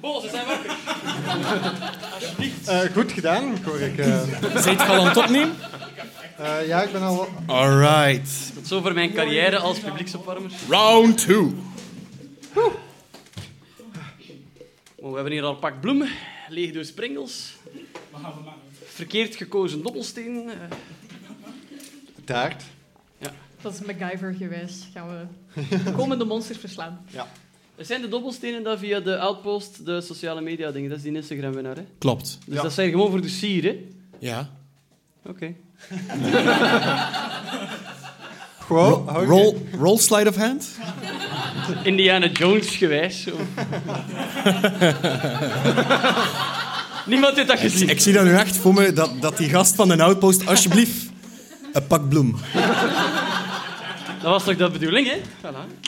Bol, ze zijn wakker. Eh, goed gedaan, hoor ik. eh. Zit je al aan het opnemen? Eh, ja, ik ben al... Alright. Tot zover mijn carrière als publieksopwarmer. Round 2. Maar Oh, we hebben hier al een pak bloemen, leeg door springels. Verkeerd gekozen dobbelsteen. eh, Taart. Dat is MacGyver geweest. Gaan we komende monsters verslaan. Het zijn de dobbelstenen dat via de Outpost, de sociale media dingen, dat is die Instagram-winnaar. hè? Klopt. Dus Ja. dat zijn gewoon voor de sier, hè? Ja. Oké. Gewoon, hou je- Roll, roll slide of hand. Indiana Jones gewijs. Zo. Niemand heeft dat gezien. Ik zie dat nu echt voor me, dat, dat die gast van de outpost, alsjeblieft, een pak bloem. Dat was toch de bedoeling, hè? Voilà.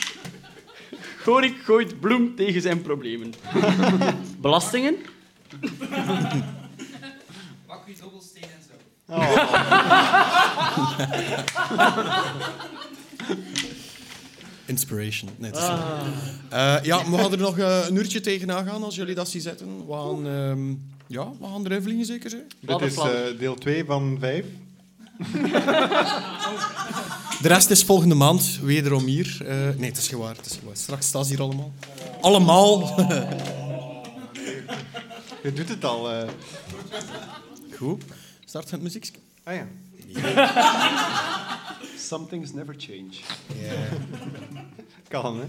Gorik gooit bloem tegen zijn problemen. Belastingen? Pak je dobbelsteen en zo. Inspiration. Nee, het is niet. Eh, ja, we gaan er nog eh, een uurtje tegenaan gaan als jullie dat zien zitten. We gaan, ehm, ja, we gaan erin vliegen zeker. Hè? Dit is eh, deel 2 van 5. De rest is volgende maand wederom hier. Eh, nee, het is gewaar, het is gewaar. Straks staan ze hier allemaal. Allemaal. Je doet het al. eh. Goed. Start van het muziekje. Ah ja. Some things never change. Kan, hè.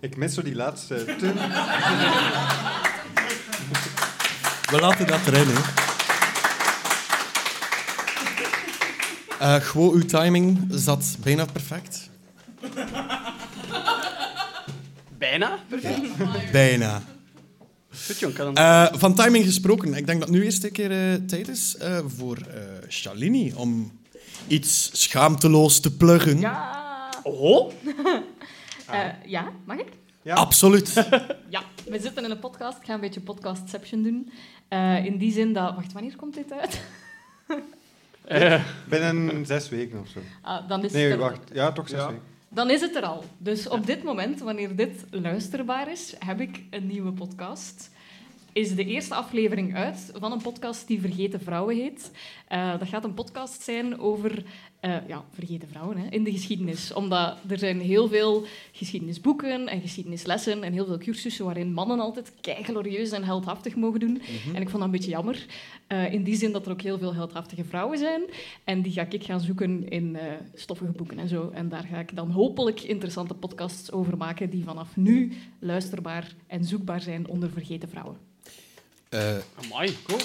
Ik mis zo die laatste. We laten dat erin, hè. Eh, gewoon uw timing zat bijna perfect. Bijna? Perfect. Bijna. Goed, jong. Kan dan... Eh, van timing gesproken, ik denk dat nu eerst een keer eh, tijd is eh, voor eh Shalini om iets schaamteloos te Hm. pluggen. Ja. Oh, Ah. Eh, ja, mag ik? Absoluut. Ja. We zitten in een podcast. Ik ga een beetje podcastception doen. Eh, in die zin dat... Wacht, wanneer komt dit uit? Binnen zes weken of zo. Ah, dan, is het Nee, er, wacht. Ja, toch zes Ja. weken. dan is het er al. Dus op dit moment, wanneer dit luisterbaar is, heb ik een nieuwe podcast. Is de eerste aflevering uit van een podcast die Vergeten Vrouwen heet. Eh, dat gaat een podcast zijn over eh, ja, vergeten vrouwen hè, in de geschiedenis. Omdat er zijn heel veel geschiedenisboeken en geschiedenislessen en heel veel cursussen waarin mannen altijd keiglorieus en heldhaftig mogen doen. En ik vond dat een beetje jammer. eh, in die zin dat er ook heel veel heldhaftige vrouwen zijn. En die ga ik gaan zoeken in eh, stoffige boeken en zo. En daar ga ik dan hopelijk interessante podcasts over maken die vanaf nu luisterbaar en zoekbaar zijn onder vergeten vrouwen. Eh, amai. Cool.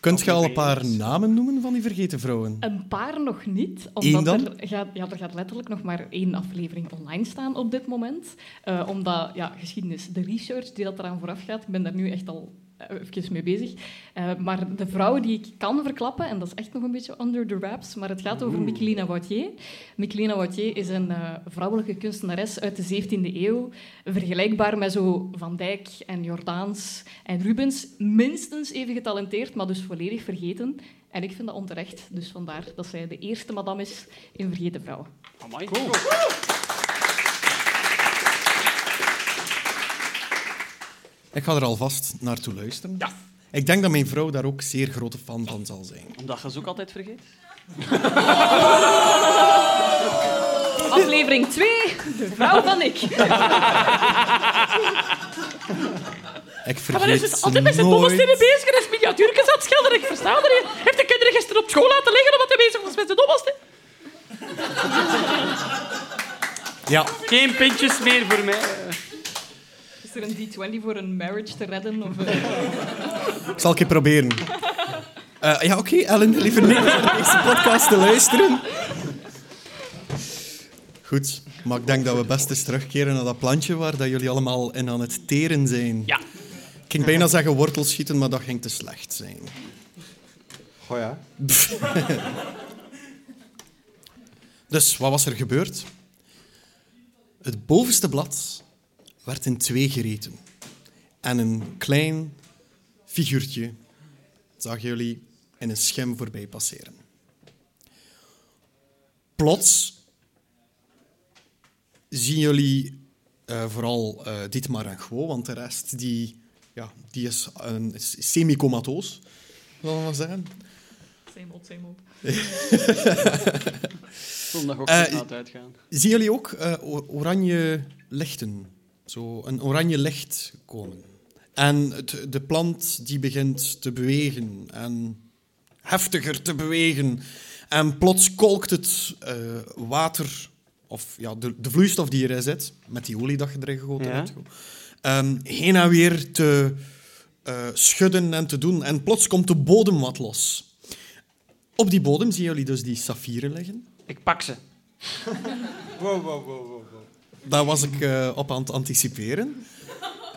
kunt je al een paar namen noemen van die vergeten vrouwen? Een paar nog niet, Eén omdat dan? er gaat, ja, er gaat letterlijk nog maar één aflevering online staan op dit moment. Eh, omdat ja, geschiedenis, de research die dat eraan vooraf gaat, ik ben daar nu echt al eh, even mee bezig. Eh, maar de vrouwen die ik kan verklappen, en dat is echt nog een beetje under the wraps, maar het gaat over Micheline Wautier. Micheline Wautier is een eh, vrouwelijke kunstenares uit de 17e eeuw, vergelijkbaar met zo Van Dijk en Jordaans en Rubens. Minstens even getalenteerd, maar dus volledig vergeten. En ik vind dat onterecht, dus vandaar dat zij de eerste madame is in Vergeten Vrouwen. Amai. Ik ga er alvast naartoe luisteren. Ja. Ik denk dat mijn vrouw daar ook zeer grote fan van zal zijn. Omdat je ze ook altijd vergeet. Aflevering 2, de vrouw van ik. Ik Maar is vergeet het ze altijd met zijn nooit. dobbelstenen bezig en is miniatuurtjes aan het schilderen. Ik versta dat niet. Heeft de kinderen gisteren op school laten liggen omdat hij bezig was met zijn dobbelstenen? Ja. Geen pintjes meer voor mij. Eh, Is er een D20 voor een marriage te redden? Of, eh, Ik zal een keer proberen. Eh, ja, oké, Ellen, liever niet naar deze podcast te luisteren. Goed, maar ik denk dat we best eens terugkeren naar dat plantje waar dat jullie allemaal in aan het teren zijn. Ja. Ik ging bijna zeggen wortels schieten, maar dat ging te slecht zijn. Oh ja. Dus, wat was er gebeurd? Het bovenste blad werd in twee gereten. En een klein figuurtje zagen jullie in een schim voorbij passeren. Plots zien jullie eh, vooral eh Dietmar en Gwo, want de rest die, ja, die is, een, is semi-comatoos, zal ik maar zeggen. same old, same old. Zondagochtend Eh, na het uitgaan. Zien jullie ook eh, o- oranje lichten? Zo een oranje licht komen. En het, de plant die begint te bewegen en heftiger te bewegen. En plots kolkt het eh, water, of ja, de, de vloeistof die erin zit, met die olie dat je erin gegoten Ja. hebt, ehm, heen en weer te eh, schudden en te doen. En plots komt de bodem wat los. Op die bodem zien jullie dus die saffieren liggen. Ik pak ze. Wow, wow, wow, wow. wow. Daar was ik eh, op aan het anticiperen.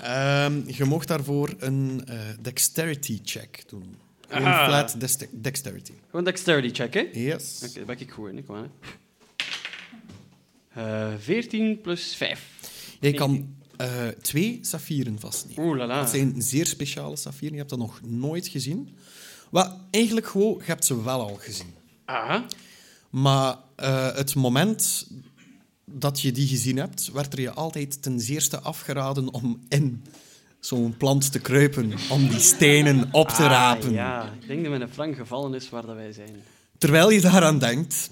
Ehm, je mocht daarvoor een eh, dexterity check doen. Gewoon Ah. flat dexte- dexterity. Gewoon dexterity check, hè? Oké, Yes. daar ben ik goed in. hè. Kom aan. hè. Eh 14 plus 5. Jij kan eh, twee saffieren vastnemen. Oeh, la la. Dat zijn zeer speciale saffieren. Je hebt dat nog nooit gezien. Wel, eigenlijk gewoon, je hebt ze wel al gezien. Aha. Maar eh, het moment dat je die gezien hebt, werd er je altijd ten zeerste afgeraden om in zo'n plant te kruipen, om die stenen op te rapen. Ah, ja, ik denk dat mijn frank gevallen is waar dat wij zijn. Terwijl je daaraan denkt,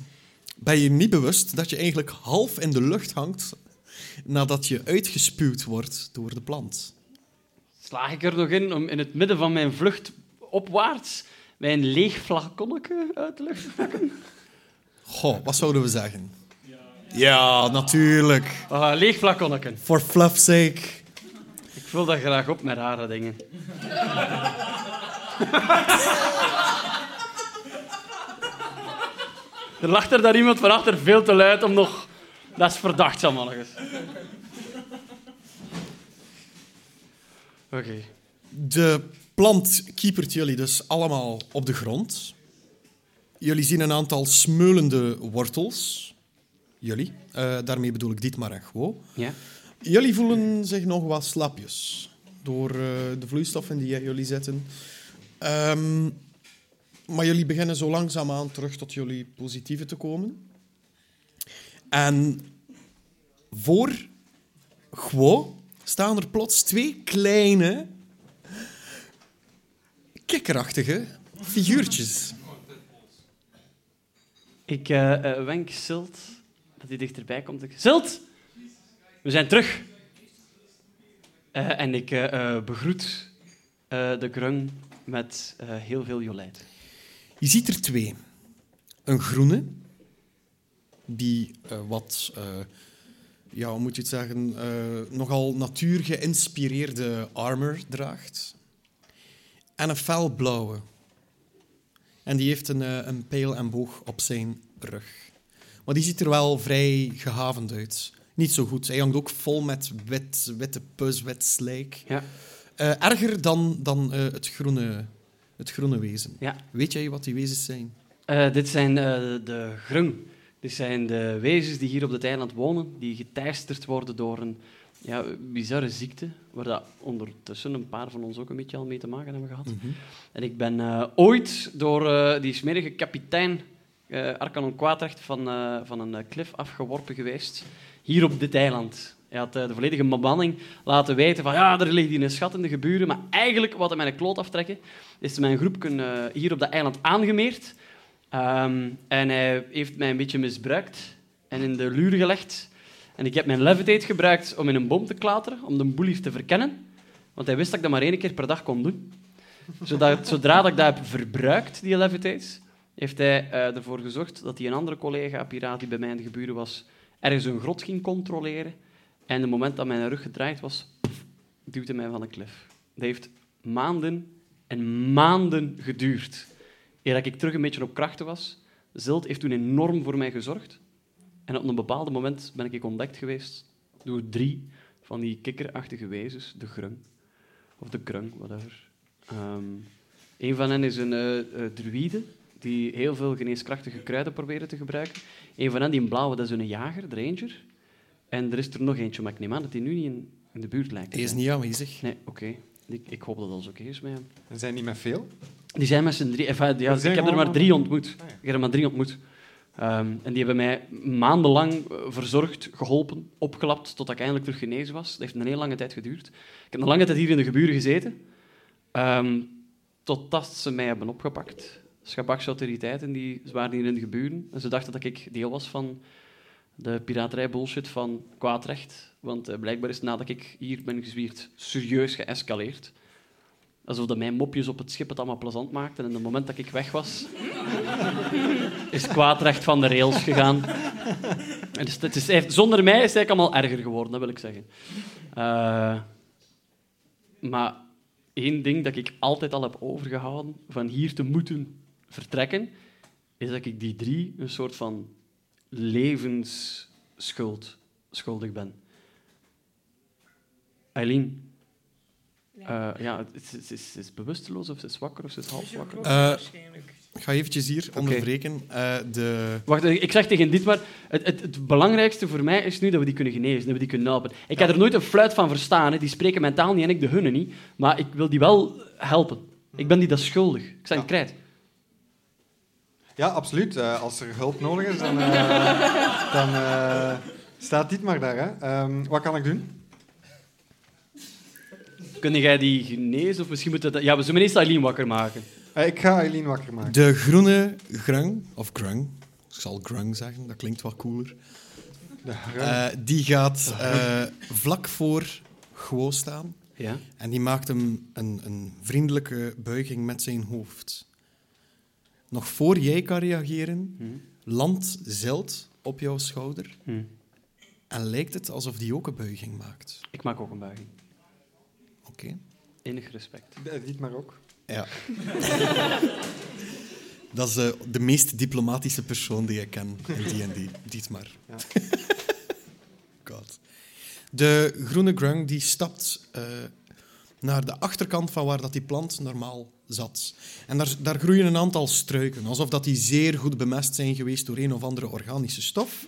ben je niet bewust dat je eigenlijk half in de lucht hangt nadat je uitgespuwd wordt door de plant. Slaag ik er nog in om in het midden van mijn vlucht opwaarts mijn leeg flaconnetje uit de lucht te pakken? Goh, wat zouden we zeggen? Ja, natuurlijk. Ah, leeg flaconnetje. For fluff's sake. Ik vul dat graag op met rare dingen. er lacht er daar iemand van achter veel te luid om nog... Dat is verdacht, Samalligus. Oké. De plant kiepert jullie dus allemaal op de grond. Jullie zien een aantal smeulende wortels. Jullie. Eh, daarmee bedoel ik Dietmar en Gwo. Ja? Jullie voelen zich nog wat slapjes door eh, de vloeistoffen die in jullie zitten. Ehm, maar jullie beginnen zo langzaamaan terug tot jullie positieve te komen. En voor Gwo staan er plots twee kleine, kikkerachtige figuurtjes. Ik eh, eh, wenk Silt dat hij dichterbij komt. Ik- Silt! We zijn terug. Eh, en ik eh, eh, begroet eh, de krung met eh, heel veel jolijt. Je ziet er twee. Een groene, die eh, wat, eh, ja, hoe moet je het zeggen, eh, nogal natuurgeïnspireerde armor draagt. En een felblauwe. En die heeft een, eh, een pijl en boog op zijn rug. Maar die ziet er wel vrij gehavend uit. Niet zo goed. Hij hangt ook vol met wit, witte pus, wit slijk. Ja. Eh, erger dan, dan eh, het, groene, het groene wezen. Ja. Weet jij wat die wezens zijn? Eh, dit zijn eh, de grung. Dit zijn de wezens die hier op het eiland wonen, die geteisterd worden door een ja, bizarre ziekte, waar dat ondertussen een paar van ons ook een beetje al mee te maken hebben gehad. Mhm. En ik ben eh, ooit door eh, die smerige kapitein eh Arcanon Kwaadrecht van, eh, van een eh, klif afgeworpen geweest, hier op dit eiland. Hij had eh, de volledige bemanning laten weten van ja, er ligt hier een schat in de geburen, maar eigenlijk wat hij mijn kloot aftrekken, is mijn groep kunnen, eh, hier op dat eiland aangemeerd. Ehm, en hij heeft mij een beetje misbruikt en in de luur gelegd. En ik heb mijn levitate gebruikt om in een boom te klateren, om de boel hier te verkennen. Want hij wist dat ik dat maar één keer per dag kon doen. Zodat, zodra dat ik dat heb verbruikt, die levitate, heeft hij eh, ervoor gezorgd dat hij een andere collega, een piraat die bij mij in de geburen was, ergens een grot ging controleren. En het moment dat mijn rug gedraaid was, duwde mij van een klif. Dat heeft maanden en maanden geduurd. Eer dat ik terug een beetje op krachten was. Zilt heeft toen enorm voor mij gezorgd. En op een bepaald moment ben ik ontdekt geweest door drie van die kikkerachtige wezens, de grung. Of de krung, whatever. Ehm een van hen is een eh eh, druïde die heel veel geneeskrachtige kruiden proberen te gebruiken. Een van hen, die in blauwe, dat is een jager, de ranger. En er is er nog eentje, maar ik neem aan dat die nu niet in, in de buurt lijkt. te Hij is zijn. niet aanwezig. Nee, oké. Ik, ik hoop dat alles oké is met hem. Er zijn niet meer veel. Die zijn met z'n drie. enfin, ja, Er zijn ik heb er gewoon- maar drie ontmoet. Ah, ja. Ik heb er maar drie ontmoet. Ehm, en die hebben mij maandenlang eh, verzorgd, geholpen, opgelapt, totdat ik eindelijk terug genezen was. Dat heeft een heel lange tijd geduurd. Ik heb een lange tijd hier in de geburen gezeten, ehm, totdat ze mij hebben opgepakt. Schabakse autoriteiten die ze waren hier in de geburen. En ze dachten dat ik deel was van de piraterij-bullshit van kwaadrecht. Want eh, blijkbaar is nadat ik hier ben gezwierd serieus geëscaleerd. Alsof dat mijn mopjes op het schip het allemaal plezant maakten. En op het moment dat ik weg was, is het kwaadrecht van de rails gegaan. En dus het is, eigenlijk- zonder mij is het eigenlijk allemaal erger geworden, dat wil ik zeggen. Eh, maar één ding dat ik altijd al heb overgehouden van hier te moeten vertrekken, is dat ik die drie een soort van levensschuld schuldig ben. Eileen, eh, ja, het is, het is, het is bewusteloos of ze is wakker of ze is half wakker. Eh, ik ga eventjes hier onderbreken. Eh, de... Wacht, ik zeg tegen dit maar, het, het, het belangrijkste voor mij is nu dat we die kunnen genezen, dat we die kunnen helpen. Ik heb er nooit een fluit van verstaan, hè. die spreken mijn taal niet en ik de hunne niet, maar ik wil die wel helpen. Ik ben die dat schuldig. Ik zijn Ja. krijt. Ja, absoluut. Eh, als er hulp nodig is, dan, eh, dan eh, staat dit maar daar. Hè. Ehm, wat kan ik doen? Kun jij die genezen of misschien moeten we dat... Ja, we zullen eerst Aileen wakker maken. Eh, ik ga Eileen wakker maken. De groene grang, of grang, ik zal grang zeggen, dat klinkt wat cooler. De grang. Eh, die gaat eh, vlak voor Guo staan Ja? en die maakt hem een, een vriendelijke buiging met zijn hoofd. Nog voor jij kan reageren, Hm. landt Zeld op jouw schouder Hm. en lijkt het alsof die ook een buiging maakt. Ik maak ook een buiging. Oké. Enig respect. Eh, Dit maar ook. Ja. Dat is eh, de meest diplomatische persoon die ik ken in D&D. Dit maar. Ja. God. De groene grung die stapt eh, naar de achterkant van waar dat die plant normaal zat. En daar, daar groeien een aantal struiken, alsof dat die zeer goed bemest zijn geweest door een of andere organische stof.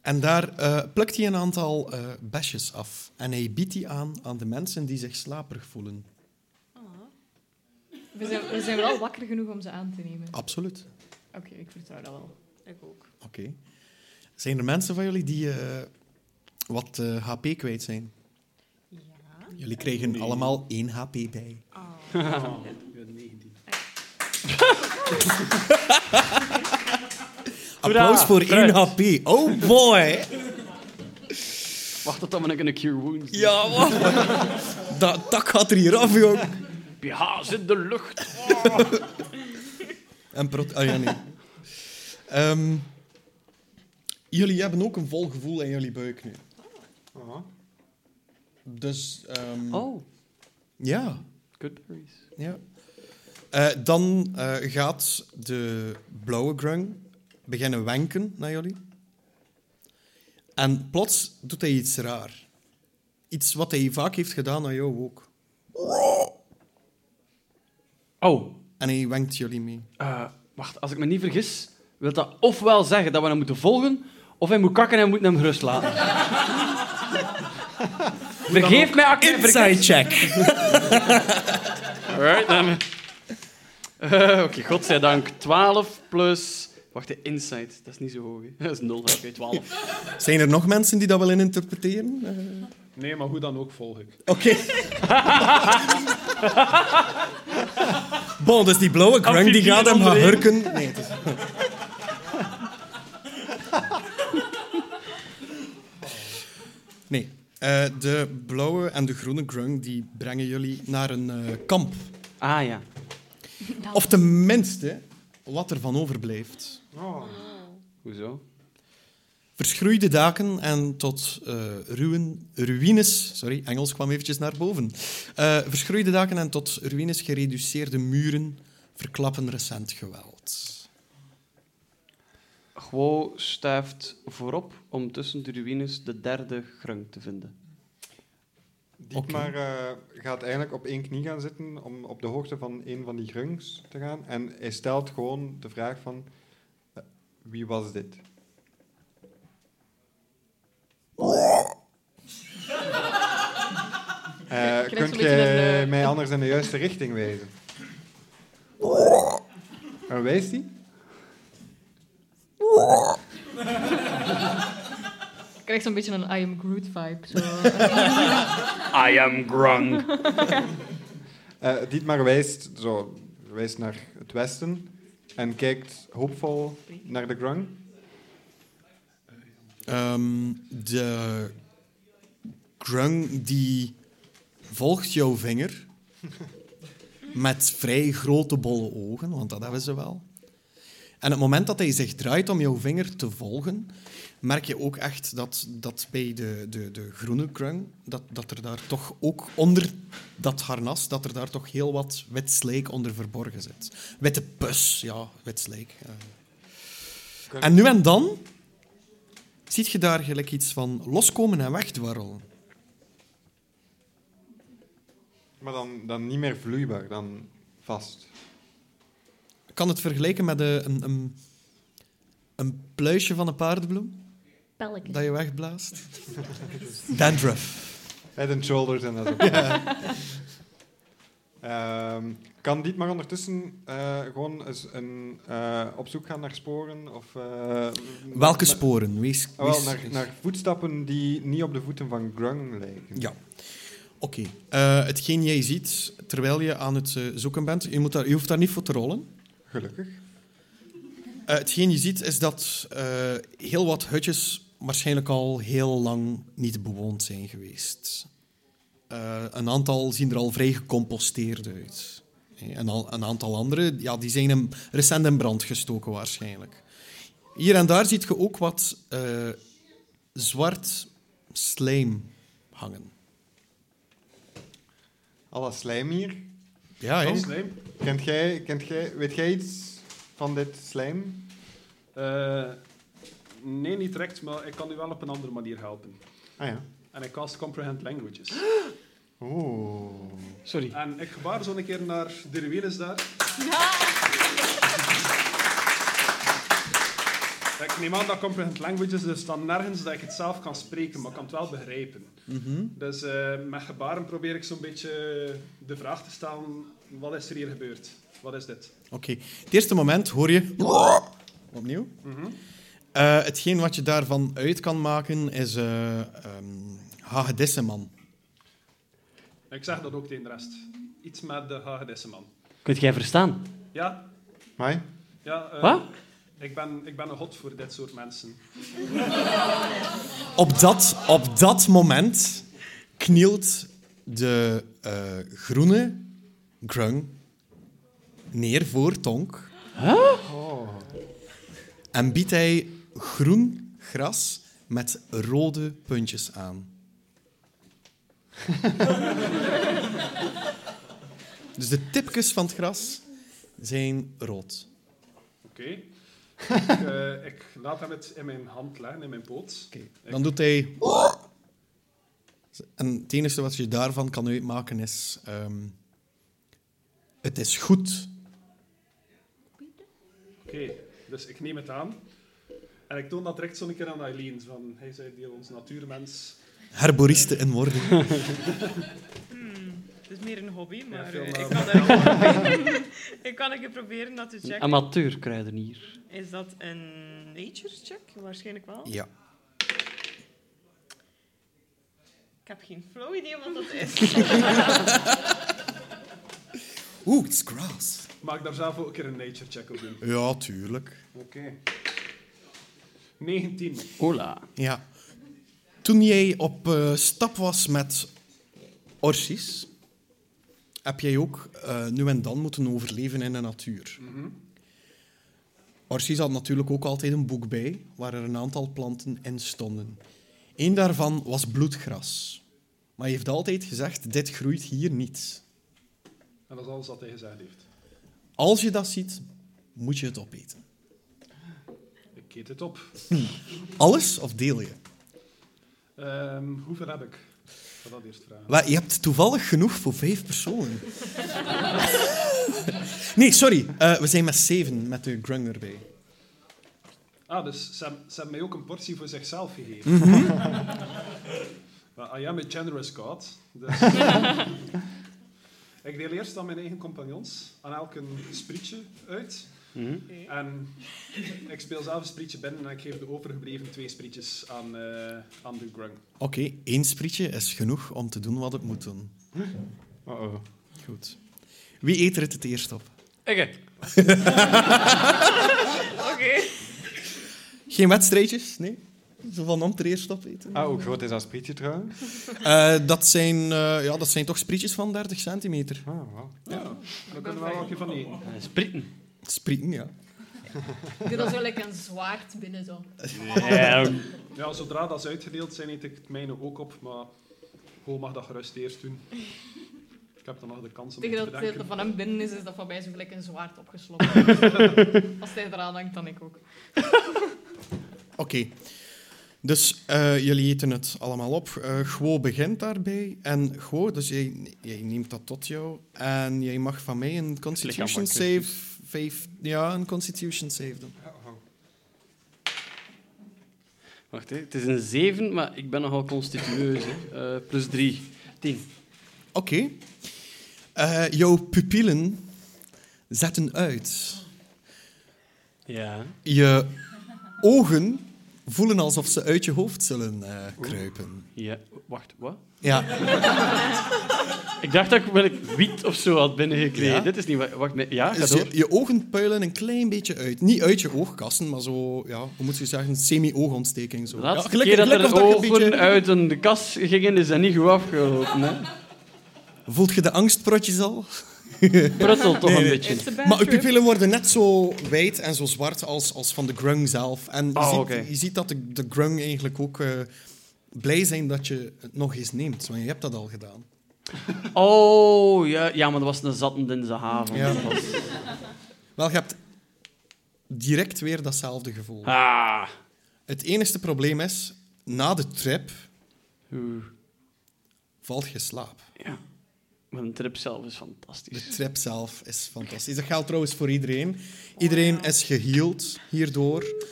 En daar eh, plukt hij een aantal eh besjes af. En hij biedt die aan aan de mensen die zich slaperig voelen. We zijn, we zijn wel wakker genoeg om ze aan te nemen. Absoluut. Oké, ik vertrouw dat wel. Ik ook. Oké. Zijn er mensen van jullie die eh, wat eh, HP kwijt zijn? Ja. Jullie krijgen allemaal één HP bij. Applaus voor één Vooruit. HP. Oh boy. Wacht tot we een cure wounds doen. Ja, wat? Dat tak gaat er hier af, jong. pH zit in de lucht. En prot... Ah ja, nee. Ehm, jullie hebben ook een vol gevoel in jullie buik nu. Aha. Dus... ehm, Oh, Ja. good berries. Ja. Eh, dan eh, gaat de blauwe grung beginnen wenken naar jullie. En plots doet hij iets raar. Iets wat hij vaak heeft gedaan aan jou ook. Oh, En hij wenkt jullie mee. Eh, wacht, als ik me niet vergis, wil dat ofwel zeggen dat we hem moeten volgen, of hij moet kakken en we moeten hem gerust laten. Vergeef mij, Akke. Inside check. Alright, dan... Eh, Oké, godzijdank. 12 plus... Wacht, de insight. Dat is niet zo hoog. hè. Dat is 0. Oké, 12. Zijn er nog mensen die dat willen interpreteren? Eh, Nee, maar hoe dan ook volg ik. Oké. bon, dus die blauwe grung die gaat hem gaan hurken. Nee, het is... nee. Eh, de blauwe en de groene grung die brengen jullie naar een eh, kamp. Ah ja. Of tenminste, wat er van overblijft. Oh. Hoezo? Verschroeide daken en tot eh, ruïn- ruïnes... Sorry, Engels kwam eventjes naar boven. Eh, verschroeide daken en tot ruïnes gereduceerde muren verklappen recent geweld. Guo stuift voorop om tussen de ruïnes de derde grung te vinden. Dietmar eh, gaat eigenlijk op één knie gaan zitten om op de hoogte van een van die grungs te gaan. En hij stelt gewoon de vraag van... eh, wie was dit? Eh krijgt kunt zo'n beetje jij een, eh, mij anders in de juiste richting wijzen? Waar wijst hij? Ik krijg zo'n beetje een I am Groot vibe. Zo. I am grung. Eh Dietmar wijst, zo, wijst naar het westen en kijkt hoopvol naar de grung. Ehm, de grung die volgt jouw vinger met vrij grote bolle ogen, want dat hebben ze wel. En het moment dat hij zich draait om jouw vinger te volgen, merk je ook echt dat, dat bij de, de, de groene krung, dat, dat er daar toch ook onder dat harnas, dat er daar toch heel wat wit slijk onder verborgen zit. Witte pus, ja, wit slijk. ja. En nu en dan ziet je daar gelijk iets van loskomen en wegdwarrelen. Maar dan, dan niet meer vloeibaar, dan vast. Ik kan het vergelijken met eh, een, een, een pluisje van een paardenbloem dat je wegblaast. Dandruff. Head and shoulders en dat soort dingen. Ehm, kan dit maar ondertussen eh, gewoon eens een, eh, op zoek gaan naar sporen? Of, eh, Welke na- sporen? Wees, Ah, wel, wees- naar, naar voetstappen die niet op de voeten van Grung lijken. Ja. Oké. Eh, hetgeen jij ziet terwijl je aan het eh, zoeken bent, je, moet daar, je hoeft daar niet voor te rollen. Gelukkig. Eh, hetgeen je ziet is dat eh, heel wat hutjes waarschijnlijk al heel lang niet bewoond zijn geweest. Eh, een aantal zien er al vrij gecomposteerd uit. Eh, En al, een aantal andere ja, die zijn in, recent in brand gestoken waarschijnlijk. Hier en daar ziet je ook wat eh, zwart slijm hangen. Al dat slijm hier. Ja, Ah, hè? Van slijm. Kent jij, kent jij, weet jij iets van dit slijm? Eh, nee, niet direct, maar ik kan u wel op een andere manier helpen. Ah ja. En ik cast Comprehend Languages. Oeh. Sorry. En ik gebaar zo een keer naar de ruïnes daar. Ik neem aan dat Comprehend Languages dus dan nergens dat ik het zelf kan spreken, maar ik kan het wel begrijpen. Dus eh, met gebaren probeer ik zo'n beetje de vraag te stellen, wat is er hier gebeurd? Wat is dit? Oké. Het eerste moment hoor je... Opnieuw. Eh, hetgeen wat je daarvan uit kan maken is eh ehm hagedissenman. Ik zeg dat ook tegen de rest. Iets met de hagedissenman. Kunt jij verstaan? Ja, Mai? ja. eh, Wat? Ik ben, ik ben een god voor dit soort mensen. Op dat, op dat moment knielt de eh, groene grung neer voor Tonk. Oh. En biedt hij groen gras met rode puntjes aan. dus de tipjes van het gras zijn rood. Oké. ik, eh, ik laat hem het in mijn hand leggen, in mijn poot. Oké, Dan doet hij... En het enige wat je daarvan kan uitmaken is... ehm, het is goed. Oké, dus ik neem het aan. En ik toon dat direct zo'n keer aan Eileen. Van, hij zei deel ons natuurmens. Herboriste in worden. Het is meer een hobby, maar veel eh, namen. ik kan er ook Ik kan een keer proberen dat te Een checken. amateurkruidenier. Is dat een nature check? Waarschijnlijk wel. Ja. Ik heb geen flow idee wat dat is. Oeh, het is gras. Mag ik daar zelf ook een keer een nature check op doen? Ja, tuurlijk. Oké. 19. Hola. Ja. Toen jij op eh, stap was met orsies, heb jij ook eh, nu en dan moeten overleven in de natuur. Archie had natuurlijk ook altijd een boek bij waar er een aantal planten in stonden. Eén daarvan was bloedgras. Maar hij heeft altijd gezegd, dit groeit hier niet. En dat is alles wat hij gezegd heeft. Als je dat ziet, moet je het opeten. Ik eet het op. Alles of deel je? Ehm, hoeveel heb ik? Ik ga dat eerst vragen. Wel, je hebt toevallig genoeg voor vijf personen. nee, sorry. eh, we zijn met zeven, met de grung erbij. Ah, dus ze hebben, ze hebben mij ook een portie voor zichzelf gegeven. Well, I am a generous god. Dus ik deel eerst aan mijn eigen compagnons, aan elk een sprietje uit. Mhm. En ik speel zelf een sprietje binnen en ik geef de overgebleven twee sprietjes aan, eh, aan de grung. Oké, één sprietje is genoeg om te doen wat het moet doen. Uh-oh. Goed. Wie eet er het het eerst op? Oké. Oké. Geen wedstrijdjes? Nee? Zo van om het er eerst op eten? Ah, hoe groot is dat sprietje trouwens? Eh, dat, zijn, eh, ja, dat zijn toch sprietjes van 30 centimeter. Ah, wow. Ja, we kunnen wel een keer van eten. Eh, Spritten. Sprieten, ja. Ik doe dat zo lekker een zwaard binnen zo. Ja, Ja, zodra dat is uitgedeeld zijn, eet ik het mijne ook op, maar Goal mag dat gerust eerst doen. Ik heb dan nog de kans om het Tegen te dat het bedenken. van hem binnen is, is dat van mij zo gelijk een zwaard opgesloten. Als hij eraan hangt, dan ik ook. Oké. Dus eh, jullie eten het allemaal op. Eh Gwo begint daarbij. En Gwo, dus jij, jij neemt dat tot jou. En jij mag van mij een Constitution lichaam van save... vijf- ja, een Constitution save doen. Wacht, hè. het is een 7, maar ik ben nogal constitueus. hè. Eh, plus 3. 10. Oké. Eh, jouw pupillen zetten uit. Ja. Je ogen voelen alsof ze uit je hoofd zullen eh, kruipen. ja. Wacht, wat? Ja, Ik dacht dat ik wel ik wiet of zo had binnengekregen. Ja? Dit is niet wa- Wacht, nee. ja, Ah, ga dus door. je, je ogen puilen een klein beetje uit. Niet uit je oogkassen, maar zo, ja, hoe moet je zeggen, semi-oogontsteking. Zo. De Ja, laatste gelukkig- keer dat gelukkig er je ogen een beetje- uit een de kas gingen, is dat niet goed afgelopen. Hè? eh, Voelt je de angstprotjes al? Pruttelt toch een nee. beetje. It's a bad Maar uw trip. pupillen worden net zo wijd en zo zwart als, als van de grung zelf. En je, Oh, ziet, oké. je ziet dat de, de grung eigenlijk ook eh, blij zijn dat je het nog eens neemt. Want je hebt dat al gedaan. Oh, ja, ja, maar dat was een zattend in zijn haven. Ja. Dat was- Wel, je hebt direct weer datzelfde gevoel. Ah. Het enige probleem is, na de trip Oeh. valt je in slaap. Ja. Maar een trip zelf is De fantastisch. trip zelf is fantastisch. Dat geldt trouwens voor iedereen. Iedereen is geheeld hierdoor.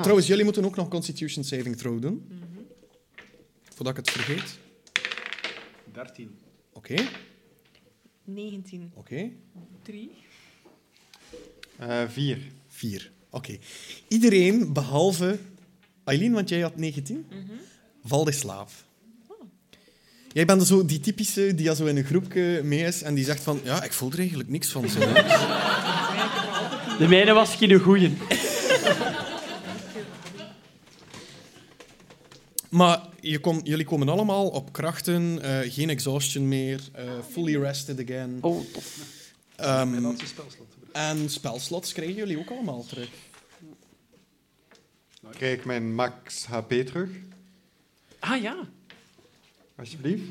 Trouwens, jullie moeten ook nog Constitution Saving Throw doen. Voordat ik het vergeet. 13. Oké, 19. oké. 3. Eh, vier. Vier. Oké. Iedereen behalve Aileen, want jij had 19, valt in slaap. Jij bent zo die typische die al zo in een groepje mee is en die zegt van ja, ik voel er eigenlijk niks van. Zo, hè. De mijne was geen goeie. Maar je kom- jullie komen allemaal op krachten, eh, geen exhaustion meer, eh, fully rested again. Oh, tof. Ehm, Mijn laatste spelslot. te gebruiken. en spelslots krijgen jullie ook allemaal terug. Krijg ik mijn max HP terug, Ah ja. alsjeblieft?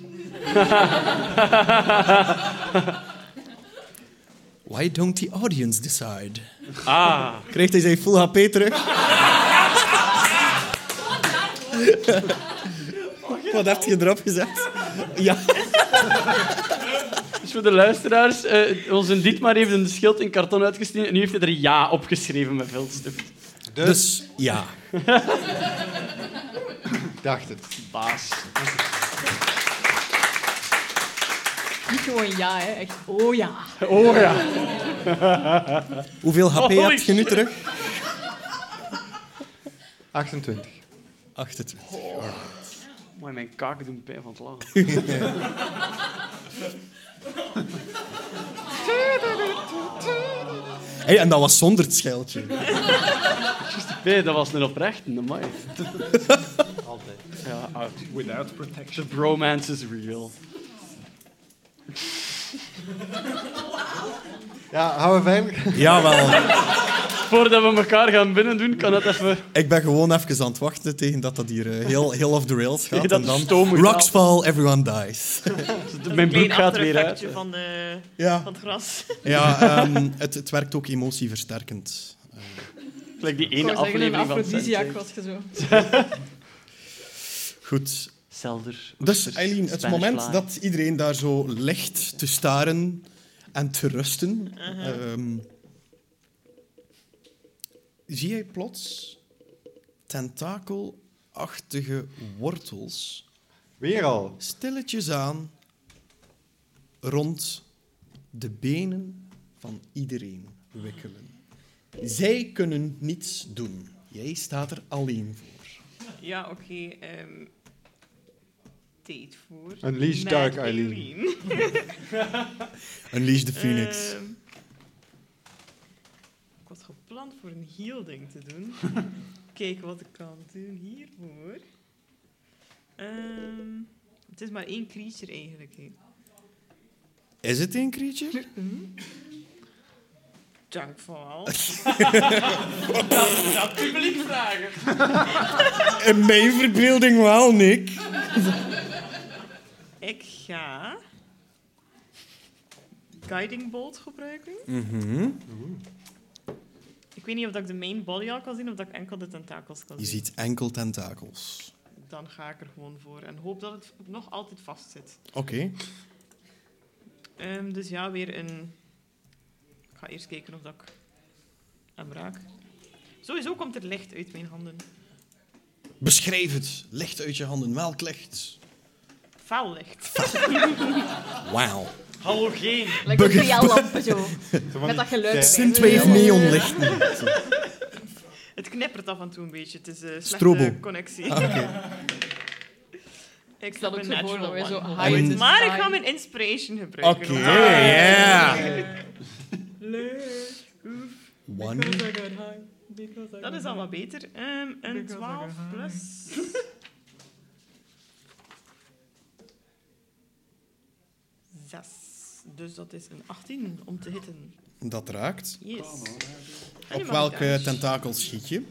Why don't the audience decide? Ah. Krijgt hij zijn full HP terug? Wat heb je erop gezet? Ja. Dus voor de luisteraars, eh, onze Dietmar heeft een schild in karton uitgesneden en nu heeft hij er ja opgeschreven met viltstift. Dus, Dus ja. ik dacht het. Baas. Niet gewoon ja, hè. Echt, oh ja. Oh ja. Hoeveel HP Oh, Holy heb je nu terug? 28. 28. Mooi, mijn kaken doen pijn van het lachen. Hey, en dat was zonder het scheldje. Nee, dat was een oprecht, amai. Altijd. Ja, oud. Without protection. The bromance is real. Ja, hou we veilig. Jawel. Voordat we elkaar gaan binnen doen, kan het even... Ik ben gewoon even aan het wachten tegen dat dat hier eh, heel, heel off the rails gaat. Tegen dat en de dan stoom moet Rocks fall, everyone dies. Mijn broek Klein gaat weer uit. achtereffectje van, de, Ja, van het gras. ja ehm, het, het werkt ook emotieversterkend. Gelijk die Ik ene wou zeggen, een aflevering van afrodisiak Sense8. was je zo. Goed, Zelder. Dus oesters, Eileen, het Spanish moment fly. dat iedereen daar zo ligt te staren en te rusten, Uh-huh. ehm, zie jij plots tentakelachtige wortels Weer al. stilletjes aan rond de benen van iedereen wikkelen. Zij kunnen niets doen. Jij staat er alleen voor. Ja, oké. ehm, tijd voor. Een leash Mad duik, Eileen. Unleash the Phoenix. Ehm, ik was gepland voor een healing te doen. Kijken wat ik kan doen hiervoor. Ehm, het is maar één creature eigenlijk. hè. Is het een creature? Dank voor al. In mijn verbeelding wel, Nick. Ik ga Guiding Bolt gebruiken. Mhm. Ik weet niet of dat ik de main body al kan zien of dat ik enkel de tentakels kan Je zien. ziet enkel tentakels. Dan ga ik er gewoon voor en hoop dat het nog altijd vast zit. Oké. Ehm, dus ja, weer een... Ik ga eerst kijken of dat ik hem raak. Sowieso komt er licht uit mijn handen. Beschrijf het. Licht uit je handen. Welk licht? Fel licht. Wauw. Halogeen. Lekker een TL-lampen zo. Zo van Met dat die- geluid. Ja. Synthwave neonlichten. Het knippert af en toe een beetje. Het is een slechte Strobo. connectie. Oké. Ik Dat zal ook een zo voor natural dat wij zo one. high En- in the Maar ik sky. ga mijn inspiration gebruiken. Oké, Ah. ja. Leuk. One. Dat is al wat beter. Ehm, een 12 plus. Zes. Dus dat is een 18 om te hitten. Dat raakt. Yes. En Op nu mag welke ik daar. tentakel schiet je?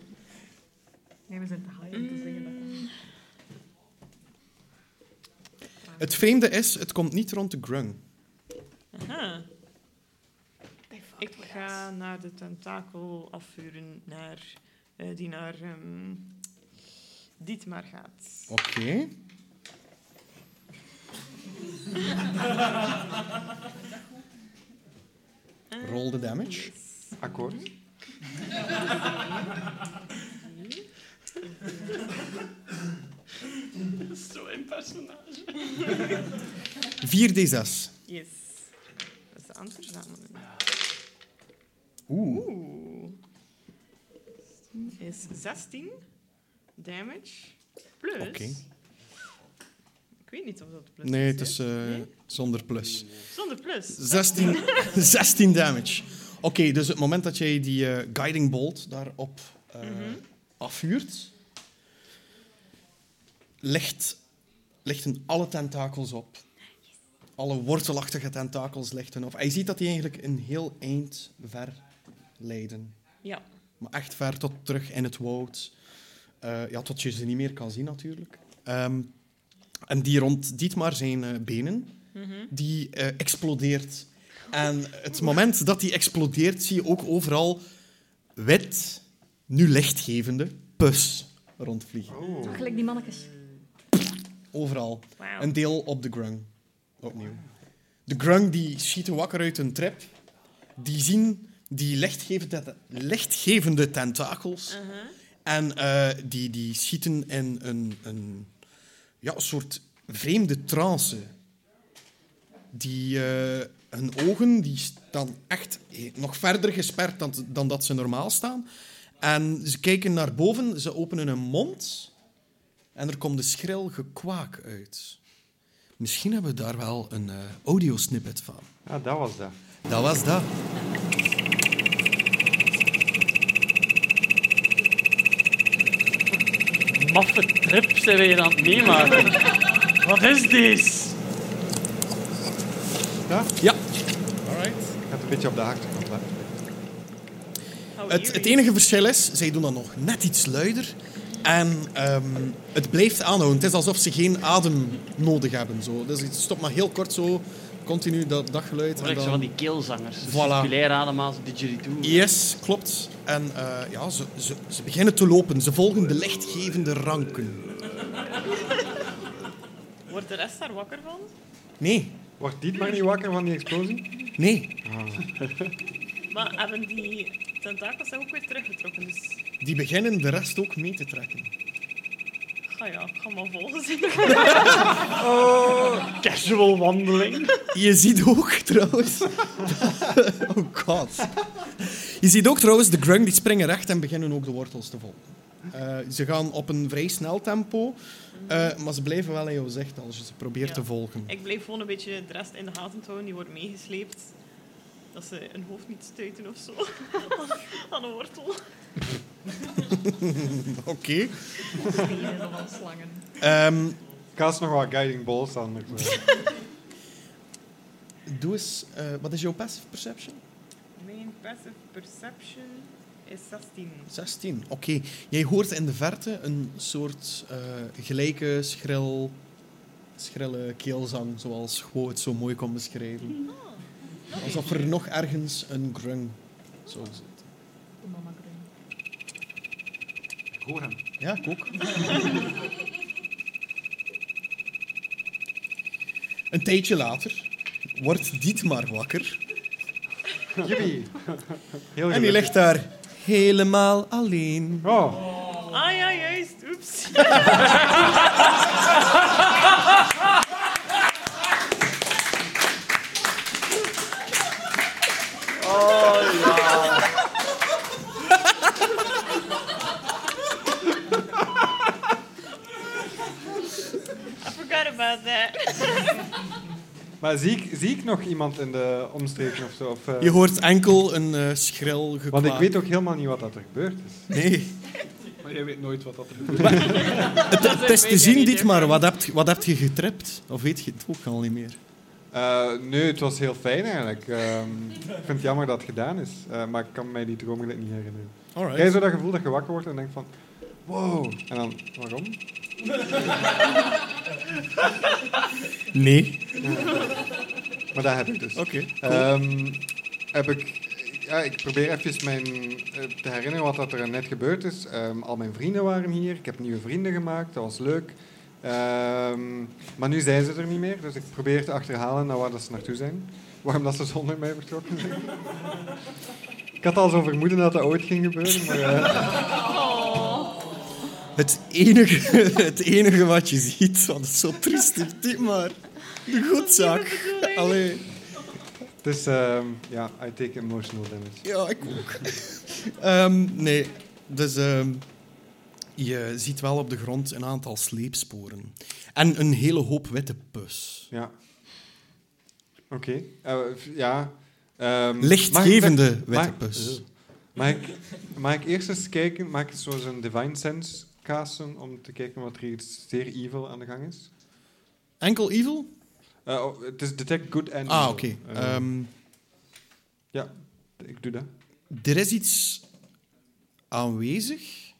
Nee, we zijn te high om te Mm. zingen. dat- Het vreemde is, het komt niet rond de grung. Aha. They fucked ah. Ik with us. ga naar de tentakel afvuren naar, eh, die naar ehm Dietmar gaat. Oké. Roll the damage. Yes. Akkoord. Zo in personage. 4d6. Yes. Dat is de antwoordzameling. Oeh. Oeh. Is 16 damage plus. Oké. Ik weet niet of dat plus Nee, is. het is hè? eh, Nee? zonder plus. Zonder plus. 16, 16 damage. Oké, dus het moment dat jij die eh, Guiding Bolt daarop eh, afvuurt, legt, lichten alle tentakels op. Alle wortelachtige tentakels lichten op. En je ziet dat die eigenlijk een heel eind ver leiden. Ja. Maar echt ver tot terug in het woud. Eh, ja, tot je ze niet meer kan zien, natuurlijk. Ehm, en die rond Dietmar zijn eh, benen, die eh, explodeert. En het moment dat die explodeert, zie je ook overal wit, nu lichtgevende, pus rondvliegen. Oh. Gelijk die mannetjes. Overal. Wauw. Een deel op de grung. Opnieuw. De grung die schieten wakker uit hun trap. Die zien die lichtgevende, lichtgevende tentakels. Uh-huh. En eh, die, die schieten in een, een ja, een soort vreemde trance. Die, eh, hun ogen die staan echt eh, nog verder gesperd dan, dan dat ze normaal staan. En ze kijken naar boven, ze openen hun mond en er komt een schril gekwaak uit. Misschien hebben we daar wel een eh, audiosnippet van. Ah, dat was dat. Dat was dat. Maffe trip zijn we hier aan het meemaken. Wat is dit? Ja? Ja. Gaat een beetje op de achterkant letten. How Het, eerie. het enige verschil is, zij doen dat nog net iets luider. En ehm, het blijft aanhouden. Het is alsof ze geen adem nodig hebben. Zo. Dus het stopt maar heel kort zo, continu dat, dat geluid. Hoor en ik zo dan- van die keelzangers. Dus Voilà. Voilà. Circulair ademhaling, didgeridoo. Yes, klopt. En eh, ja, ze, ze, ze beginnen te lopen. Ze volgen de lichtgevende ranken. Wordt de rest daar wakker van? Nee, Wordt dit maar niet wakker van die explosie? nee. Maar hebben die tentakels zijn ook weer teruggetrokken, dus... Die beginnen de rest ook mee te trekken. Ga ja, ik ga maar volgen. zien. Casual wandeling. Je ziet ook trouwens. oh god. Je ziet ook trouwens de grung die springen recht en beginnen ook de wortels te volgen. Eh, ze gaan op een vrij snel tempo, eh, maar ze blijven wel in jouw zicht als je ze probeert Ja. te volgen. ik blijf gewoon een beetje de rest in de gaten houden. Die wordt meegesleept. Dat ze hun hoofd niet stuiten of zo. Aan een wortel. Oké. Stenen van slangen. Ehm, Kaas nog wat guiding balls anders. eh. doe eens, eh, wat is jouw passive perception? Mijn passive perception is 16. 16. Oké. Jij hoort in de verte een soort eh, gelijke, schril, schrille keelzang, zoals Gwo het zo mooi kon beschrijven. Alsof er nog ergens een grung zou zitten. De mama Grun. Ik hoor hem. Ja, ik ook. een tijdje later wordt Dietmar wakker. Jippie. Heel En die Oh, gelukkig. ligt daar helemaal alleen. Oh, Ah ja, juist. Oeps. I forgot about that. maar zie ik, zie ik nog iemand in de omstreken of zo? Of, eh, Je hoort enkel een eh, schril gekwaad. want ik weet ook helemaal niet wat dat er gebeurd is. Nee. Maar jij weet nooit wat dat er gebeurt. Het, het is te weet jij zien, niet, dit hè? maar. Wat heb, je- wat heb je getript? Of weet je het ook al niet meer? Eh, nee, het was heel fijn eigenlijk. Ehm, ik vind het jammer dat het gedaan is, eh, maar ik kan mij die droomgeluid niet herinneren. Alright. Krijg je zo dat gevoel dat je wakker wordt en denkt van... Wow. En dan, waarom? Nee. Maar dat heb ik dus. Oké. Ehm, heb ik... Ja, ik probeer even mijn, eh, te herinneren wat dat er net gebeurd is. Ehm, al mijn vrienden waren hier. Ik heb nieuwe vrienden gemaakt. Dat was leuk. Ehm, maar nu zijn ze er niet meer. Dus ik probeer te achterhalen naar waar dat ze naartoe zijn. Waarom dat ze zonder mij vertrokken zijn. ik had al zo'n vermoeden dat dat ooit ging gebeuren. Maar, eh, Het, enige, het enige wat je ziet, want het is zo triest, is dit maar. De goedzak. Allee. dus ehm, ja, I take emotional damage. Ja, ik ook. Ehm, nee, dus ehm, je ziet wel op de grond een aantal sleepsporen. En een hele hoop witte pus. Ja. Oké. Eh, f- ja. Ehm, Lichtgevende mag eh. ik- witte mag- pus. Mag ik, mag ik eerst eens kijken, mag ik zo zo'n Divine Sense casten om te kijken wat er hier zeer evil aan de gang is? Enkel evil? Eh, oh, het is Detect Good and Ah, evil. oké. Eh, Ehm, ja, ik doe dat. Er is iets aanwezig.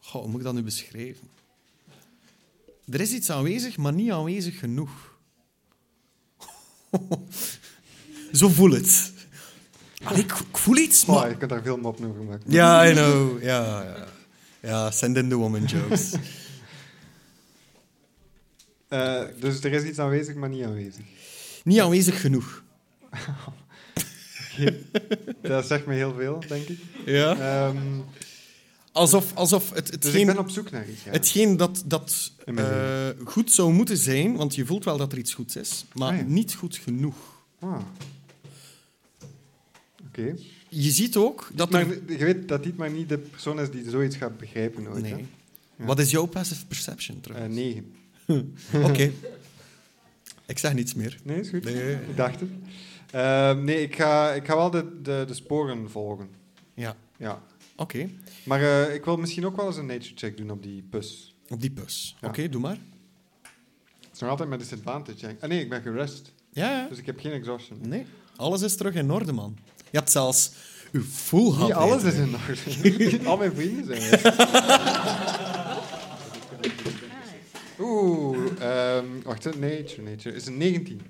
Goh, hoe moet ik dat nu beschrijven? Er is iets aanwezig, maar niet aanwezig genoeg. Zo voel het. Allee, ik, ik voel iets, Oh, maar... je kunt daar veel moppen over maken. Ja, I know. Ja, ja. ja send in the woman jokes. Eh, dus er is iets aanwezig, maar niet aanwezig. niet aanwezig genoeg. Dat zegt me heel veel, denk ik. Ja. Ehm, Alsof, alsof het, dus hetgeen... ik ben op zoek naar iets. Ja. Hetgeen dat, dat In mijn eh, goed zou moeten zijn, want je voelt wel dat er iets goeds is, maar Ah, ja. niet goed genoeg. Ah. Oké. Je ziet ook dat Maar er... je weet dat dit maar niet de persoon is die zoiets gaat begrijpen ooit. Nee. oh, hè? Ja. Wat is jouw passive perception Eh, trouwens? negen. Oké. Ik zeg niets meer. Nee, is goed. Nee. Ik dacht het. Ehm, nee, ik ga, ik ga wel de, de, de sporen volgen. Ja, Ja. oké. Maar eh, ik wil misschien ook wel eens een nature check doen op die pus. Op die bus. Ja. Oké, doe maar. Het is nog altijd met disadvantage. hè. Ah nee, ik ben gerust. Ja, ja. Dus ik heb geen exhaustion. Nee, alles is terug in orde, man. Je hebt zelfs uw full Niet gehad. alles is eigenlijk. in orde. Al mijn vrienden zijn weg. Oeh, ehm, wacht, hè. nature, nature. Is een 19.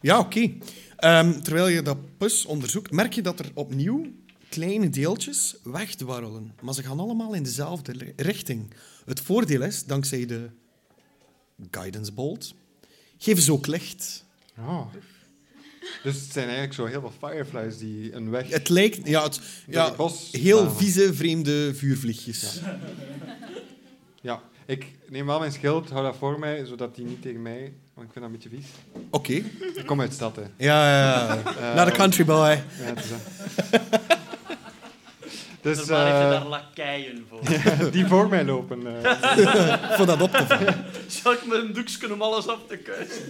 Ja, oké. Ehm, terwijl je dat pus onderzoekt, merk je dat er opnieuw kleine deeltjes wegdwarrelen. Maar ze gaan allemaal in dezelfde ri- richting. Het voordeel is, dankzij de guidance bolt, geven ze ook licht. Oh. Dus het zijn eigenlijk zo heel veel fireflies die een weg Het lijkt... Ja, het, door ja het bos heel banen. vieze, vreemde vuurvliegjes. Ja, ik neem wel mijn schild, hou dat voor mij, zodat die niet tegen mij... Want ik vind dat een beetje vies. Oké. Ik kom uit de stad, hè. Ja, ja, ja. Eh, Naar de country boy. Ja, het is dat. Dus Normaal heeft hij eh, daar lakeien voor. die voor mij lopen. eh. Voor dat op te vallen. Zal ik met een doeksken om alles af te kuisen?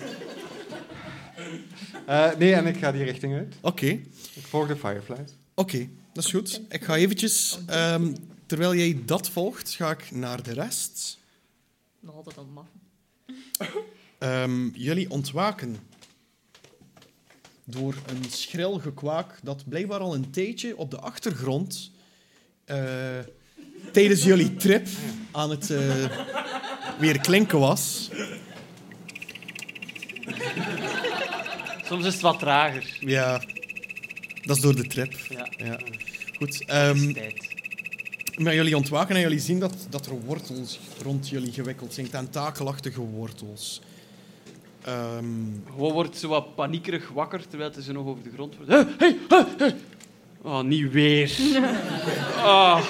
Eh, nee, en ik ga die richting uit. Oké. Ik volg de fireflies. Oké, dat is goed. Ik ga eventjes... ehm, terwijl jij dat volgt, ga ik naar de rest. Nog altijd een maf. Ehm, jullie ontwaken. Door een schril gekwaak dat blijkbaar al een tijdje op de achtergrond... eh, tijdens jullie trip aan het eh, weer klinken was. Soms is het wat trager. Ja, dat is door de trip. Ja, Ja. Goed. Mm. ehm, tijd. Maar jullie ontwaken en jullie zien dat, dat er wortels rond jullie gewikkeld zijn. Tentakelachtige wortels. Ehm, Gewoon wordt ze wat paniekerig wakker terwijl ze nog over de grond wordt. Hey, hey, hey, hey. Oh, niet weer. Ah.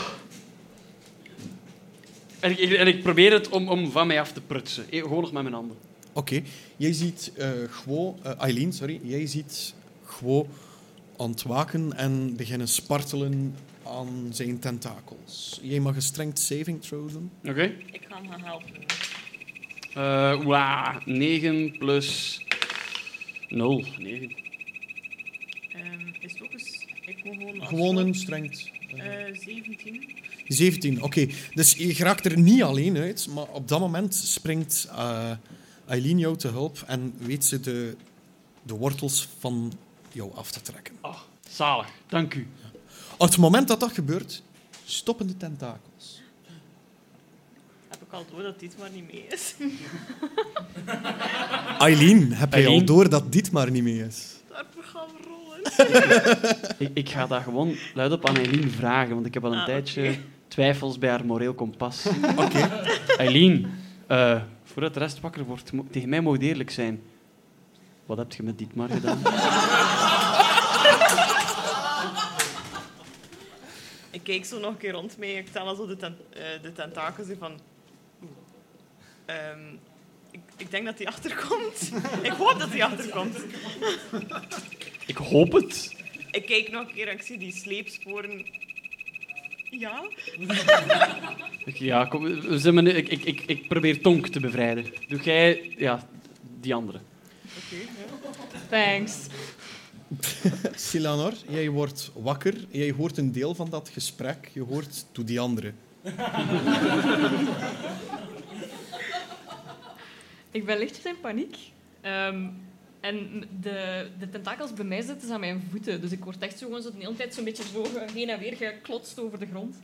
En, ik, en ik probeer het om, om van mij af te prutsen. Eh, Gewoon nog met mijn handen. Oké. Jij ziet eh Gwo... eh, Aileen, sorry. Jij ziet Gwo ontwaken en beginnen spartelen aan zijn tentakels. Jij mag een strength saving throw doen. Oké. Ik ga hem gaan helpen. Eh, wauw. 9 plus 0. 9. Ehm, is het ook eens... Ik moet gewoon... als- Gewoon een strength... eh, Eh, 17. 17, oké. Dus je raakt er niet alleen uit, maar op dat moment springt eh Aileen jou te hulp en weet ze de, de wortels van jou af te trekken. Ah, zalig. Dank u. Op het moment dat dat gebeurt, stoppen de tentakels. Heb ik al door dat dit maar niet mee is. Aileen, heb jij al Aileen? door dat dit maar niet mee is? Daarvoor gaan we rollen. Ik, ik ga dat gewoon luidop aan Eileen vragen, want ik heb al een Ah, tijdje oké. twijfels bij haar moreel kompas. Oké. Eileen, eh, voordat de rest wakker wordt, mo- tegen mij moet je eerlijk zijn. Wat heb je met Dietmar gedaan? Ik kijk zo nog een keer rond mee. Ik tel al zo de, ten, eh, de tentakels hier van... Oeh. Ehm, ik, ik denk dat die achterkomt. ik hoop dat die achterkomt. Ik hoop het. Ik kijk nog een keer en ik zie die sleepsporen. Ja? Ik- Ja, kom, we zijn mene- ik, ik, ik, ik probeer Tonk te bevrijden. Doe jij ja, die andere. Thanks. Silanor, jij wordt wakker. Jij hoort een deel van dat gesprek. Je hoort toe die andere. Ik ben lichtjes in paniek. Ehm, en de, de tentakels bij mij zitten ze aan mijn voeten. Dus ik word echt zo gewoon zo de hele tijd zo'n beetje zo heen en weer geklotst over de grond.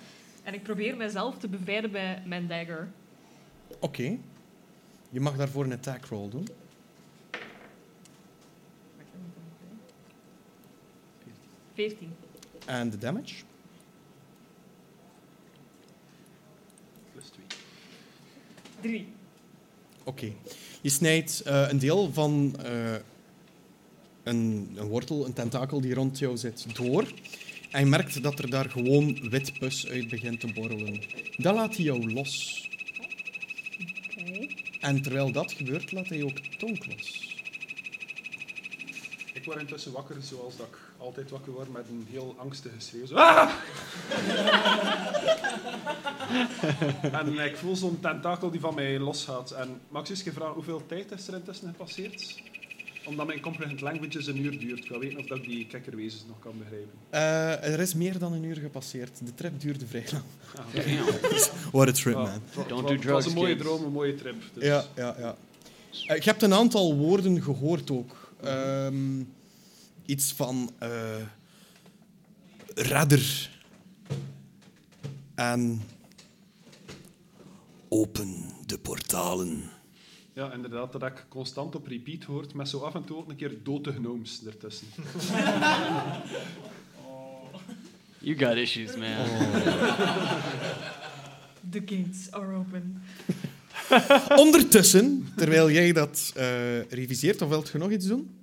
En ik probeer mezelf te bevrijden bij mijn dagger. Oké. Je mag daarvoor een attack roll doen. Wacht, dat moet ik nog doen. 14. En de damage? Plus 2. 3. Oké. Je snijdt eh, een deel van eh, een, een wortel, een tentakel die rond jou zit, door. En je merkt dat er daar gewoon wit pus uit begint te borrelen. Dan laat hij jou los. Oké. En terwijl dat gebeurt, laat hij ook tonk los. Ik word intussen wakker zoals dat ik altijd wakker word met een heel angstige schreeuw. Zo, "Ah!" en ik voel zo'n tentakel die van mij losgaat. En mag ik eens vragen hoeveel tijd is er intussen gepasseerd? Omdat mijn comprehend languages een uur duurt. Ik wil weten of dat ik die kekkerwezens nog kan begrijpen. Eh, er is meer dan een uur gepasseerd. De trip duurde vrij lang. Ah, Damn. What a trip, Ah, man. het wa- Don't het do wa- Het was drugs, een mooie kids. droom, een mooie trip. Dus Ja, ja, ja. Eh, je hebt een aantal woorden gehoord ook. Ehm, iets van eh redder en open de portalen. Ja, inderdaad, dat ik constant op repeat hoort, met zo af en toe ook een keer dood de gnomes ertussen. You got issues, man. The gates are open. Ondertussen, terwijl jij dat eh, reviseert, of wilt je nog iets doen?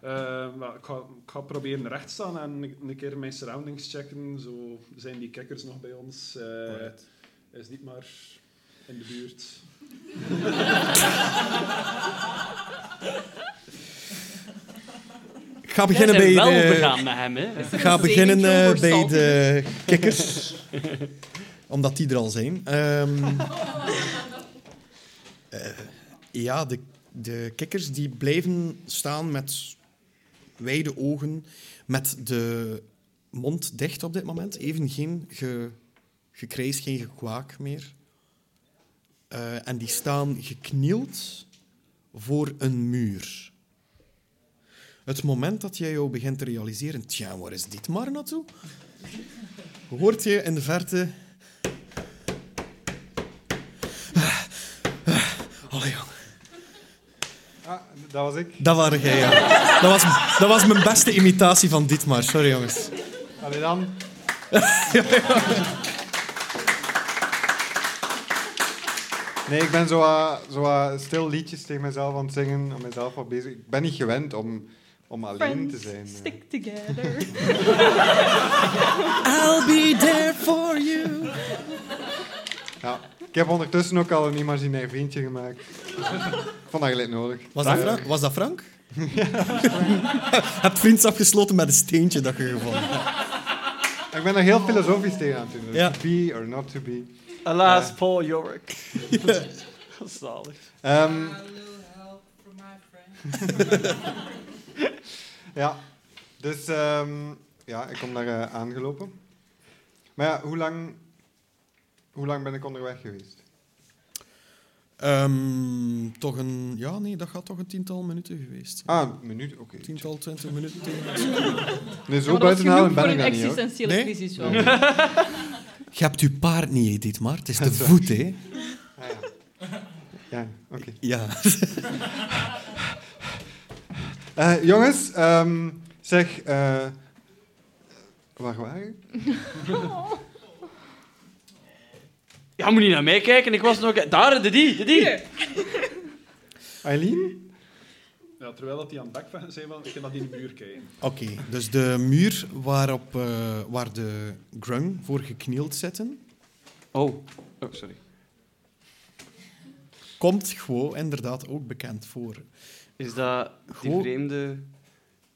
Eh, wel, ik, ga, ik ga proberen recht staan en een een keer mijn surroundings checken. Zo, zijn die kikkers nog bij ons? Eh, Alright. Is niet maar in de buurt. Ik ga Jij beginnen bij bent wel de... begaan met hem, hè? Ik ga Een beginnen saving throw eh, voor bij stalken. de kikkers. Omdat die er al zijn. Ehm, eh, ja, de, de kikkers die blijven staan met wijde ogen. Met de mond dicht op dit moment. Even geen ge, gekrijs, geen gekwaak meer. Eh, en die staan geknield voor een muur. Het moment dat jij jou begint te realiseren, tja, waar is dit maar naartoe? Hoort je in de verte... Ah, ah, Allee, jong. Ah, dat was ik. Dat waren jij, ja. Dat was, dat was mijn beste imitatie van dit maar. Sorry, jongens. Allee dan. Nee, ik ben zo, wat- zo wat stil liedjes tegen mezelf aan het zingen, aan mezelf wat bezig. Ik ben niet gewend om, om alleen te Friends, zijn. eh. stick together. I'll be there for you. Ja. Ik heb ondertussen ook al een imaginair vriendje gemaakt. Ik vond dat gelijk nodig. Eh, Was dat Frank? Was dat Frank? Heb vriendschap gesloten met een steentje dat je gevonden hebt. Ik ben er heel filosofisch tegen aan het doen. Dus Ja. To be or not to be. Eh, Helaas, Paul Yorick. Zalig. Ehm, A little help from my friend. ja. Dus ehm, ja, ik kom daar eh, aangelopen. Maar ja, hoe lang, hoe lang ben ik onderweg geweest? Ehm, toch een... Ja, nee, dat gaat toch een tiental minuten geweest. zijn. Ah, een minuut, oké. Tiental, twintig minuten. Nee, zo Maar dat was buiten genoeg halen voor ben een ik dan niet, hoor. existentiële Nee? crisis wel. Nee. Je hebt uw paard niet, Edith, maar het is de voet, hè? Ah, ja, ja oké. Ja. Eh, jongens, ehm, zeg... eh waar waren we? Ja, moet niet naar mij kijken. Ik was nog... Daar, de die, de die. Eileen? Ja, terwijl dat die aan het bekvechten zijn, wel, ik kan dat in de muur kijken. Oké, dus de muur waarop, eh, waar de grung voor geknield zitten, Oh. Oh, sorry. komt gewoon inderdaad ook bekend voor. Is dat die Goh. vreemde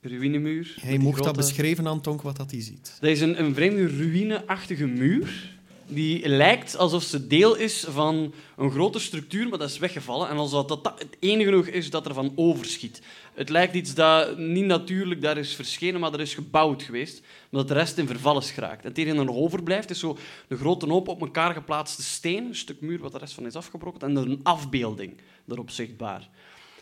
ruïnemuur? Hij Met die mocht dat grote- beschrijven aan Tonk wat dat hij ziet. Dat is een, een vreemde ruïneachtige muur. Die lijkt alsof ze deel is van een grote structuur, maar dat is weggevallen. En alsof dat, dat het enige nog is dat ervan overschiet. Het lijkt iets dat niet natuurlijk daar is verschenen, maar er is gebouwd geweest. Maar dat de rest in verval is geraakt. En het enige dat nog overblijft is zo de grote hoop op elkaar geplaatste steen, een stuk muur wat de rest van is afgebroken, en een afbeelding daarop zichtbaar.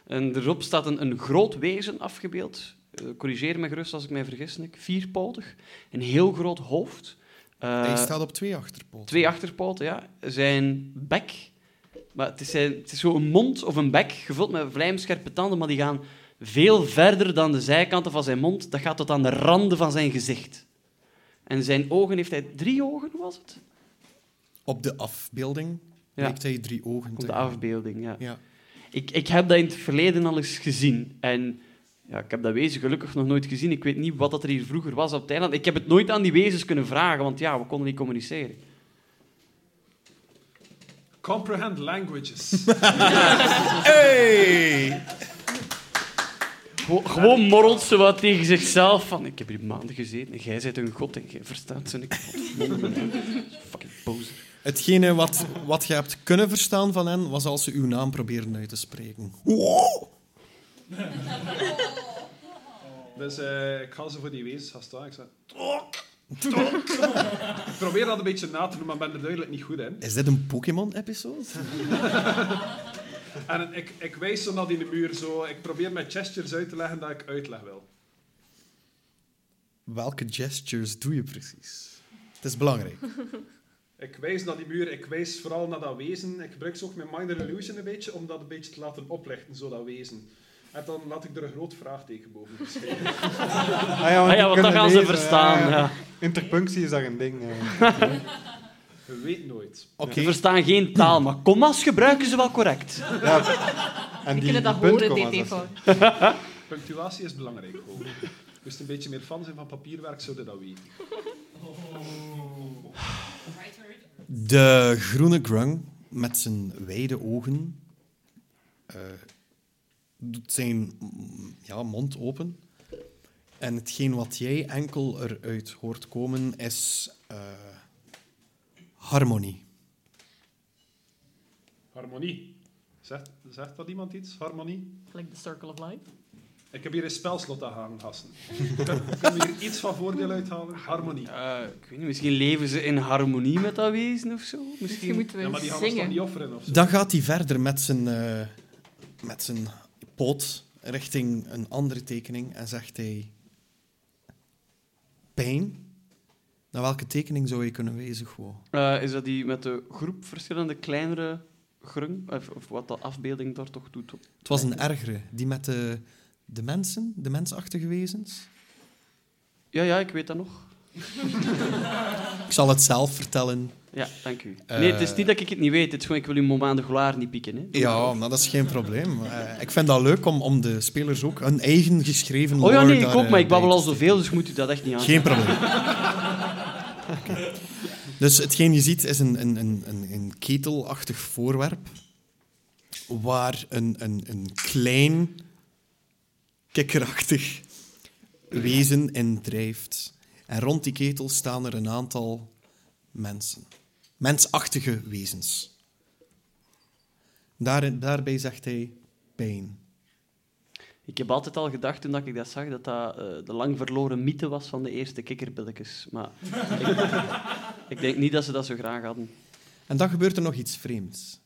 En erop staat een, een groot wezen afgebeeld. Eh, corrigeer me gerust als ik mij vergis, Nick. Vierpotig. Een heel groot hoofd. Eh, hij staat op twee achterpoten. Twee achterpoten, ja. Zijn bek. Maar het is, zijn, het is zo een mond of een bek gevuld met vlijmscherpe tanden, maar die gaan veel verder dan de zijkanten van zijn mond. Dat gaat tot aan de randen van zijn gezicht. En zijn ogen heeft hij drie ogen, was het? Op de afbeelding Ja. lijkt hij drie ogen Op te de hebben. afbeelding, ja. Ja. Ik, ik heb dat in het verleden al eens gezien. En ja, ik heb dat wezen gelukkig nog nooit gezien. Ik weet niet wat dat er hier vroeger was op het eiland. Ik heb het nooit aan die wezens kunnen vragen, want ja, we konden niet communiceren. Comprehend languages. Hey! Gewo- gewoon morrelt ze wat tegen zichzelf van... Ik heb hier maanden gezeten en jij bent een god en jij verstaat ze niet. Fucking bozer. Hetgene wat, wat je hebt kunnen verstaan van hen, was als ze uw naam probeerden uit te spreken. Wow! dus eh, ik ga ze voor die wezens gaan staan. Ik zeg... "Tok, tok." ik probeer dat een beetje na te doen, maar ben er duidelijk niet goed in. Is dit een Pokémon-episode? En ik, ik wijs zo naar die muur. Zo. Ik probeer met gestures uit te leggen dat ik uitleg wil. Welke gestures doe je precies? Het is belangrijk. Ik wijs naar die muur, ik wijs vooral naar dat wezen. Ik gebruik zo ook mijn minor illusion een beetje om dat een beetje te laten oplichten, zo dat wezen. En dan laat ik er een groot vraagteken boven geschreven. Ah ja, Ah want ja, die want dan kunnen gaan ze lezen, verstaan. ja, ja. Ja. Interpunctie is daar een ding. eh. ja. Je weet nooit. Oké, Ze verstaan geen taal, maar commas gebruiken ze wel correct. En Die kunnen dat horen, DTV. Punctuatie is belangrijk gewoon. Moest een beetje meer fan zijn van papierwerk, zouden dat weten. de groene grung met zijn wijde ogen eh, doet zijn mm, ja, mond open. En hetgeen wat jij enkel eruit hoort komen is eh, harmonie. Harmonie. Zegt, zegt dat iemand iets? Harmonie? Like the circle of life. Ik heb hier een spelslot aan hangen, gasten. Kunnen we hier iets van voordeel uithalen? Harmonie. Eh, ik weet niet, misschien leven ze in harmonie met dat wezen of zo. Misschien Misschien... moeten we Ja, maar die gaan ons dan zingen. niet offeren of zo. Dan gaat hij verder met zijn, eh, met zijn poot richting een andere tekening en zegt hij... Pijn? Naar welke tekening zou je kunnen wezen, gewoon? Eh, is dat die met de groep verschillende kleinere grung? Of, of wat de afbeelding daar toch doet? op- Het was een ergere, die met de, de mensen, de mensachtige wezens. Ja, ja, ik weet dat nog. Ik zal het zelf vertellen. Ja, dank u. Eh. Nee, het is niet dat ik het niet weet. Het is gewoon, ik wil uw mom aan de gloire niet pikken. Hè. Ja, maar dat is geen probleem. Eh, ik vind dat leuk om, om de spelers ook een eigen geschreven Oh ja, lore nee, ik daar, ook, eh, maar ik babbel bij al te steken. zoveel, dus je moet u dat echt niet aan. Geen probleem. Oké. Dus hetgeen je ziet is een, een, een, een- een ketelachtig voorwerp waar een, een, een klein, kikkerachtig wezen in drijft. En rond die ketel staan er een aantal mensen. Mensachtige wezens. Daarin, daarbij zegt hij pijn. Ik heb altijd al gedacht toen dat ik dat zag dat dat eh, de lang verloren mythe was van de eerste kikkerbilletjes. Maar ik, ik denk niet dat ze dat zo graag hadden. En dan gebeurt er nog iets vreemds.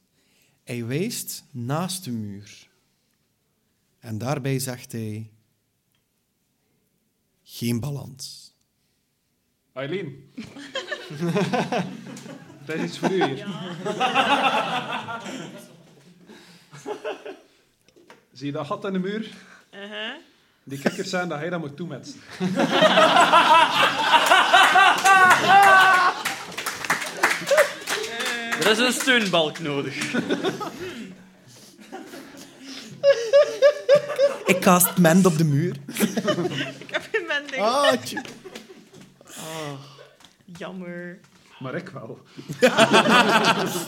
Hij wijst naast de muur. En daarbij zegt hij... Geen balans. Eileen. dat is iets voor u hier. Zie je dat gat in de muur? Uh-huh. Die kikkers zijn dat hij dat moet toemetsen. Er is een steunbalk nodig. Ik cast mend op de muur. Ik heb geen mending. Ah. Ah, tje. Jammer. Maar ik wel.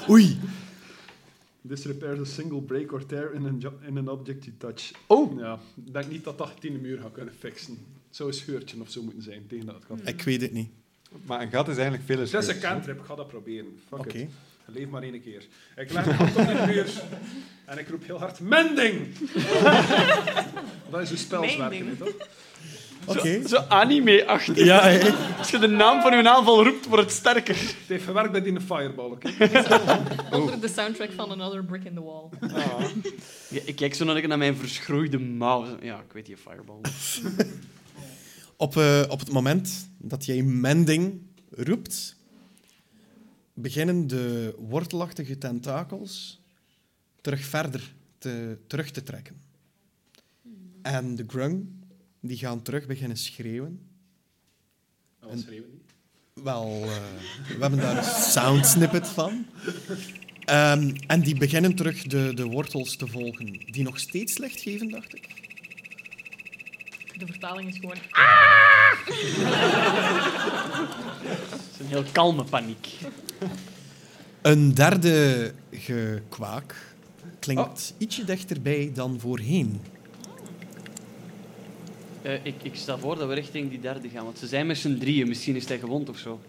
Oei. This repairs a single break or tear in an, jo- in an object you touch. Oh. Ja, ik denk niet dat dat in de muur gaat kunnen fixen. Het zou een scheurtje of zo moeten zijn, tegen dat het kan. Ik weet het niet. Maar een gat is eigenlijk veel Het is een scheur. cantrip, ik ga dat proberen. Fuck Oké. it. Leef maar één keer. Ik leg mijn hand op de muur en ik roep heel hard, mending! dat is hoe spels werken, hè, Mending. toch? Oké. Zo anime-achtig. Ja, hè. Als je de naam van uw aanval roept, wordt het sterker. Het heeft verwerkt dat in een fireball, oké? Onder de soundtrack van Another Brick in the Wall. Ja, ik kijk zo nog even naar mijn verschroeide mouw. Zo, Ja, ik weet die fireball. Op, eh, op het moment dat jij mending roept, beginnen de wortelachtige tentakels terug verder te, terug te trekken. En de grung, die gaan terug beginnen schreeuwen. Dat was schreeuwen niet. Wel, eh, we hebben daar een sound snippet van. Ehm, en die beginnen terug de, de wortels te volgen, die nog steeds licht geven, dacht ik. De vertaling is gewoon... Het is een heel kalme paniek. Een derde gekwaak klinkt Oh. ietsje dichterbij dan voorheen. Eh, ik, ik stel voor dat we richting die derde gaan, want ze zijn met z'n drieën. Misschien is hij gewond of zo.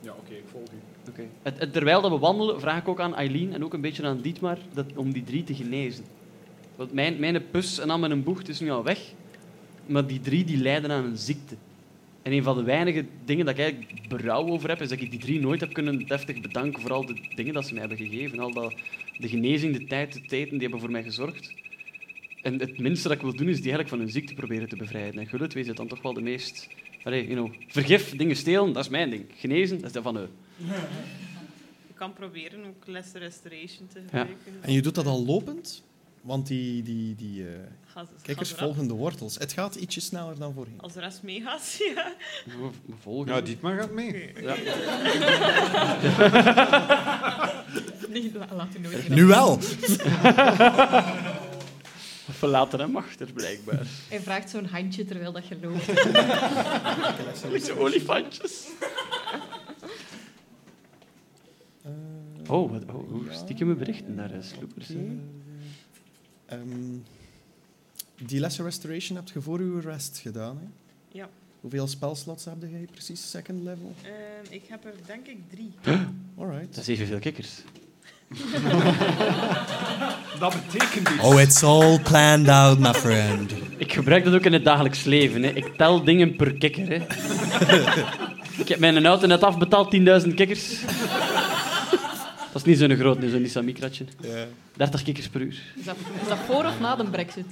Ja, oké, ik volg u. Oké. Het- het- terwijl dat we wandelen, vraag ik ook aan Eileen en ook een beetje aan Dietmar dat, om die drie te genezen. Want mijn, mijn pus en aan mijn bocht is nu al weg, maar die drie die lijden aan een ziekte. En een van de weinige dingen dat ik eigenlijk berouw over heb, is dat ik die drie nooit heb kunnen deftig bedanken voor al de dingen dat ze mij hebben gegeven. Al dat, de genezing, de tijd, de tijden, die hebben voor mij gezorgd. En het minste dat ik wil doen, is die eigenlijk van hun ziekte proberen te bevrijden. En geluk is het dan toch wel de meest... Allee, you know, vergif, dingen stelen, dat is mijn ding. Genezen, dat is dat van hun. Je kan proberen ook les restoration te gebruiken. En je doet dat al lopend, want die, die, die eh, Ga- ga kijkers eraf. volgen de wortels. Het gaat ietsje sneller dan voorheen. Als de rest meegaat, ja. We we volgen. Ja, Nou, Dietmar gaat mee. Nee, la- laat u nooit Eh, Nu wel! We verlaten hem achter, blijkbaar. Hij vraagt zo'n handje terwijl dat je loopt. Deze olifantjes. Oh, wat, oh, oeh, stiekeme berichten daar, eh, sloepers. hè. Ehm, die lesser restoration heb je voor uw rest gedaan. Hè? Ja. Hoeveel spelslots heb jij precies? Second level? Ehm, ik heb er denk ik drie. Alright. Dat is evenveel kikkers. Dat betekent iets. Oh, it's all planned out, my friend. Ik gebruik dat ook in het dagelijks leven. Hè. Ik tel dingen per kikker. Hè. ik heb mijn auto net afbetaald, 10.000 kikkers. dat is niet zo'n groot, nee, zo'n Nissan Micratje. 30 kikkers per uur. Is dat, is dat voor of na de brexit?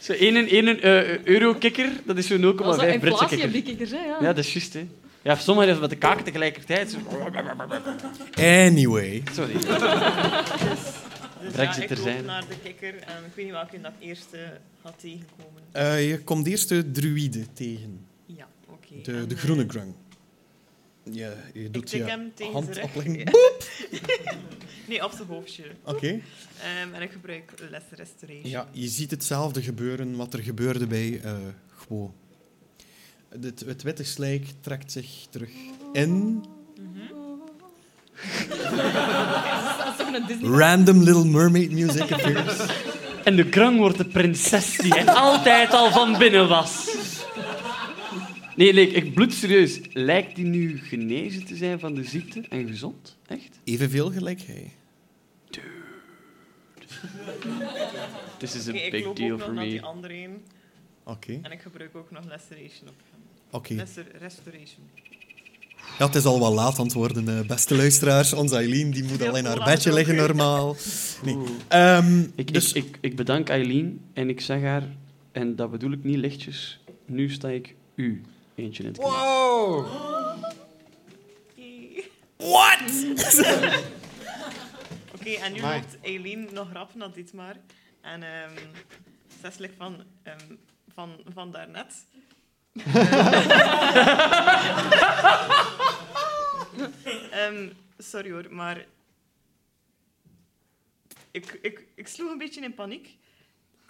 Zo 1, 1 eh, euro kikker, dat is zo'n 0,5 Dat is Britse inflatie kikker. op die kikkers, hè? Ja. Ja, dat is juist. Hè. Ja, sommigen hebben met de kaken tegelijkertijd. Zo- Anyway. Sorry. Dus Brexit ja, ik terzijde. loop naar de kikker en ik weet niet welke dat eerste gaat tegenkomen. Eh, je komt eerst de druïde tegen. Ja, oké. De, En, de eh, groene grung. Ja, je doet tik je hem tegen hand zijn rug. opleggen. Ja. Nee, op zijn hoofdje. Oké. Ehm, en ik gebruik les restoration. Ja, je ziet hetzelfde gebeuren wat er gebeurde bij eh Gwo. Het, het witte slijk trekt zich terug in. Dat is toch een Disney... Random Little Mermaid music appears. En de krang wordt de prinses die hij altijd al van binnen was. Nee, nee, ik bloed serieus. Lijkt die nu genezen te zijn van de ziekte en gezond? Echt? Evenveel gelijk hij. This is a Oké, ik big loop ook deal nog for naar me. die andere een. Oké. En ik gebruik ook nog les restoration op hem. oké. Les restoration. Ja, het is al wel laat aan het worden, eh, beste luisteraars. Onze Eileen die moet Veel al in haar later bedje ook, liggen hè. normaal. Nee. Oeh. Ehm, Ik, dus ik, ik, ik bedank Eileen en ik zeg haar, en dat bedoel ik niet lichtjes, nu sta ik u eentje in het kanaal. Wow! Yay. Oké, en nu Amai. loopt Eileen nog rap naar dit maar. En ehm ze is like van, ehm, van, van daarnet. Ehm, sorry hoor, maar... Ik, ik, ik sloeg een beetje in paniek.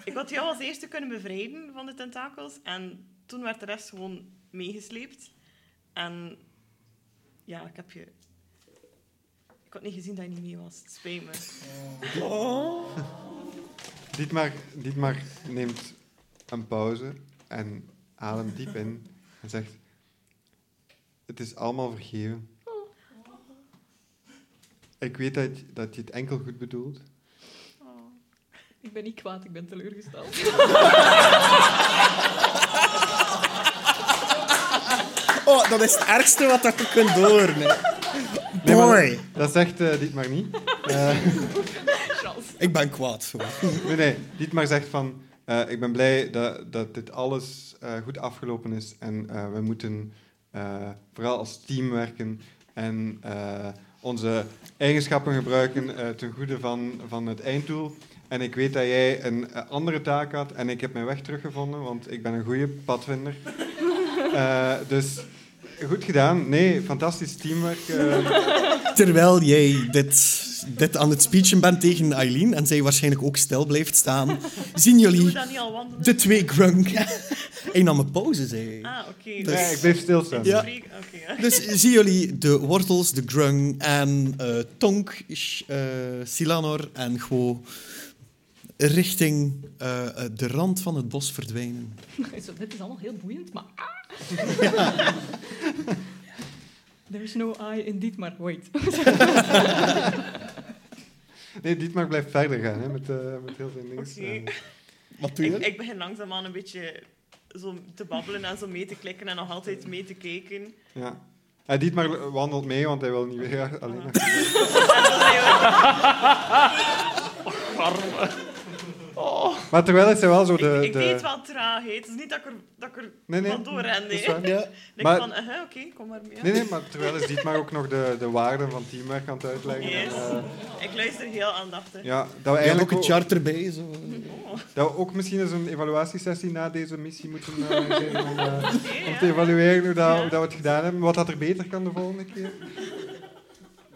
Ik had jou als eerste kunnen bevrijden van de tentakels. En toen werd de rest gewoon meegesleept. En ja, ik heb je... Ik had niet gezien dat je niet mee was. Het spijt me. Dietmar, Dietmar neemt een pauze en ademt diep in en zegt... Het is allemaal vergeven. Ik weet dat, dat je het enkel goed bedoelt. Ik ben niet kwaad, ik ben teleurgesteld. Oh, dat is het ergste wat dat je kunt horen. hè. Nee, maar Boy. dat, dat zegt eh, Dietmar niet. Eh, Ik ben kwaad. hoor. nee, nee, Dietmar zegt van... eh, ik ben blij dat, dat dit alles eh, goed afgelopen is en eh, we moeten eh, vooral als team werken en eh, onze eigenschappen gebruiken eh, ten goede van, van het einddoel. En ik weet dat jij een eh, andere taak had en ik heb mijn weg teruggevonden, want ik ben een goede padvinder. Eh, dus goed gedaan. Nee, fantastisch teamwork. eh. Terwijl jij dit, dit aan het speechen bent tegen Eileen en zij waarschijnlijk ook stil blijft staan, zien Doe je jullie dat niet al wandelen? de twee grunk. Hij nam een pauze, zei hij. Ah, oké. Dus- nee, ik bleef stilstaan. Ja. Spreek- Oké, ja. Dus zien jullie de wortels, de grung en eh, Tonk, Sh- eh, Silanor en Gwo richting eh, eh, de rand van het bos verdwijnen. Zo, dit is allemaal heel boeiend, maar... Ah. There's no I in dit, maar wait. Nee, Dietmar blijft verder gaan hè, met, eh, met heel zijn dingen. Oké. Wat doe je? Ik, ik begin langzaamaan een beetje zo te babbelen en zo mee te klikken en nog altijd mee te kijken. Ja. Hij dit maar wandelt mee, want hij wil niet weer alleen. Ah. naar- Maar terwijl is hij wel zo Ik, de... ik de... deed het wel traag, hè. het is niet dat ik er, dat ik er Nee, nee. van doorren. dat is Nee. waar. Ik Ja. denk Maar- van, eh, oké, kom maar mee. ja. Nee, nee, maar terwijl is dit maar ook nog de, de waarden van teamwerk aan het uitleggen. Yes. En, eh, Ik luister heel aandachtig. ja, dat we Je hebt ook eigenlijk een ook, charter bij. Zo. dat we ook misschien eens een evaluatiesessie na deze missie moeten eh, organiseren om, eh, Oké, om ja. te evalueren hoe, dat, hoe dat we het gedaan hebben. Wat dat er beter kan de volgende keer.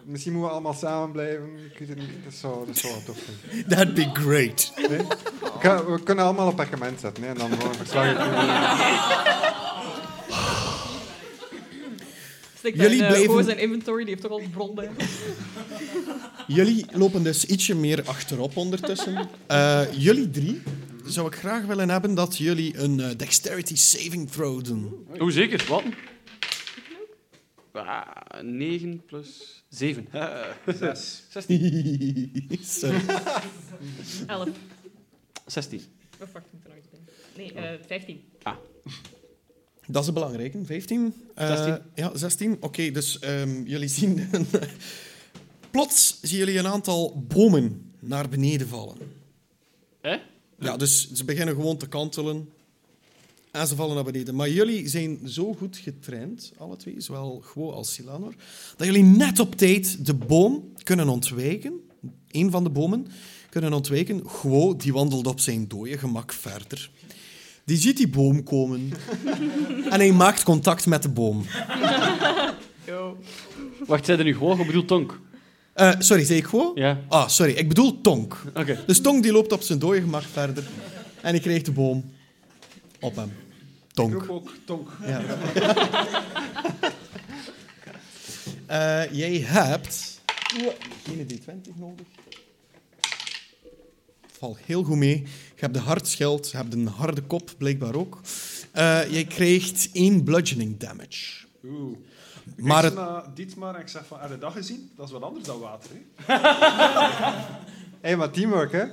Misschien moeten we allemaal samen blijven. Ik weet het niet. Dat zou, dat zou wel tof zijn. That'd be great. Nee? Oh. Ik ga- we kunnen allemaal op perkament zetten hè, en dan gewoon een verslag. Stik Jullie Jullie blijven- zijn eh, inventory, die heeft toch al bron bij. Jullie lopen dus ietsje meer achterop ondertussen. Eh, jullie drie zou ik graag willen hebben dat jullie een eh, dexterity saving throw doen. Hoe zeker? Wat? Ah, 9 plus 7. Zes. 16. Sorry. 11. 16. Oh, fuck, ik moet er nog iets bij. Nee, eh 15. Dat is een belangrijke, 15. Eh, 16. ja, 16. Oké, dus ehm, jullie zien... een- Plots zien jullie een aantal bomen naar beneden vallen. Hè? Ja, dus ze beginnen gewoon te kantelen. En ze vallen naar beneden. Maar jullie zijn zo goed getraind, alle twee, zowel Gwo als Silanor, dat jullie net op tijd de boom kunnen ontwijken. Eén van de bomen kunnen ontwijken. Gwo, die wandelt op zijn dode gemak verder. Die ziet die boom komen. en hij maakt contact met de boom. Yo. Wacht, zei er nu gewoon, je bedoelt Tonk? Eh, sorry, zei ik Gwo? Ja. Ah, sorry, ik bedoel Tonk. Oké. Dus Tonk die loopt op zijn dode gemak verder. En hij krijgt de boom op hem. Ik Tonk. roep ook tonk. Ja. Eh, jij hebt... Geen D20 nodig. Valt heel goed mee. Je hebt de hardschild, je hebt een harde kop, blijkbaar ook. Eh, jij krijgt één bludgeoning damage. Oeh. Ik Maar maar het- dit maar en ik zeg van, heb je dat gezien? Dat is wat anders dan water, hè? Hé, hey, maar teamwork, hè?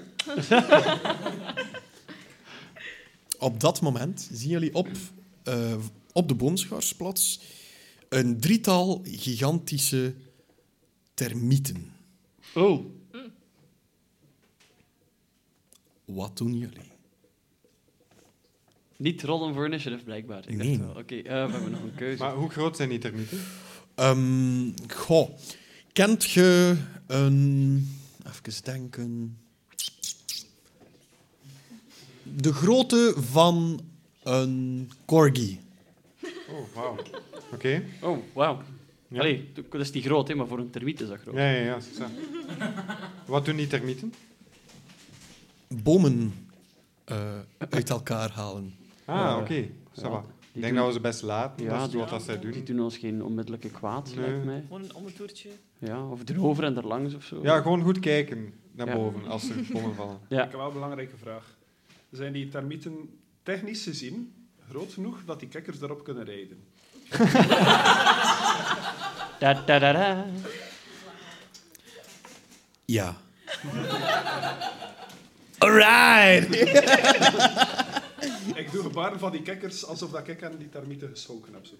Op dat moment zien jullie op, eh, op de boomschors plots een drietal gigantische termieten. Oh. Wat doen jullie? Niet rollen voor initiative, blijkbaar. Ik Nee. dacht wel. Oké, eh, we hebben nog een keuze. Maar hoe groot zijn die termieten? Ehm, goh, kent je een... Even denken... De grootte van een corgi. Oh, wauw. Oké. Oh, wauw. Ja. Allee, dat is niet groot, hè, maar voor een termiet is dat groot. Ja, ja, ja. zo. Wat doen die termieten? Bomen eh, uit elkaar halen. Ah, Eh, oké. ça va. Die Ik doen- denk dat we ze best laten. Ja, dat is die- wat dat zij Die doen. doen ons geen onmiddellijke kwaad, Nee. lijkt mij. Gewoon een omtoertje. Ja, of erover en erlangs of zo. Ja, gewoon goed kijken naar Ja. boven als er bommen vallen. Ja. Ik heb wel een belangrijke vraag. Zijn die termieten technisch gezien groot genoeg dat die kikkers erop kunnen rijden? Da, da, da, da. Ja. Alright! Ik doe gebaren van die kikkers alsof dat ik aan die termieten geschonken heb. Zo.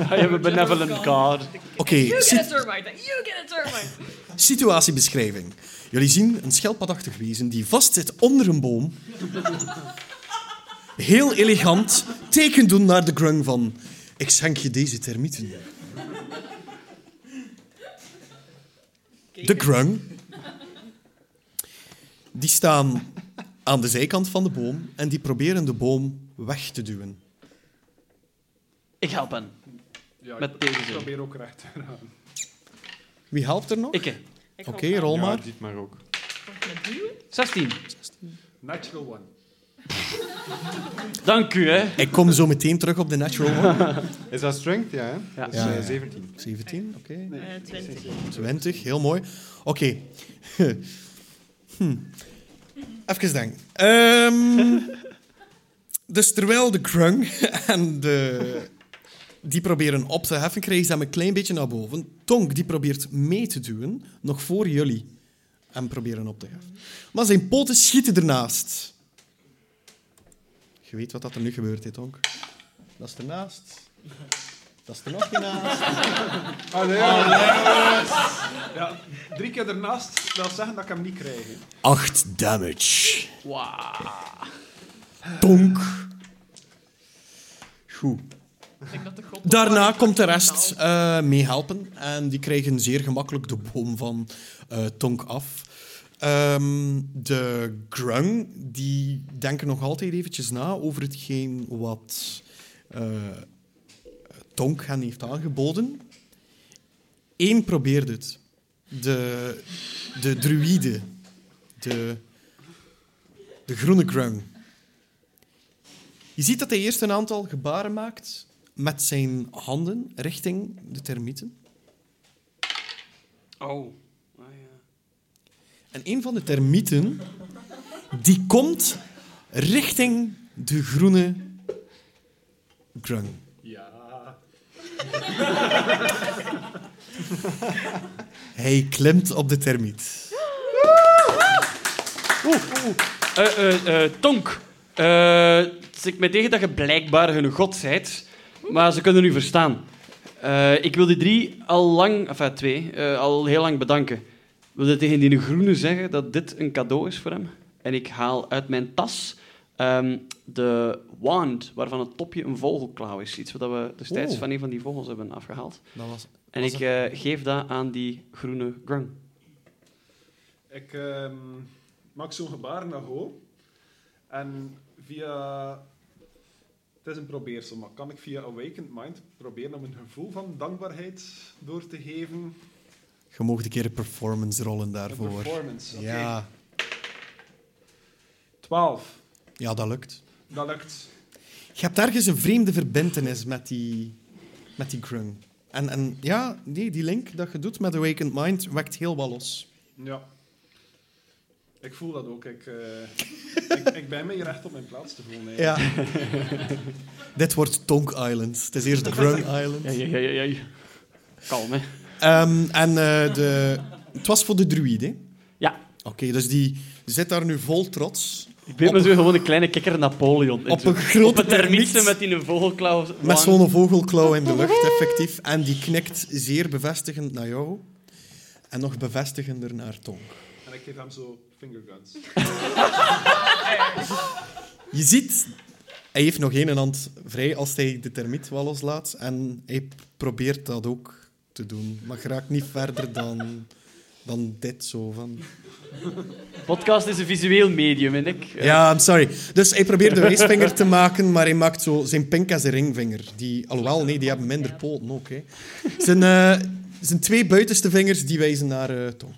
I have a benevolent god. Oké, You sit- get a termite! You get a termite! situatiebeschrijving. Jullie zien een schelpadachtig wezen die vastzit onder een boom. Heel elegant teken doen naar de grung van... Ik schenk je deze termieten. De grung. Die staan aan de zijkant van de boom en die proberen de boom weg te duwen. Ik help hen. Ja, Met ik tegenzin. probeer ook recht te gaan. Wie helpt er nog? Ik, hè. Ik Oké, hou van- rol Ja, maar. ziet maar ook. 16. Natural one. Dank u, hè. Ik kom zo meteen terug op de natural one. Is dat strength? Ja, hè? Ja. Dat is Ja, eh, ja. 17. 17, oké. eh, 20. 20, heel mooi. Oké. Hm. Even denken. Ehm, dus terwijl de krung en de... Die proberen op te heffen, krijgen ze hem een klein beetje naar boven. Tonk, die probeert mee te duwen, nog voor jullie. Eh, en proberen op te heffen. Maar zijn poten schieten ernaast. Je weet wat dat er nu gebeurt, hè, Tonk. Dat is ernaast. Dat is er nog ernaast. Ah, nee. Ja, drie keer ernaast wil zeggen dat ik hem niet krijg. hè. Acht damage. Wauw. Tonk. Goed. Ik denk dat de god- Daarna komt de rest eh meehelpen. En die krijgen zeer gemakkelijk de boom van eh, Tonk af. Ehm, de Grung, die denken nog altijd eventjes na over hetgeen wat eh, Tonk hen heeft aangeboden. Eén probeert het. De, de druïde. De, de groene Grung. Je ziet dat hij eerst een aantal gebaren maakt met zijn handen richting de termieten. Oh. Ah, ja. En een van de termieten, die komt richting de groene grung. Ja. Hij klimt op de termiet. Oeh, oeh. Eh, eh, eh, tonk. Eh, het zit me tegen dat je blijkbaar hun god zijt, maar ze kunnen u verstaan. Eh, ik wil die drie al lang, enfin twee, eh, al heel lang bedanken. Wil je tegen die groene zeggen dat dit een cadeau is voor hem? En ik haal uit mijn tas ehm, de wand, waarvan het topje een vogelklauw is. Iets wat we destijds Oeh. van een van die vogels hebben afgehaald. Dat was, En was ik het- eh, geef dat aan die groene grung. Ik ehm, maak zo'n gebaar naar Ho. En via... Het is een probeersel, maar kan ik via Awakened Mind proberen om een gevoel van dankbaarheid door te geven? Je mocht een keer een performance rollen Een daarvoor. performance, oké. Ja, 12. ja, dat lukt. Dat lukt. Je hebt ergens een vreemde verbintenis met die, met die grung. En, en ja, nee, die link dat je doet met Awakened Mind wekt heel wat los. Ja. Ik voel dat ook. Ik, eh, ik, ik ben me hier echt op mijn plaats te voelen. eigenlijk. Ja. Dit wordt Tonk Island. Het is eerst de Grung Island. Ja, ja, ja, ja, ja. Kalm, hè. Ehm, en eh, de, het was voor de druïde. hè? Ja. Oké, dus die zit daar nu vol trots. Ik ben Op me zo gewoon een kleine kikker Napoleon. En Op zo- een grote op een termieten termiet. met die vogelklauw. Met zo'n vogelklauw in de lucht, effectief. En die knikt zeer bevestigend naar jou. En nog bevestigender naar Tonk. En ik geef hem zo fingerguns. Je ziet, hij heeft nog één hand vrij als hij de termiet wel loslaat. En hij probeert dat ook te doen. Maar geraakt niet verder dan, dan dit zo van... Podcast is een visueel medium, en ik. eh, Ja, I'm sorry. Dus hij probeert de wijsvinger te maken, maar hij maakt zo zijn pink en zijn ringvinger. Die, alhoewel, nee, die hebben minder poten ook. Hè. Zijn, eh, zijn twee buitenste vingers die wijzen naar eh Tonk.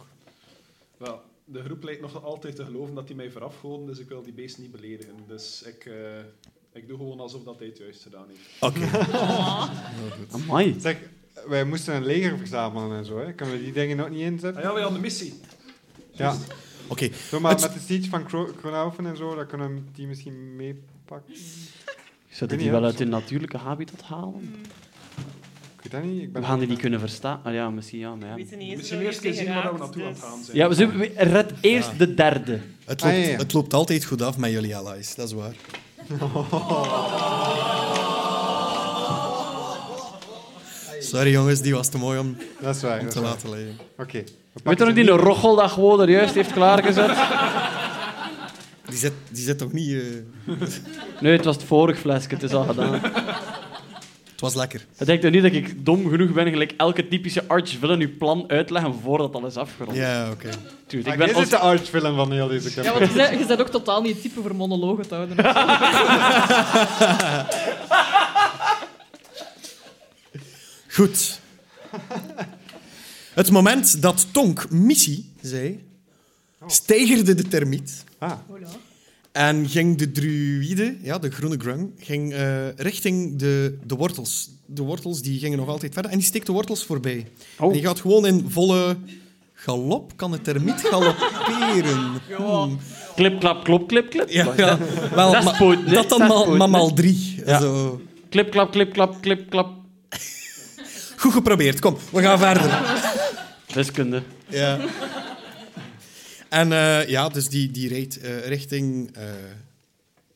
Wel, de groep lijkt nog altijd te geloven dat die mij voorafgoden, dus ik wil die beest niet beledigen. Dus ik, eh, ik doe gewoon alsof dat hij het juist gedaan heeft. Oké. Amai. Zeg, wij moesten een leger verzamelen en zo. Hè. Kunnen we die dingen nog niet Ah inzetten? ja, wij hadden missie. Ja. Oké. Zo, maar Het- met de siege van Kro- Kronaufen en zo, dan kunnen we die misschien meepakken. Zou die niet, wel hè. uit hun natuurlijke habitat halen? Ik weet dat niet. Ik ben We gaan die niet kunnen verstaan. Ah ja, misschien ja, maar ja. Weet je niet eens Misschien waar eerst je keer zien waar we geraakt, naartoe aan het dus- gaan zijn. Ja, we zullen- we- red eerst de derde. Het, Ah, loopt, ja, ja. het loopt altijd goed af met jullie allies, dat is waar. Sorry jongens, die was te mooi om, Dat is waar. om dat te is waar. laten liggen. Oké. we Weet je pakken nog ze die een rocheldag gewoon er juist heeft klaargezet? Die zit, die zit toch niet... eh, Nee, het was het vorige flesje, het is al gedaan. Het was lekker. Het denkt toch niet dat ik dom genoeg ben, gelijk elke typische arch willen uw plan uitleggen voordat alles afgerond is. Ja, oké. Tuurlijk, ik Maar ben Ah, dit is de archfilm van heel deze Ja, campagne. want je bent- je bent ook totaal niet het type voor monologen te houden. Goed. Het moment dat Tonk missie zei, steigerde de termiet Ah, Voilà. en ging de druïde, ja, de groene grung, ging eh, richting de, de wortels. De wortels die gingen nog altijd verder en die steekt de wortels voorbij. Oh. En die gaat gewoon in volle galop, kan de termiet galopperen. Hmm. Klip, klap, klop, klip, klip. Ja, ja. Wel, Dat is maar poot, hè? dat dan Dat is maar poot, maar hè? maal drie. Ja. Zo. Klip, klap, klip, klap, klip, klap. Goed geprobeerd, kom, we gaan verder. Wiskunde. Ja. En eh, ja, dus die, die reed eh, richting eh,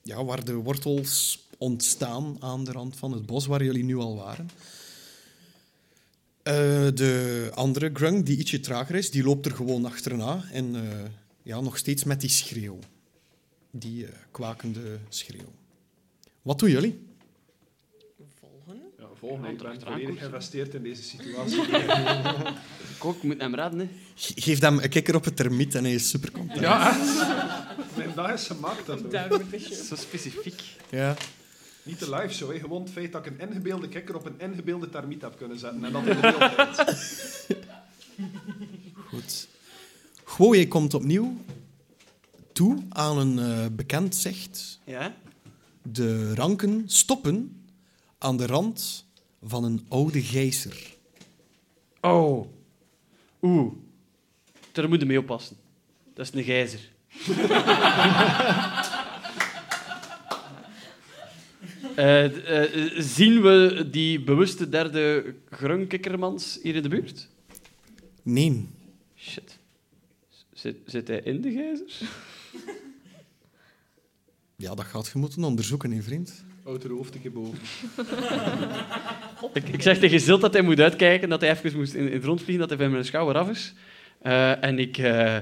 ja, waar de wortels ontstaan aan de rand van het bos waar jullie nu al waren. Eh, de andere grung, die ietsje trager is, die loopt er gewoon achterna. En eh, ja, nog steeds met die schreeuw. Die eh, kwakende schreeuw. Wat doen jullie? Volgen? Ja, volgende, ik ben achteraan volledig koersen. geïnvesteerd in deze situatie. Kok, je moet hem raden, hè. Ge- Geef hem een kikker op het termiet en hij is super content. ja, echt. Mijn dag is gemaakt daardoor. Zo specifiek. Ja. Niet de live show, hè. gewoon het feit dat ik een ingebeelde kikker op een ingebeelde termiet heb kunnen zetten. En dat in de beeld Goed. Gooie komt opnieuw toe aan een eh, bekend zicht. Ja? De ranken stoppen aan de rand van een oude gijzer. Oh. Oeh. Daar moet je mee oppassen. Dat is een gijzer. Eh, d- eh, eh, zien we die bewuste derde grunkkikkermans hier in de buurt? Nee, Shit. Z- Zit, zit hij in de gijzer? ja, dat gaat je moeten onderzoeken, hè, vriend. Outer hoofd ik boven. Ik, ik zeg tegen Zilt dat hij moet uitkijken, dat hij even moest in, in het rond vliegen, dat hij van mijn schouder af is. Eh, en ik eh,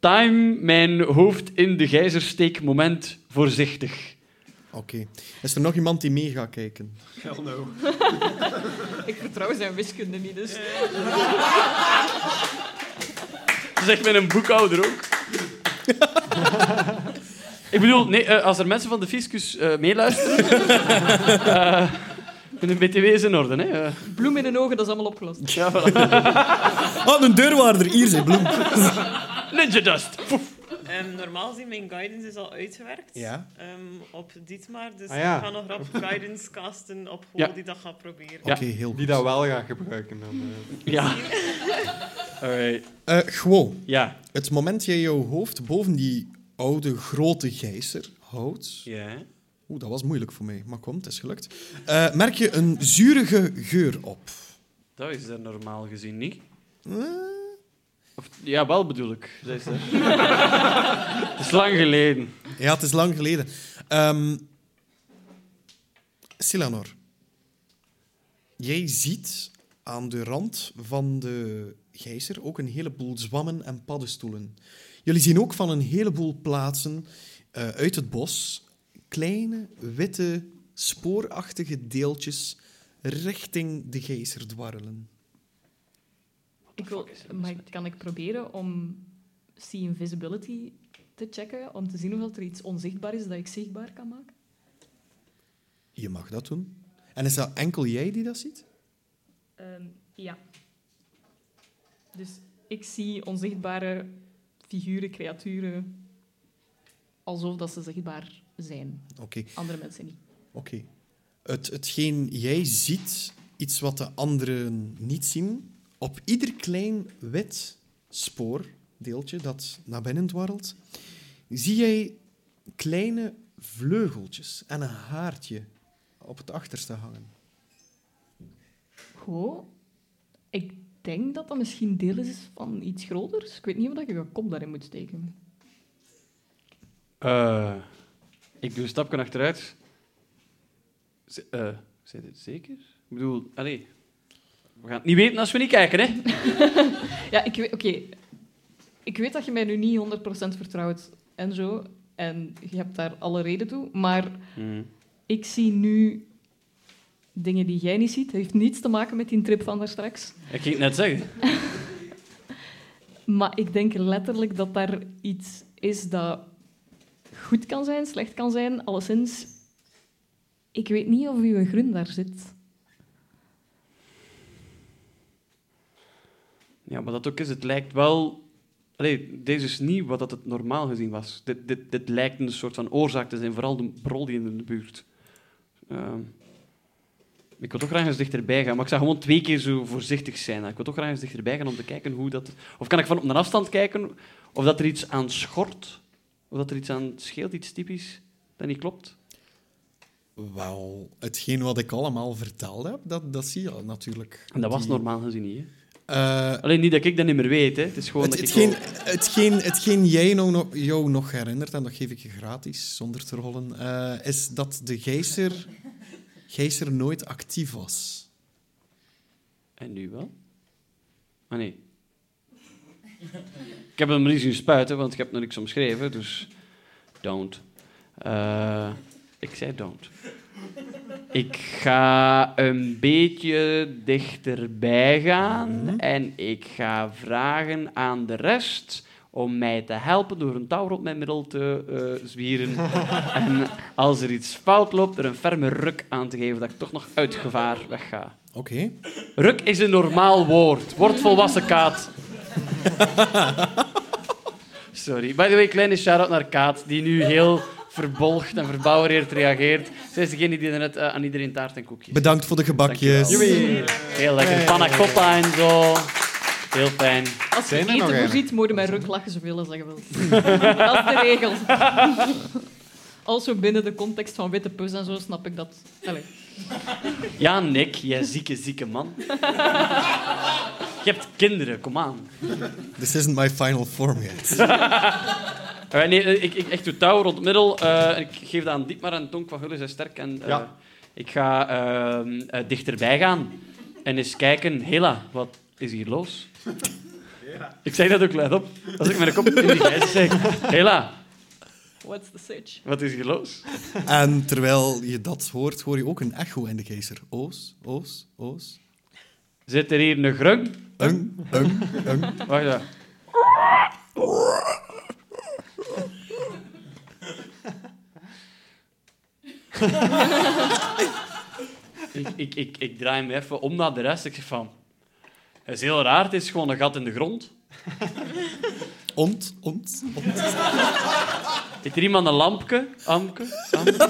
time mijn hoofd in de gijzersteek moment voorzichtig. Oké. Is er nog iemand die mee gaat kijken? Hell no. Ik vertrouw zijn wiskunde niet, dus... Dat is echt met een boekhouder ook. ik bedoel, nee, eh, als er mensen van de fiscus eh, meeluisteren... eh, de BTW is in orde, hè. Eh, Bloem in de ogen, dat is allemaal opgelost. ja, voilà. Ah, een deurwaarder. Hier zijn bloem. Ninja dust. Poef. Ehm, normaal gezien, mijn guidance is al uitgewerkt. Ja. Ehm, op Dietmar, dus Ah, ja. ik ga nog rap guidance casten op hoe Ja. die dat gaat proberen. Ja. Oké, heel Die goed. dat wel gaat gebruiken. Dan, eh. Ja. Alright. Eh Gwo, Ja. het moment jij jouw hoofd boven die oude grote gijzer houdt... Ja. Oeh, dat was moeilijk voor mij, maar kom, het is gelukt. Eh, merk je een zurige geur op. Dat is er normaal gezien niet. Eh, Of, ja, wel bedoel ik. Dat is er. Het is lang geleden. Ja, het is lang geleden. Ehm Silanor, jij ziet aan de rand van de gijzer ook een heleboel zwammen en paddenstoelen. Jullie zien ook van een heleboel plaatsen eh, uit het bos kleine witte spoorachtige deeltjes richting de gijzer dwarrelen. Ik wil, Fuck is er mis maar met die kan ik proberen om see invisibility te checken, om te zien of dat er iets onzichtbaar is dat ik zichtbaar kan maken? Je mag dat doen. En is dat enkel jij die dat ziet? Ehm, ja. Dus ik zie onzichtbare figuren, creaturen, alsof dat ze zichtbaar zijn. Oké. Andere mensen niet. Oké. Het, hetgeen jij ziet, iets wat de anderen niet zien, op ieder klein wit spoordeeltje dat naar binnen dwarrelt, zie jij kleine vleugeltjes en een haartje op het achterste hangen. Goh, ik denk dat dat misschien deel is van iets groters. Ik weet niet of dat je je kop daarin moet steken. Eh, ik doe een stapje achteruit. Z eh, zijn dit zeker? Ik bedoel, allee. We gaan het niet weten als we niet kijken, hè? Ja, ik weet, oké. Ik weet dat je mij nu niet 100% vertrouwt en zo. En je hebt daar alle reden toe. Maar Hmm. ik zie nu dingen die jij niet ziet. Het heeft niets te maken met die trip van daar straks. Ik ging het net zeggen. Maar ik denk letterlijk dat daar iets is dat goed kan zijn, slecht kan zijn. Alleszins, ik weet niet of uw grun daar zit. Ja, maar dat ook is, het lijkt wel... Allee, deze is niet wat dat het normaal gezien was. Dit, dit, dit lijkt een soort van oorzaak te zijn, vooral de brol die in de buurt. Ehm, ik wil toch graag eens dichterbij gaan, maar ik zou gewoon twee keer zo voorzichtig zijn. Ik wil toch graag eens dichterbij gaan om te kijken hoe dat... Of kan ik van op een afstand kijken of dat er iets aan schort? Of dat er iets aan scheelt, iets typisch dat niet klopt? Wel, hetgeen wat ik allemaal verteld heb, dat, dat zie je natuurlijk. En dat was Die- normaal gezien niet, hè? Eh, Alleen niet dat ik dat niet meer weet. Hè. Het is gewoon het, dat ik... hetgeen, wel- hetgeen, hetgeen jij nou, nog- jou nog herinnert, en dat geef ik je gratis, zonder te rollen, eh, is dat de gijzer, gijzer nooit actief was. En nu wel? Ah, nee. ik heb hem niet zien spuiten, want ik heb nog niks omschreven, dus... Don't. Eh, ik zei don't. Ik ga een beetje dichterbij gaan en ik ga vragen aan de rest om mij te helpen door een touw rond mijn middel te eh, zwieren. en als er iets fout loopt, er een ferme ruk aan te geven dat ik toch nog uit gevaar wegga. Oké. Ruk is een normaal woord. Word volwassen, Kaat. Sorry. By the way, kleine shout-out naar Kaat, die nu heel verbolgd en verbouwereerd reageert. Zij is degene die net eh, aan iedereen taart en koekjes... Bedankt voor de gebakjes. Dankjewel. Heel lekker. Panna cotta en zo. Heel fijn. Als je Zijn er nog eten eigenlijk? voorziet, moet je met rug lachen zoveel als dat je wilt. dat is de regel. Als we binnen de context van witte pus en zo, snap ik dat. Allee. Ja, Nick, jij zieke, zieke man. Je hebt kinderen, kom aan. This isn't my final form yet. Eh, nee, eh, ik, ik echt doe touw rond het middel. Eh, ik geef dat aan Dietmar en Tonk van Gullen zijn sterk. En, eh, Ja. Ik ga ehm, eh, dichterbij gaan en eens kijken. Hela, wat is hier los? Ik zeg dat ook luid op. Als ik mijn kop in die gijs zeg. Hela, What's the sitch? wat is hier los? en terwijl je dat hoort, hoor je ook een echo in de gijzer. Oos, oos, oos. Zit er hier een grung? Ung, ung, ung. Wacht even. ik, ik, ik, ik draai me even om naar de rest. Ik zeg van... Het is heel raar, het is gewoon een gat in de grond. Ont, ont, ont. Heeft er iemand een lampje? Amke? Amke?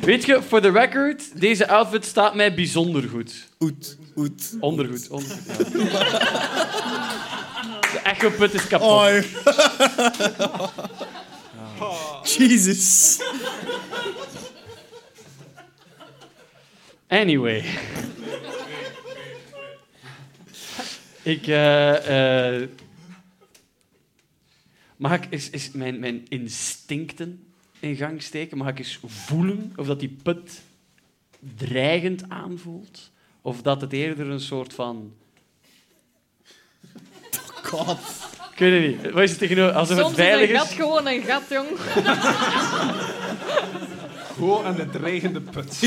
Weet je, for the record, deze outfit staat mij bijzonder goed. Oet, oet. Ondergoed, ondergoed. Ja. De echoput is kapot. Oi. Jesus. Anyway. ik, eh, eh, mag ik eens, eens mijn, mijn instincten in gang steken? Mag ik eens voelen of dat die put dreigend aanvoelt? Of dat het eerder een soort van... God. Ik weet het niet. Wat is het tegenover? Alsof Soms het is een veilig gat is? gewoon een gat, jong. Gewoon aan de dreigende put.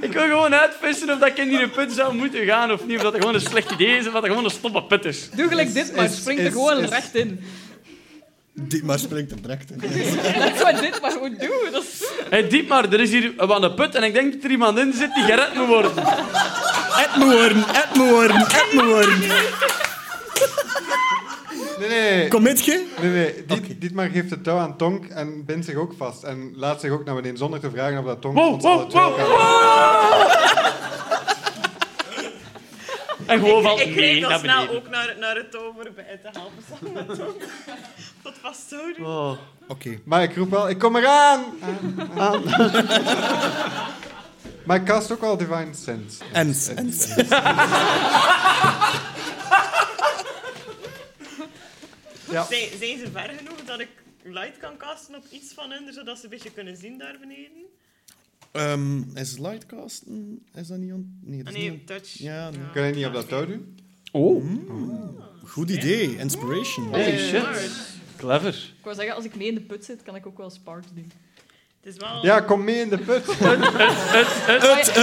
Ik wil gewoon uitvissen of dat ik in die put zou moeten gaan of niet. Of dat het gewoon een slecht idee is of dat het gewoon een stomme put is. Doe gelijk dit, maar is- spring er is- gewoon is- recht in. Dit maar springt er direct in. Dat is wat dit maar goed doen. Dat is- Hé, diep maar, er is hier wat een put en ik denk dat er iemand in zit die gered moet worden. Edmoorn, Edmoorn, Edmoorn. Nee, nee, nee. Commit je? nee, nee. Dit, Dietmar geeft het touw aan Tonk en bindt zich ook vast. En laat zich ook naar beneden zonder te vragen of dat Tonk Wow, ons alle wow, twee wow, gaat- En gewoon valt Ik mee kreeg al naar snel beneden. ook naar, naar het over bij te helpen. samen met Tom. Tot vasthouden. Oh. Oké. Maar ik roep wel, ik kom eraan! Aan, aan. maar ik cast ook wel Divine Sense. En, en. Ja. Zijn, zijn ze ver genoeg dat ik light kan casten op iets van hen, zodat ze een beetje kunnen zien daar beneden? Ehm, is lightcasten? Is dat niet on... Nee, Ah, dat is nee, niet touch. Ja, nee. Kun je niet op dat touw doen? on- Goed idee. Inspiration. Oh, Holy shit. alright. Clever. Ik wou zeggen, als ik mee in de put zit, kan ik ook wel sparks doen. Het is wel... Ja, kom mee in de put. Maar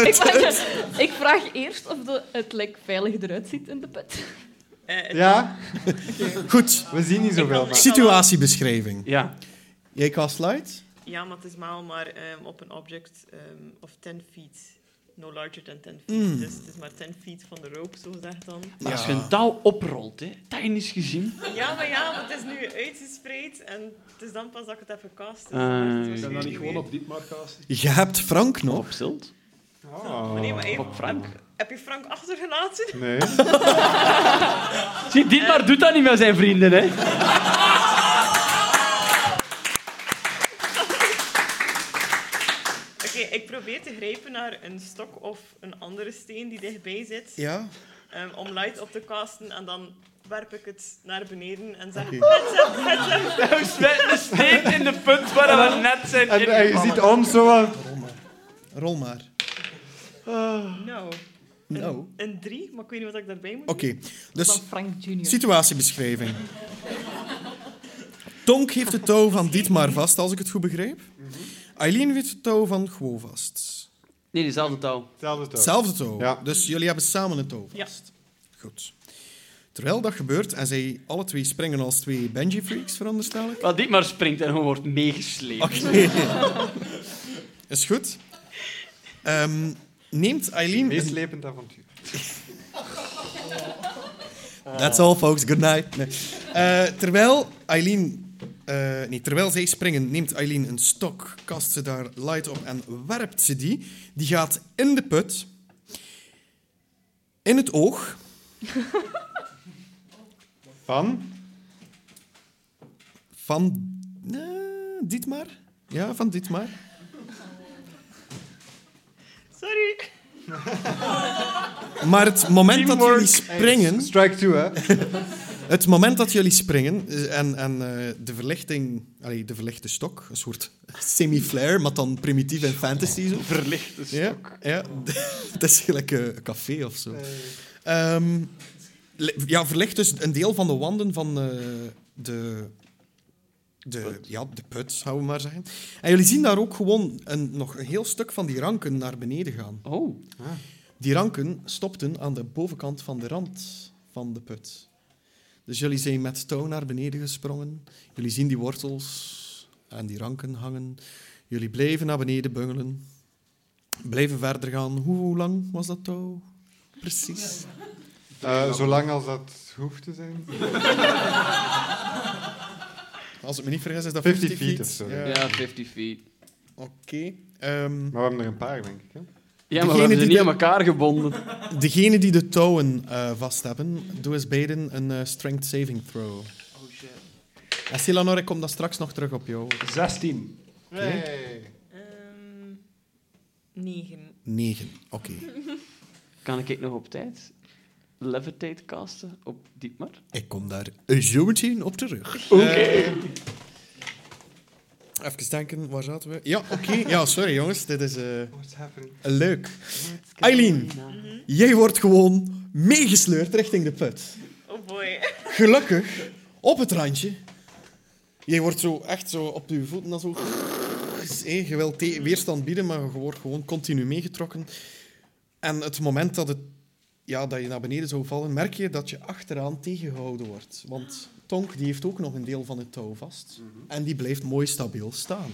ik, vraag, ik vraag eerst of de, het lek veilig eruit ziet in de put. eh, het- Ja, Goed. we zien niet zoveel. Maar. Situatiebeschrijving. Ja. Jij cast light? ja, maar het is wel maar ehm, op een object ehm, of 10 feet. No larger than 10 feet. Mm. Dus het is maar 10 feet van de rope, zo gezegd dan. Maar als je Ja. een touw oprolt, hè, technisch gezien... Ja, maar ja, want het is nu uitgespreid en het is dan pas dat ik het heb gecast. Ah, Dus dan is het ja. Zijn waarschijnlijk dat niet gewoon weer- op dit casten? Je hebt Frank Of nog. op zilt. Oh. Nee, maar Of even- op Frank. heb je Frank achtergelaten? Nee. Zie, Dietmar doet dat niet met zijn vrienden, hè. Ik ik probeer te grijpen naar een stok of een andere steen die dichtbij zit. Ja? ehm, om light op te casten. En dan werp ik het naar beneden en zeg... "Oh!" Oké. "Heads up, heads up." We smijten een steek in de punt waar we net zijn En, en je ingevallen. ziet ons zo wat... Rol maar. Rol maar. Nou, Nou. een, een drie, maar ik weet niet wat ik daarbij moet Oké, dus Van Frank Junior. situatiebeschrijving. Tonk heeft het touw van Dietmar vast, als ik het goed begreep. Eileen heeft het touw van Gwo vast. Nee, diezelfde touw. Hetzelfde toch? Hetzelfde touw. Ja. Dus jullie hebben samen een touw Ja. vast. Goed. Terwijl dat gebeurt, en zij alle twee springen als twee Benji-freaks, veronderstel ik. Wat dit maar springt en gewoon wordt meegesleept. Oké. Is goed. Ehm, neemt Eileen... Meest een- lepend avontuur. That's all, folks. Good night. Nee. Eh, terwijl Eileen... eh, nee, terwijl zij springen, neemt Eileen een stok, kast ze daar light op en werpt ze die. Die gaat in de put. In het oog. Van? Van eh, Dietmar? Ja, van Dietmar. doen. Sorry. Maar het moment dat Teamwork. jullie springen, Strike two, hè? het moment dat jullie springen eh, en, en eh, de verlichting, allee, de verlichte stok, een soort semi-flare, maar dan primitief en fantasy zo. Verlichte Ja, stok. ja. het is gelijk eh, een café of zo. Ehm, le- ja, verlicht dus een deel van de wanden van eh, de, de, ja, de put, zouden we maar zeggen. En jullie zien daar ook gewoon een, nog een heel stuk van die ranken naar beneden gaan. Oh, Die ranken stopten aan de bovenkant van de rand van de put. Dus jullie zijn met touw naar beneden gesprongen. Jullie zien die wortels en die ranken hangen. Jullie bleven naar beneden bungelen. Bleven verder gaan. Hoe, hoe lang was dat touw? Precies. Eh, zolang als dat hoeft te zijn. Als ik me niet vergis, is dat 50 50, feet of zo. Ja. ja, 50 feet. Oké. Ehm, Maar we hebben er een paar, denk ik. Hè? Ja, maar Degene we hebben ze die niet aan de- elkaar gebonden. degene die de touwen eh, vast hebben, doe eens beiden een eh, strength saving throw. Oh shit. En Silanor, ik kom dan straks nog terug op jou. 16. Nee. Ehm, negen. 9. Oké. Kan ik nog op tijd levitate casten op Dietmar? Ik kom daar zo meteen op terug. Eh, Oké. Even denken, waar zaten we? Ja, oké. Ja, sorry jongens, dit is eh, What's happening? leuk. Eileen. Jij wordt gewoon meegesleurd richting de put. Oh boy. Gelukkig, op het randje. Jij wordt zo echt zo op je voeten dan zo... Eh, Je wilt te- weerstand bieden, maar je wordt gewoon continu meegetrokken. En het moment dat, het, ja, dat je naar beneden zou vallen, merk je dat je achteraan tegengehouden wordt. Want Tonk die heeft ook nog een deel van het touw vast. En die blijft mooi stabiel staan.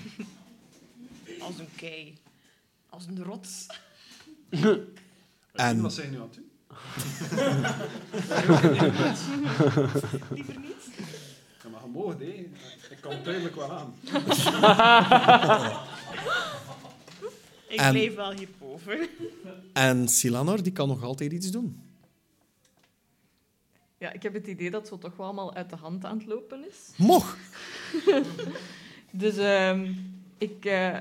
Als een kei. Als een rots. En- Wat zeg je nu aan toe? Liever niet. Ja, maar je mag het, hè. Ik kan duidelijk wel aan. Ik En- bleef wel hierboven. En Silanor die kan nog altijd iets doen. Ja, ik heb het idee dat zo toch wel allemaal uit de hand aan het lopen is. Mocht. Dus ehm, ik eh,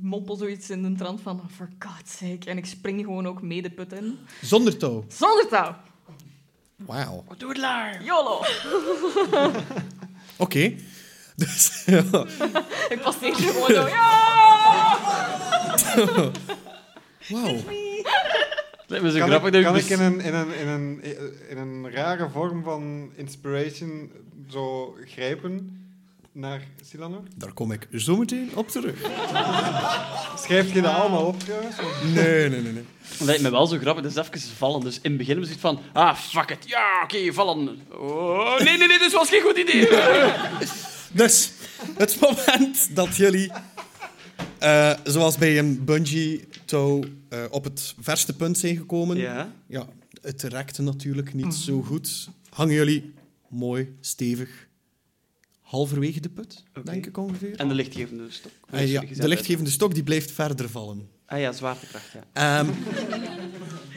mompel zoiets in de trant van for God's sake. En ik spring gewoon ook mee de put in. Zonder touw. Zonder touw. Wauw. Oh, Doe het laar. YOLO. Oké. Dus, Ik passeer gewoon zo. Ja! wauw. Lijkt me zo Kan, grappig ik, dat kan je dus- ik in een, in, een, in, een, in een rare vorm van inspiration zo grijpen naar Silano? Daar kom ik zo meteen op terug. Schrijf je dat allemaal op trouwens? Want Nee, nee, nee. nee. Lijkt me wel zo grappig. Dat is even vallen. Dus in het begin was het van... Ah, fuck it. Ja, oké, vallen. Oh, nee, nee, nee, dit was geen goed idee. Dus, het moment dat jullie, eh, zoals bij een bungee-touw, eh, op het verste punt zijn gekomen. ja. Ja, het rekte natuurlijk niet zo goed. Hangen jullie mooi, stevig, halverwege de put, Oké. denk ik ongeveer. En de lichtgevende stok. Eh, ja, Gezet de lichtgevende stok die blijft verder vallen. uit. Ah ja, zwaartekracht, ja. Ehm,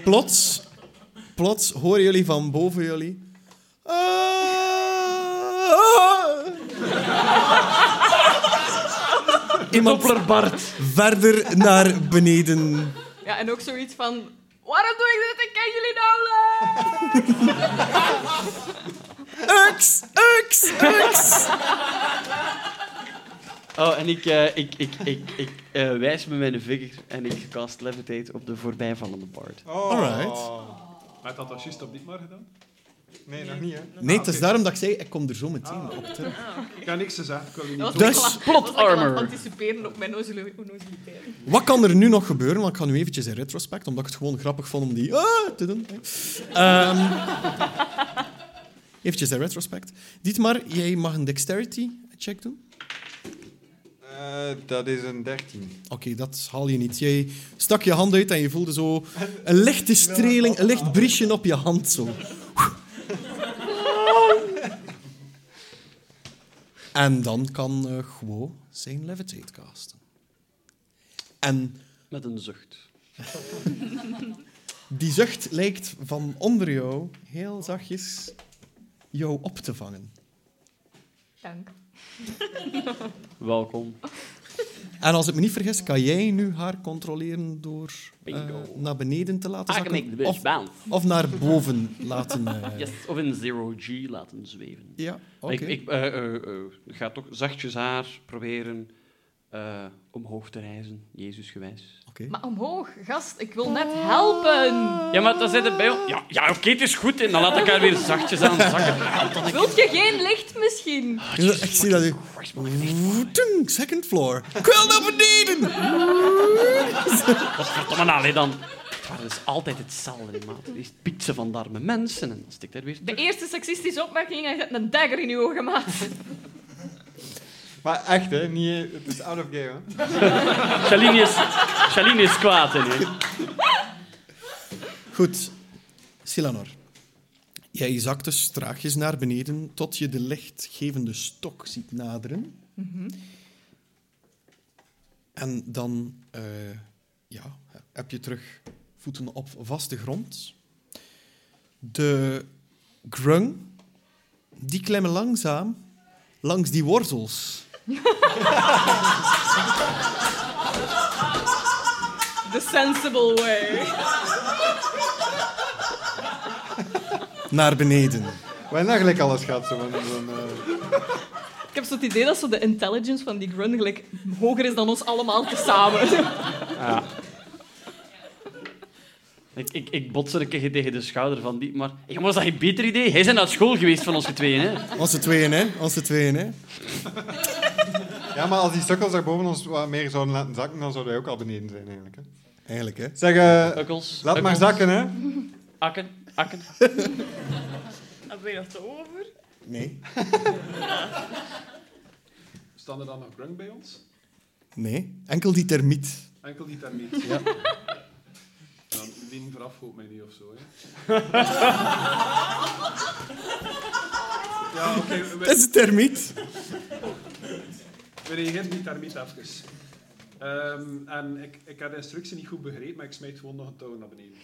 plots, plots horen jullie van boven jullie. Ah! iemand Dopplerbart. verder naar beneden. Ja, en ook zoiets van... Waarom doe ik dit? Ik ken jullie nauwelijks! Ux, ux, ux. Oh, en ik, eh, ik, ik, ik, ik eh, wijs met mijn vinger en ik cast Levitate op de voorbijvallende bard. Oh. Alright. Maar ik had dat juist op dit maar gedaan. Nee, nog niet, hè. Nee, het is daarom dat ik zei, ik kom er zo meteen op terug. Ik heb niks gezegd, ik wil je niet Dat was Dus- ik al- Plot dat was ik al aan het armor. anticiperen op mijn onnozele- onnozeliteit. Wat kan er nu nog gebeuren? Want ik ga nu eventjes in retrospect, omdat ik het gewoon grappig vond om die... Ah, te doen. Ehm eventjes in retrospect. Dietmar, jij mag een dexterity check doen. Eh, dat is een 13. Oké, dat haal je niet. Jij stak je hand uit en je voelde zo een lichte streling, een licht briesje op je hand. Zo. En dan kan eh Guo zijn levitate casten. En Met een zucht. die zucht lijkt van onder jou heel zachtjes jou op te vangen. Dank. Welkom. En als ik me niet vergis, kan jij nu haar controleren door eh, Bingo. Ah, naar beneden te laten I can make the zakken bitch of, bounce. of naar boven laten... eh, Yes, of in zero G laten zweven. Ja, oké. Ik, ik eh, eh, eh, ga toch zachtjes haar proberen eh, omhoog te reizen, Jezus gewijs. Oké. Maar omhoog, gast, ik wil net helpen. Ja, maar dan zit het bij Ja, ja oké, het is goed. En dan laat ik haar weer zachtjes aan zakken. Wilt je geen licht misschien? Dus ik zie dat je... Woetung, second floor. Ik wil naar beneden! Verdomme, nou, allee dan. Het waar, dat is altijd hetzelfde, maat. Eerst pizza van de arme mensen en dan stikt er weer... De eerste seksistische opmerking en je hebt een dagger in je ogen gemaakt. Maar echt, hè. Niet, het is out of game, hè. Shaline is, Shaline is kwaad, hè. Goed. Silanor. Jij zakt dus traagjes naar beneden tot je de lichtgevende stok ziet naderen. En dan eh, ja, heb je terug voeten op vaste grond. De grung, die klemmen langzaam langs die wortels. The sensible way. naar beneden. We hebben eigenlijk alles gehad, zo. van- van, eh, Ik heb zo het idee dat zo de intelligence van die grun gelijk hoger is dan ons allemaal tezamen. Ik, ik, ik bots er een keer tegen de schouder van die, maar... Ik was dat geen beter idee? Hij zijn naar school geweest van ons tweeën, hè. Onze tweeën, hè? Onze tweeën, hè? Ja, maar als die sukkels daar boven ons wat meer zouden laten zakken, dan zouden wij ook al beneden zijn, eigenlijk. Hè. Eigenlijk, hè? Zeg, eh, Ukkels. laat maar ukkels, zakken, hè. Akken, akken. Hebben we nog te over? Nee. Staan er dan nog grung bij ons? Nee. Enkel die termiet. Enkel die termiet. Ja. Dan, die vooraf hoopt mij niet of zo. Hè. ja, oké. Dat we, is een termiet. we reageren die termiet even. Ehm, en ik, ik heb de instructie niet goed begrepen, maar ik smijt gewoon nog een touw naar beneden.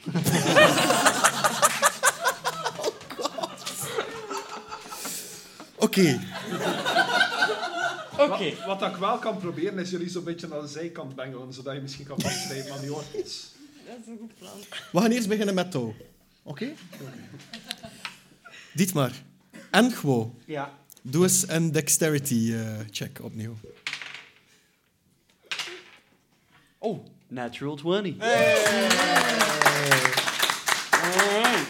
Oké. Oké. Wat ik wel kan proberen, is jullie zo'n beetje naar de zijkant bengelen, zodat je misschien kan vastgrijpen aan die orkels. Dat is een goed plan. We gaan eerst beginnen met touw. Oké? Dietmar. En Gwo. Ja. Doe eens een dexterity eh, check opnieuw. Oh, natural 20.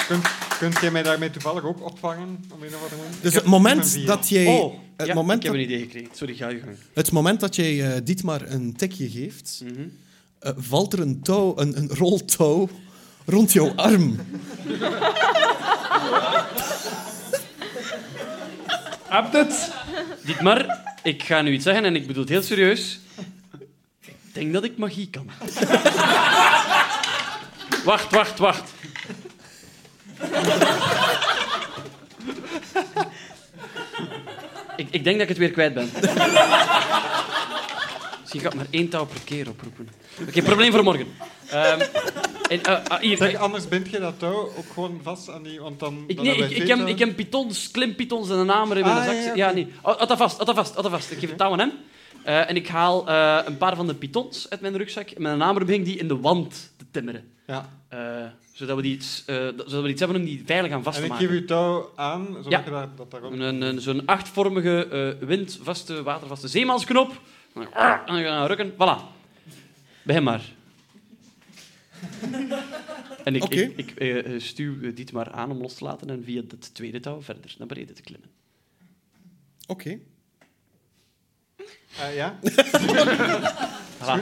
Kunt, kunt jij mij daarmee toevallig ook opvangen? Om een of andere reden? Dus Ik het heb- ik ben moment vier. dat jij... oh, het, ja, moment ik heb dat, een idee gekregen. Sorry, ga je gang. het moment dat jij eh, Dietmar een tikje geeft, Mhm. eh, valt er een touw, een, een rol touw, rond jouw arm. Hebt het? Dietmar, ik ga nu iets zeggen en ik bedoel het heel serieus. Ik denk dat ik magie kan. wacht, wacht, wacht. ik, ik denk dat ik het weer kwijt ben. Misschien ga ik maar één touw per keer oproepen. Oké, probleem voor morgen. Ehm, en, eh, ah, hier, Zeg, eh, anders bind je dat touw ook gewoon vast aan die... Want dan, ik, dan nee, hebben ik, wij ik, heb, twee ik touwen. heb pitons, klimpitons en een dus hamer in Ah, mijn zak. Ja, ja, ja, oké. nee. Houd houd dat vast, houd dat vast, houd dat vast. Ik geef het touw aan hem. Eh, en ik haal eh, een paar van de pitons uit mijn rugzak met een hamer begin ik die in de wand te timmeren. Ja. Eh, zodat, we die iets, eh, dat- zodat we iets hebben om die veilig aan vast En te ik maken. geef u touw aan, zodat Ja. je daar, dat daarop... Een, een, een- zo'n achtvormige, eh, windvaste, watervaste zeemansknop. En dan gaan rukken. Voilà. Begin maar. En ik, Oké. ik, ik eh, eh, stuw eh, dit maar aan om los te laten en via het tweede touw verder naar beneden te klimmen. Oké. Eh, ja? Voilà.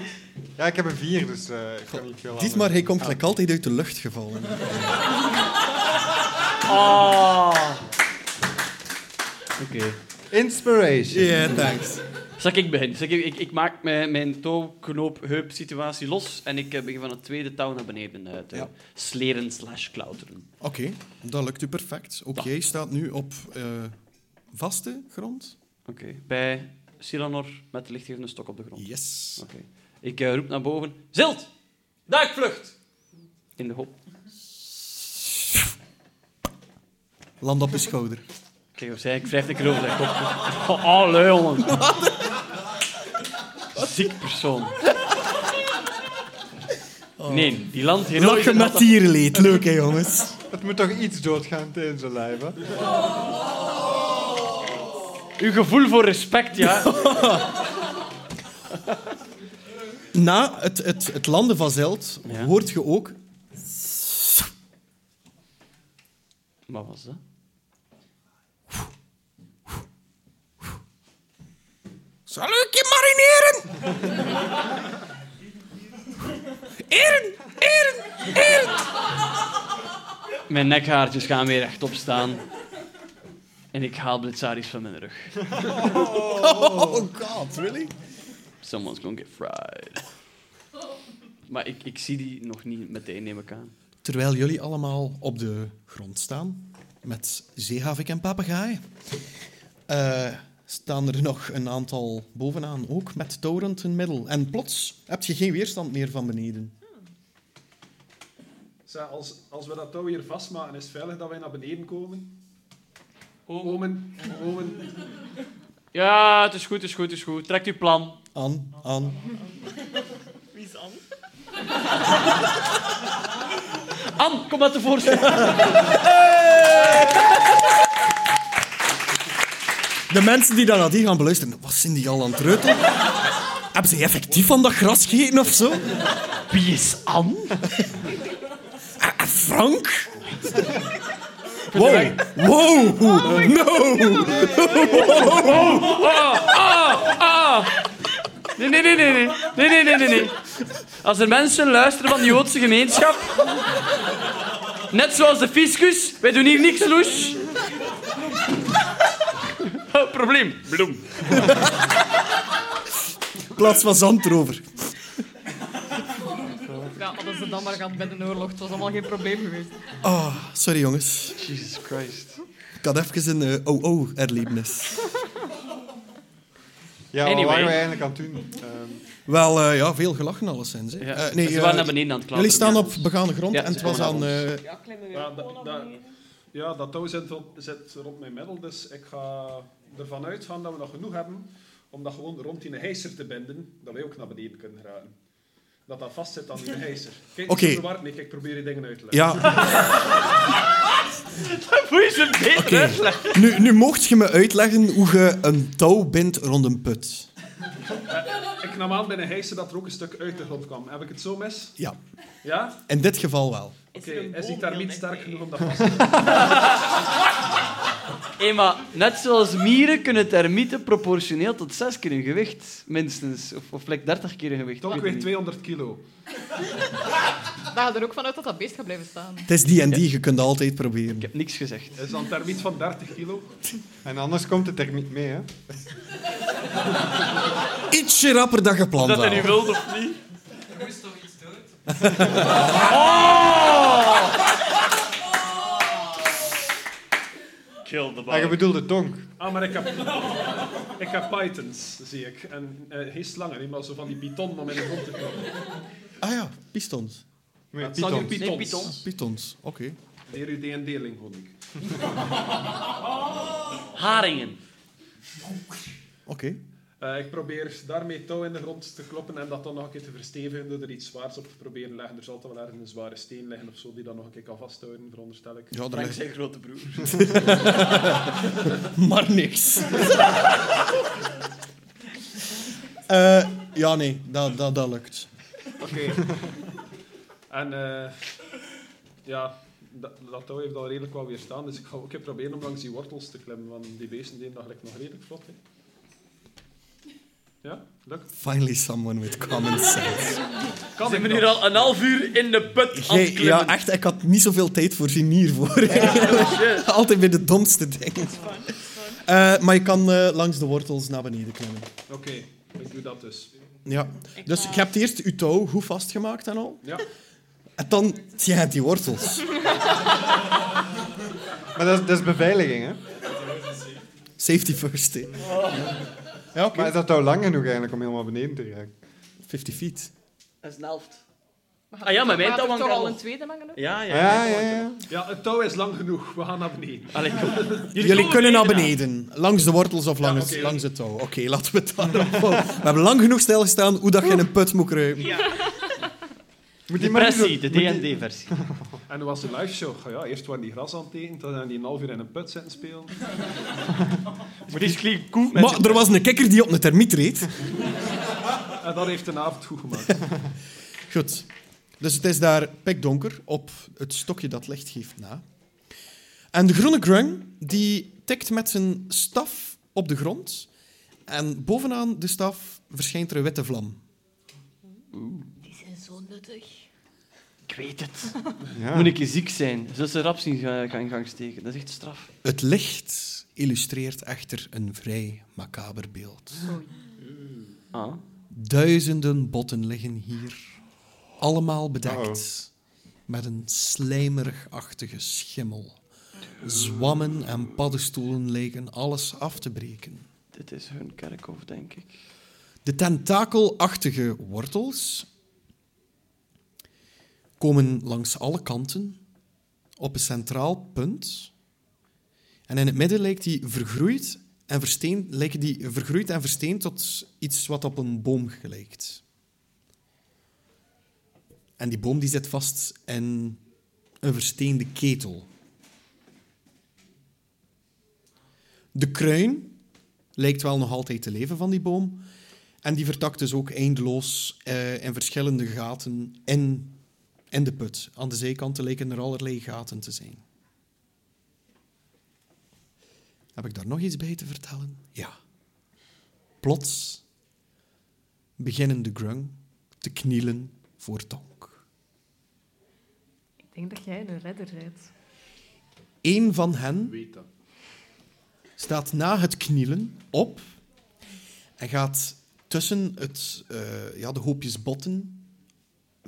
ja, ik heb een vier, dus eh, ik kan niet veel Dit maar, hij komt gelijk altijd uit de lucht gevallen. Ah. Oké. Inspiration. Ja, thanks. Zal ik beginnen? Zal ik, ik, ik maak mijn, mijn touwknoop-heup-situatie los en ik eh, begin van het tweede touw naar beneden eh, te Ja. sleren slash klauteren. Oké, dat lukt u perfect. Ook Ja. jij staat nu op eh, vaste grond. Oké. Bij Silanor met de lichtgevende stok op de grond. Yes. Oké. Ik eh, roep naar boven. Zilt! Duikvlucht! In de hoop. Land op je schouder. Kijk, hoor, zei ik wrijf een keer over zijn kop. Oh, allee, jongen. Ziek persoon. Nee, die land hier nooit Oh. Lachen en met dat- tierenleed. Leuk, hè, jongens? Het moet toch iets doodgaan tijdens een lijf, hè? Uw gevoel voor respect, ja. Na het, het, het landen van Zeld Ja. hoort je ook... Wat was dat? Zal ik je marineren? Eren! Eren! Mijn nekhaartjes gaan weer rechtop staan. En ik haal blitzaris van mijn rug. Oh god, really? Someone's gonna get fried. Maar ik, ik zie die nog niet meteen, neem ik aan. Terwijl jullie allemaal op de grond staan, met zeehavik en papegaaien, eh, staan er nog een aantal bovenaan, ook met torent in middel. En plots heb je geen weerstand meer van beneden. Zeg, als, als we dat touw hier vastmaken, is het veilig dat wij naar beneden komen? Omen. Omen, omen. Oh. Ja, het is goed, het is goed, het is goed. Trekt uw plan. Aan, aan. Wie is Anne? An, kom maar tevoorschijn. De mensen die daar naar die gaan beluisteren, wat zijn die al aan het reutelen? Hebben ze effectief van dat gras gegeten of zo? Wie is An? Eh, eh, Frank? Wow, wow, no! Oh, Nee, nee, nee, nee, nee. Nee, nee, nee, nee, nee. Als er mensen luisteren van de Joodse gemeenschap... Net zoals de fiscus, wij doen hier niks loes. Oh, probleem. Bloem. Plaats van zand erover. Ja, hadden ze dan maar gehad bij de oorlog. Het was allemaal geen probleem geweest. Ah, sorry jongens. Jesus Christ. Ik had even een eh, OO-erlevenis. Ja, Anyway. wat waren we eigenlijk aan het doen? Ehm, Wel, eh, ja, veel gelachen alleszins. Hè. Ja. Eh, nee, ze eh, waren naar beneden aan het klappen. jullie staan op begaande grond Ja, en het ze was komen aan... naar eh, Ja, klimmen we Ja, gewoon da- naar da- beneden. Ja, dat touw zit, ro- zit rond mijn middel, dus ik ga ervan uitgaan dat we nog genoeg hebben om dat gewoon rond die hijser te binden, dat wij ook naar beneden kunnen geraken. Dat dat vast zit aan die hijser. Kijk, Oké. okay. verward, Nick, ik probeer je dingen uit te leggen. ja, Voel je ze beter Oké. nu, nu mocht je me uitleggen hoe je een touw bindt rond een put. Ik nam aan bij een hijser dat er ook een stuk uit de grond kwam. Heb ik het zo mis? Ja, Ja? in dit geval wel. Is Oké, er een is die boom daar heel niet dichtbij? sterk genoeg om dat vast te houden? Hé, maar net zoals mieren kunnen termieten proportioneel tot zes keer hun gewicht, minstens. Of, of like 30 keer hun gewicht. Toch ik weet weer het 200 kilo. Daar gaat er ook vanuit dat dat beest gaat blijven staan. Het is die en die, je kunt dat altijd proberen. niet. Ik heb niks gezegd. Is dan termiet van 30 kilo? en anders komt het er niet mee, hè? Ietsje rapper dan gepland Dat hij nu had. wilt of niet. Er moest toch iets dood? Kill the Ah, je bedoelde tonk. Ah, maar ik heb, ik heb pythons, zie ik. En eh, geen slangen, niet, maar zo van die python om in de grond te komen. Ah ja, pistons. Ah, Nee, Het staan hier pythons. Nee, pythons. pythons. Pistons, oké. Leer u D&D-ling, hoor ik. Haringen. Oké. Eh, Eh, ik probeer daarmee touw in de grond te kloppen en dat dan nog een keer te verstevigen door er iets zwaars op te proberen leggen. Er zal toch wel ergens een zware steen liggen of zo die dan nog een keer kan vasthouden, veronderstel ik. Ja, daar Frank ligt zijn grote broer. maar niks. Eh, ja, nee, dat, dat, dat lukt. Oké. en eh, ja, dat, dat touw heeft al redelijk wat weerstaan, dus ik ga ook een keer proberen om langs die wortels te klimmen, want die beesten deden dat gelijk nog redelijk vlot. Hè. Ja, lukt. Finally someone with common sense. Kan Zijn we ik nu dat? al een half uur in de put aan het Jij- klimmen? ja, echt, ik had niet zoveel tijd voor genier voor. Altijd bij de domste dingen. Eh, maar je kan eh, langs de wortels naar beneden klimmen. Oké, ik doe dat dus. Ja. Ik Dus ga- je hebt eerst je touw goed vastgemaakt en al. Ja. En dan, jij hebt die wortels. Maar dat is, dat is beveiliging, hè? Safety first. hè. Ja, oké. Maar is dat nou lang genoeg eigenlijk om helemaal beneden te raken? 50 feet. Dat is een helft. We gaan Ah ja, maar mijn toch- touw we gaan hangt toch al al. een tweede hangen ook? Ja, ja. Ah, Ja, ja, ja. ja, het touw is lang genoeg. We gaan naar beneden. Allee, kom. Jullie, kunnen naar beneden. Langs de wortels of langs, oké. langs het touw. Oké, laten we het daarop houden. We hebben lang genoeg stilgestaan hoe dat je in een put moet kruipen. Moet De die maar niet pressie, de zo- moet die- D&D-versie. En hoe was de live show? Ja, eerst waren die gras aan het eten, dan zijn die een half uur in een put zitten spelen. Maar die is klinkt koe. Maar er was een kikker die op een termiet reed. En dat heeft een avond goed gemaakt. Goed. Dus het is daar pikdonker op het stokje dat licht geeft na. En de groene grung die tikt met zijn staf op de grond. En bovenaan de staf verschijnt er een witte vlam. Die zijn zo nuttig. Ik weet het. Ja. Moet ik ziek zijn? Zullen ze rap zien gaan gaan in gang steken? Dat is echt straf. Het licht illustreert echter een vrij macaber beeld. Ah. Duizenden botten liggen hier, allemaal bedekt met een slijmerigachtige schimmel. Zwammen en paddenstoelen lijken alles af te breken. Dit is hun kerkhof, denk ik. De tentakelachtige wortels komen langs alle kanten op een centraal punt. En in het midden lijkt die vergroeid en versteen, lijken die vergroeid en versteend tot iets wat op een boom gelijkt. En die boom die zit vast in een versteende ketel. De kruin lijkt wel nog altijd te leven van die boom. En die vertakt dus ook eindeloos eh, in verschillende gaten in, in de put. Aan de zijkanten lijken er allerlei gaten te zijn. Heb ik daar nog iets bij te vertellen? Ja. Plots beginnen de grung te knielen voor Tonk. Ik denk dat jij een redder bent. Eén van hen Weet dat. staat na het knielen op en gaat tussen het, eh, ja, de hoopjes botten,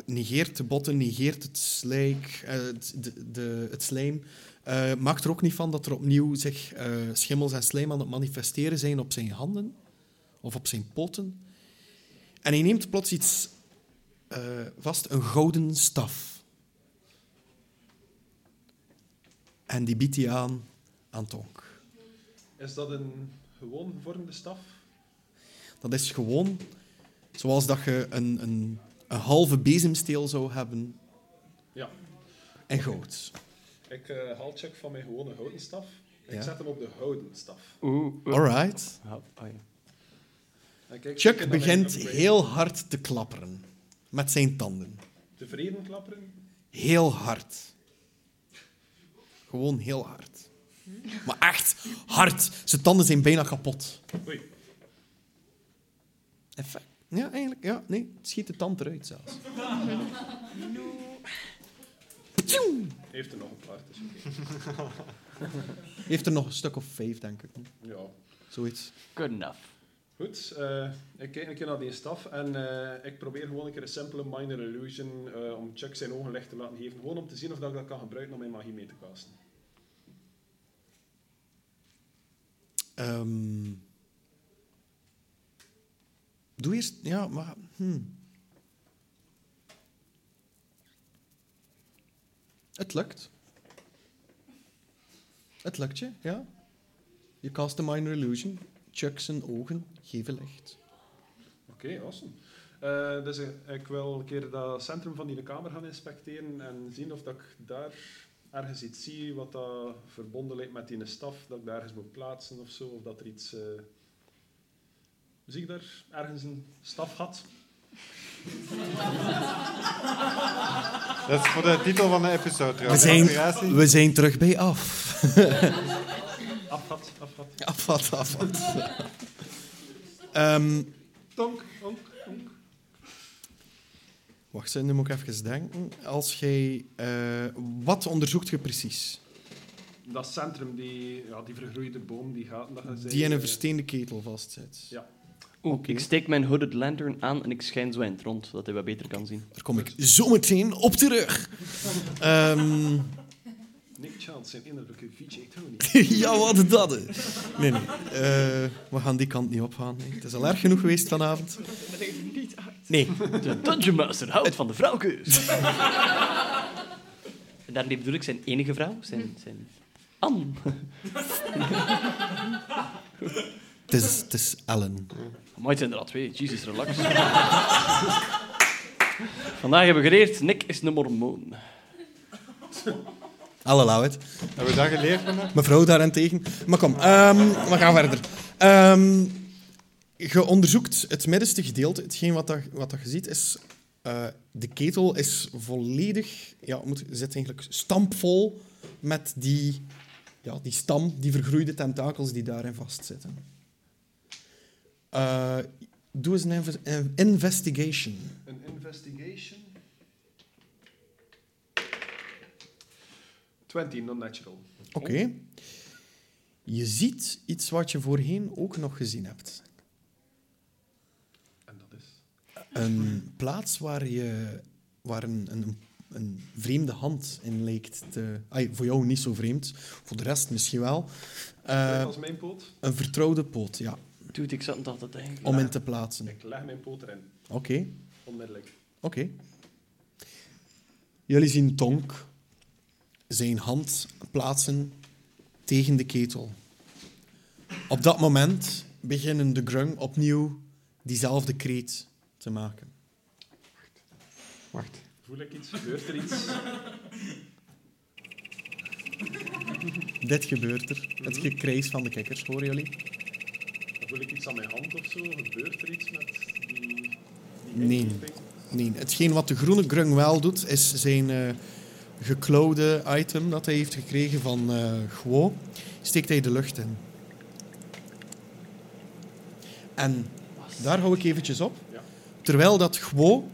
negeert de botten, negeert het, slijk, eh, het, de, de- het slijm, eh, maakt er ook niet van dat er opnieuw zich eh, schimmels en slijm aan het manifesteren zijn op zijn handen of op zijn poten. En hij neemt plots iets eh, vast, een gouden staf. En die biedt hij aan aan Tonk. Is dat een gewoon gevormde staf? Dat is gewoon zoals dat je een, een, een halve bezemsteel zou hebben Ja. en goud. Ik eh, haal check van mijn gewone houten staf. Ik Ja. zet hem op de houten staf. Oeh. oeh. Alright. Ah, ah, ja. En Chuck kijk zeker naar begint mijn upgrade. heel hard te klapperen met zijn tanden. Tevreden klapperen? Heel hard. Gewoon heel hard. Maar echt hard. Zijn tanden zijn bijna kapot. Oei. Effect. Ja, eigenlijk. Ja, nee. het Schiet de tand eruit zelfs. Tjoem! Hij Heeft er nog een paar, dus oké. Heeft er nog een stuk of vijf, denk ik. Ja. Zoiets. Good enough. Goed, eh, ik kijk een keer naar die staf en eh, ik probeer gewoon een keer een simpele minor illusion eh, om Chuck zijn ogen licht te laten geven. Gewoon om te zien of dat ik dat kan gebruiken om mijn magie mee te casten. Ehm, doe eerst... Ja, maar... hmm. Het lukt. Het lukt je, ja. Je cast een minor illusion. Chuck zijn ogen. gevel echt. Oké, awesome. Eh, dus ik, ik wil een keer dat centrum van die kamer gaan inspecteren en zien of dat ik daar ergens iets zie wat dat verbonden lijkt met die staf, dat ik daar ergens moet plaatsen of zo, of dat er iets... eh, zie ik daar ergens een staf had? Dat is voor de titel van de episode We trouwens. zijn, Inspiratie. we zijn terug bij af. Afgat, afgat. Af wat, af wat. Ehm, Tonk, onk, onk. wacht, hè, nu moet ik even denken. Als jij... eh, wat onderzoekt je precies? Dat centrum, die, ja, die vergroeide boom, die gaten... Dat je zei, Die in een eh, versteende ketel vastzit. Ja. Oeh, Oké. Ik steek mijn hooded lantern aan en ik schijn zo in het rond, zodat hij wat beter kan zien. Daar kom ik zo meteen op terug. Ehm Nick Chance, zijn innerlijke VJ Tony. ja, wat dat. hè. Nee, nee. Eh, we gaan die kant niet opgaan. hè. Het is al erg genoeg geweest vanavond. Nee, De Dungeon Master houdt van de vrouwkeus. en daarmee bedoel ik zijn enige vrouw, zijn, zijn Anne. het is, het is Ellen. Maar het zijn er al twee. Jesus, relax. Vandaag hebben we geleerd, Nick is een mormoon. Ellen Lauwet. Hebben we dat geleerd vandaag? Mevrouw daarentegen. Maar kom, ehm, we gaan verder. Ehm je onderzoekt het middenste gedeelte. Hetgeen wat, dat, wat dat je ziet is... eh, de ketel is volledig... Ja, moet, zit eigenlijk stampvol met die, ja, die stam, die vergroeide tentakels die daarin vastzitten. Eh, doe eens een inve- een investigation. Een investigation. 20, non-natural. Oké. Je ziet iets wat je voorheen ook nog gezien hebt. En dat is. Een plaats waar, je, waar een, een, een vreemde hand in leek. Te, ai, voor jou niet zo vreemd, voor de rest misschien wel. Eh, als mijn poot. een vertrouwde poot, ja, Doet ik zat dat te denken. om in te plaatsen. Oké, Ik leg mijn poot erin, oké. onmiddellijk. Jullie zien Tonk zijn hand plaatsen tegen de ketel. Op dat moment beginnen de grung opnieuw diezelfde kreet te maken. Wacht. Voel ik iets? Gebeurt er iets? Dit gebeurt er. Het gekrijs van de kikkers, horen jullie? Voel ik iets aan mijn hand of zo? Gebeurt er iets met die. die Nee. ingeving? Nee, hetgeen wat de groene grung wel doet, is zijn eh geklauwde item dat hij heeft gekregen van eh Guo, steekt hij de lucht in. En daar hou ik eventjes op. Ja. Terwijl dat Guo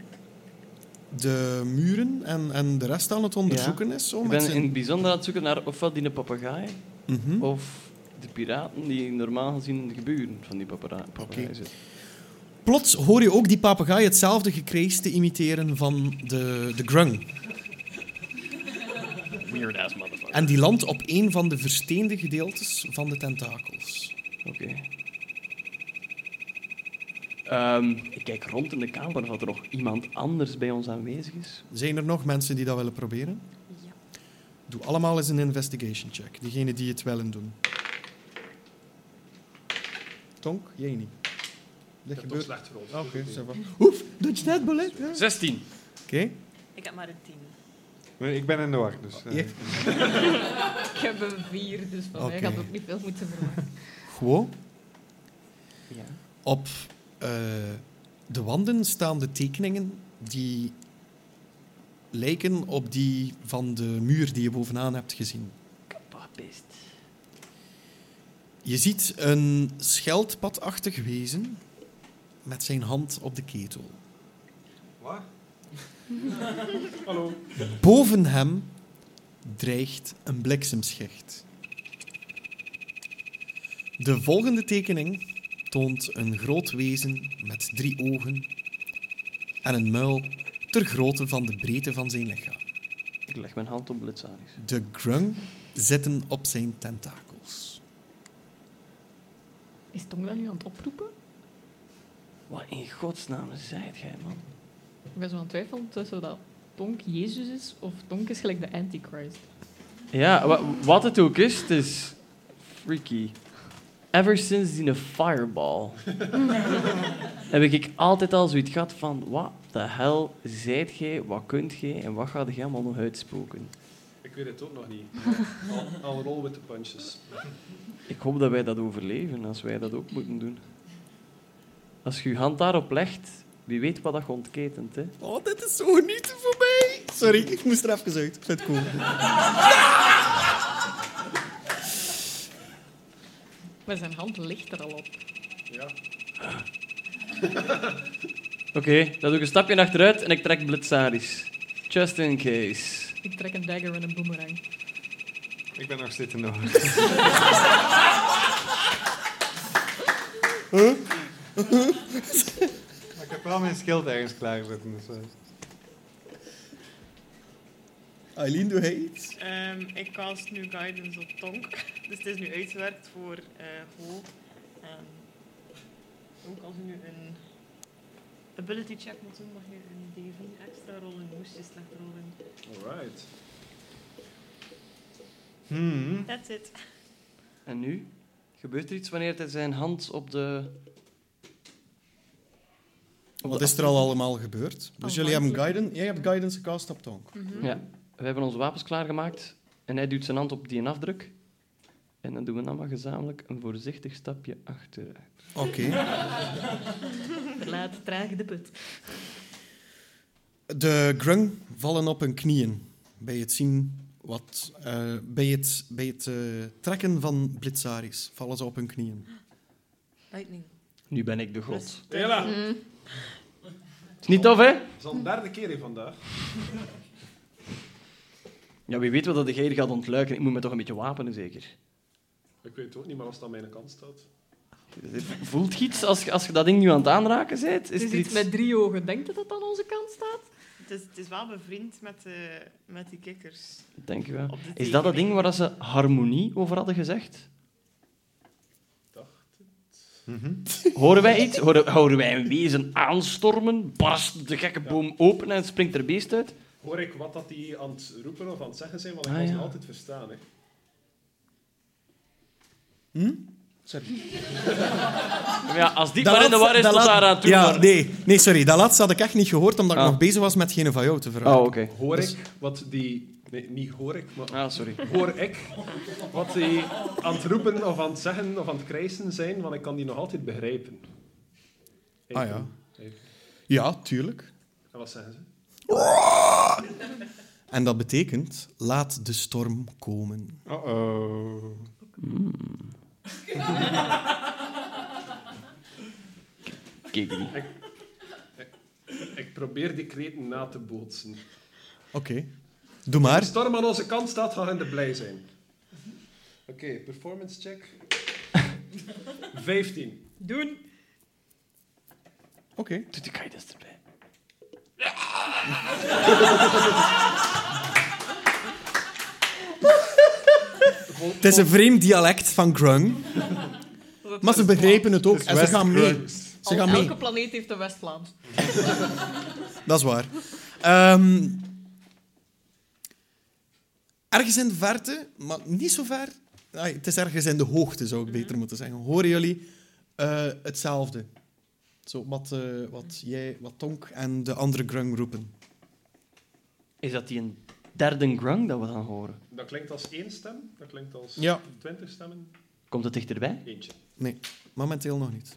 de muren en, en de rest aan het onderzoeken is. Zo, Ik met ben Oh. zijn... in het bijzonder aan het zoeken naar ofwel die papegaai Mhm. of de piraten die normaal gezien in de geburen van die papera- papegaai Oké. zitten. Plots hoor je ook die papegaai hetzelfde gekrees te imiteren van de, de grung. Weird ass motherfucker. En die landt op een van de versteende gedeeltes van de tentakels. Oké. Ehm, ik kijk rond in de kamer of er nog iemand anders bij ons aanwezig is. Zijn er nog mensen die dat willen proberen? Ja. Doe allemaal eens een investigation check. Diegenen die het willen doen. Tonk, jij niet. Ik Dat heb toch gebeurt. slecht gerold. Ah, Oké, ça va. Oef, doet je net bullet? Ja. 16. Oké. Ik heb maar een tien. Nee, Ik ben in de war, dus... eh, Je- Ik heb een vier, dus van mij Oké. gaat ook niet veel moeten verwachten. Gewoon. Ja. Op eh, de wanden staan de tekeningen die lijken op die van de muur die je bovenaan hebt gezien. Papist. Je ziet een scheldpadachtig wezen met zijn hand op de ketel. Waar? Hallo. Boven hem dreigt een bliksemschicht. De volgende tekening toont een groot wezen met drie ogen en een muil ter grootte van de breedte van zijn lichaam. Ik leg mijn hand op Blitzaris. De grung zitten op zijn tentakels. Is Tong dat nu aan het oproepen? Wat in godsnaam zijt jij, man? Ik ben zo aan het twijfelen tussen dat Tonk Jezus is of Tonk is gelijk de Antichrist. Ja, wa- wat het ook is, het is freaky. Ever sinds die fireball heb ik altijd al zoiets gehad van... Wat de hel zijt jij, wat kunt jij en wat gaat jij allemaal nog uitspoken? Ik weet het ook nog niet. Al, al roll with the punches. Ik hoop dat wij dat overleven als wij dat ook moeten doen. Als je je hand daarop legt, wie weet wat dat je ontketent. Hè? Oh, dit is zo niet voor mij. Sorry, ik moest er even uit. Ik vind het cool. Maar zijn hand ligt er al op. Ja. Oké, dan doe ik een stapje achteruit en ik trek blitzaris. Just in case. Ik trek een dagger en een boomerang. Ik ben nog zitten nog. Maar ik heb wel mijn schild ergens klaarzetten. Dus, eh. Eileen, doe hij iets? Ehm, ik cast nu Guidance op Tonk. Dus het is nu uitgewerkt voor eh Ho. En ook als je nu een ability check moet doen, mag je een D4 extra rollen, moest je slecht rollen. Alright. Hmm. That's it. En nu? Gebeurt er iets wanneer hij zijn hand op de... op Wat de is er al allemaal gebeurd? Dus jullie hebben Aanvankelijk. guidance. Jij hebt guidance gecast op Tonk. Ja, we hebben onze wapens klaargemaakt en hij duwt zijn hand op die afdruk. En dan doen we allemaal gezamenlijk een voorzichtig stapje achteruit. Oké. Verlaat traag de put. De grung vallen op hun knieën bij het zien wat eh, bij het, bij het eh, trekken van blitzaris vallen ze op hun knieën. Lightning. Nu ben ik de god. Hela, Mhm. Het is niet tof, hè? het is al de derde keer hier vandaag. Ja, wie weet wat dat de geer gaat ontluiken. Ik moet me toch een beetje wapenen, zeker? Ik weet ook niet meer of het aan mijn kant staat. Voelt je iets als je, als je dat ding nu aan het aanraken bent? Het Is is er iets iets... met drie ogen. Denkt je dat dat aan onze kant staat? Het is, het is wel bevriend met, de, met die kikkers. Dank je wel. Op de Is dat dat tekening. ding waar dat ze harmonie over hadden gezegd? Horen wij iets? Horen, horen wij een wezen aanstormen? Barst de gekke boom open en springt er beest uit? Hoor ik wat dat die aan het roepen of aan het zeggen zijn, want ik Ah, kan ze ja. altijd verstaan. Hè. Sorry. Maar Ja, als die maar in de war is, tot daar aan toe. Ja, maar- nee. nee, sorry. Dat laatste had ik echt niet gehoord, omdat Ah. ik nog bezig was met geen van jou te vragen. Oh, oké. Hoor ik wat die... Nee, niet hoor ik, maar Ah, sorry. hoor ik wat die aan het roepen of aan het zeggen of aan het krijsen zijn, want ik kan die nog altijd begrijpen. Ah, ja. Ja, tuurlijk. En wat zeggen ze? En dat betekent, laat de storm komen. Uh-oh. Kijk die. Ik probeer die kreten na te bootsen. Oké. Doe Als maar. de storm aan onze kant staat, gaan we er blij zijn. Oké, performance check. 15. Doen. Oké. Doet de guidance erbij. Het is een vreemd dialect van grung. Maar ze begrijpen het ook en ze gaan mee. Ze gaan mee. Elke planeet heeft een West-Vlaams. Dat is waar. Ehm, ergens in de verte, maar niet zo ver. Ai, het is ergens in de hoogte, zou ik beter moeten zeggen. Horen jullie eh, hetzelfde? Zo, wat, eh, wat jij, wat Tonk en de andere grung roepen. Is dat die een derde grung dat we gaan horen? Dat klinkt als één stem, dat klinkt als Ja. 20 stemmen. Komt het dichterbij? Eentje. Nee, momenteel nog niet.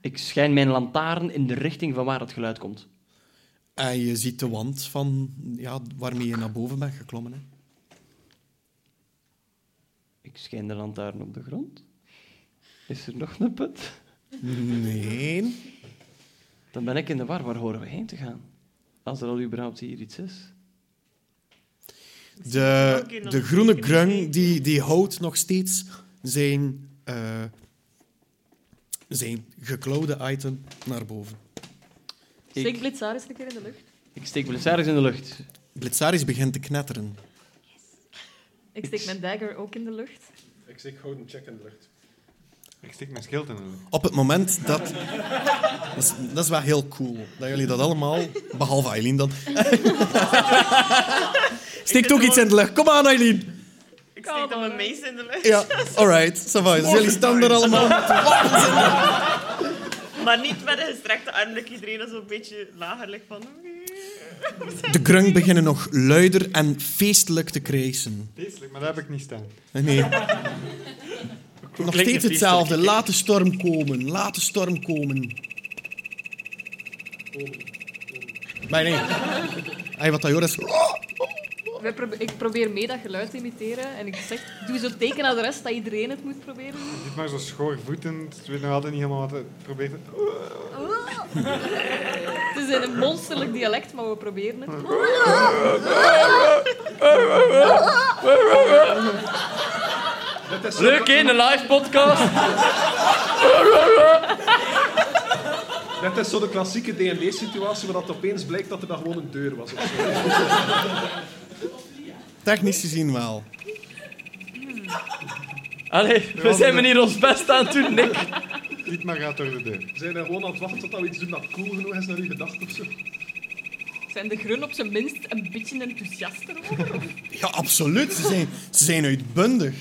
Ik schijn mijn lantaarn in de richting van waar het geluid komt. En je ziet de wand van, ja, waarmee je naar boven bent geklommen. Hè. Ik schijn de lantaarn op de grond. Is er nog een put? Nee. Dan ben ik in de war. Waar horen we heen te gaan? Als er al überhaupt hier iets is. De, de groene grung die, die houdt nog steeds zijn, eh, zijn geklauwde item naar boven. Steek Blitzaris een keer in de lucht. Ik steek Blitzaris in de lucht. Blitzaris begint te knetteren. Ik steek mijn dagger ook in de lucht. Ik zeg gouden check in de lucht. Ik steek mijn schild in de lucht. Op het moment dat... Dat is, dat is wel heel cool, dat jullie dat allemaal... Behalve Eileen dan. Steekt ook iets in de lucht. Kom aan, Eileen. Ik Ik steek dan mijn mees in de lucht. Ja, alright, ça va. Dus jullie staan er allemaal. Maar niet met een gestrekte arm, dat iedereen dan zo'n beetje lager ligt van... De grung beginnen nog luider en feestelijk te krijsen. Feestelijk, maar dat heb ik niet staan. Nee. Nog het steeds feestelijk? hetzelfde. Laat de storm komen. Laat de storm komen. Maar nee. Hij wat dat Joris... Wij probe- ik probeer mee dat geluid te imiteren en ik zeg, doe zo'n teken aan de rest dat iedereen het moet proberen. Je ziet maar zo schoorvoetend. Ik weet nog altijd niet helemaal wat het probeert. te- Oh, Het is in een monsterlijk dialect, maar we proberen het. Dit is zo- Leuk in een live podcast. Dit is zo de klassieke D&D-situatie, waar dat opeens blijkt dat er dan gewoon een deur was. Of zo. Technisch gezien wel. Allee, we zijn meneer ons best aan het doen, Nick. Dietmar gaat door de deur. We zijn er gewoon aan het wachten tot we iets doen dat cool genoeg is naar uw gedachten of zo. Zijn de grun op zijn minst een beetje enthousiaster over? Ja, absoluut. Ze zijn, ze zijn uitbundig.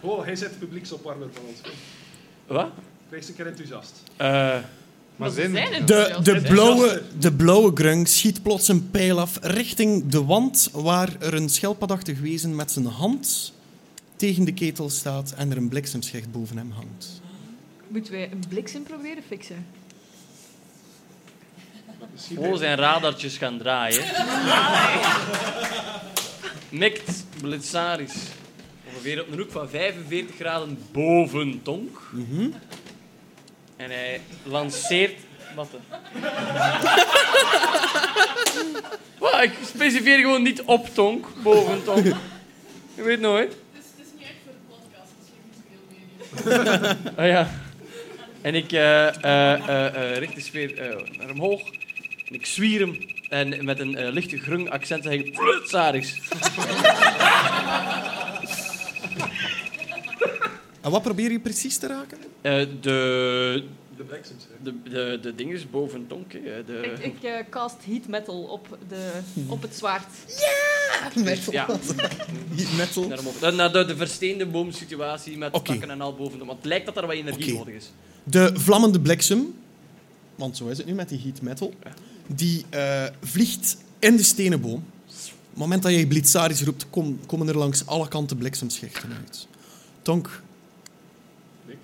Oh, hij zet publieksopwarmer van ons. Wat? Wees een keer enthousiast. Eh, Maar ze zin. zijn De, enthousiast. de, blauwe, de blauwe grung schiet plots een pijl af richting de wand waar er een schelpadachtig wezen met zijn hand tegen de ketel staat en er een bliksemschicht boven hem hangt. Moeten wij een bliksem proberen fixen? Misschien oh, zijn radartjes gaan draaien. Nikt Blitzaris. Ongeveer op een hoek van 45 graden boven Tonk. En hij lanceert... Wat dan? Wat, ik specifieer gewoon niet op Tonk, boven Tonk. Je weet nooit. Oh ja. En ik eh, eh, eh, eh, richt de speer eh, naar hem omhoog. En ik zwier hem. En met een eh, lichte grung accent zeg ik... Plutsaris. En wat probeer je precies te raken? Eh, de, de bliksems. hè. de, de, de ding is boven Tonk. hè. Ik, De, ik eh, cast heat metal op, de, op het zwaard. Metal. ja, Metal. naar, hem op- naar de, de versteende boomsituatie met Oké. takken en al boven de... Want het lijkt dat er wat energie Oké. nodig is. De vlammende bliksem, want zo is het nu met die heat metal, die eh, vliegt in de stenenboom. Op het moment dat je Blitzaris roept, kom- komen er langs alle kanten bliksemschichten uit. Tonk. Nick?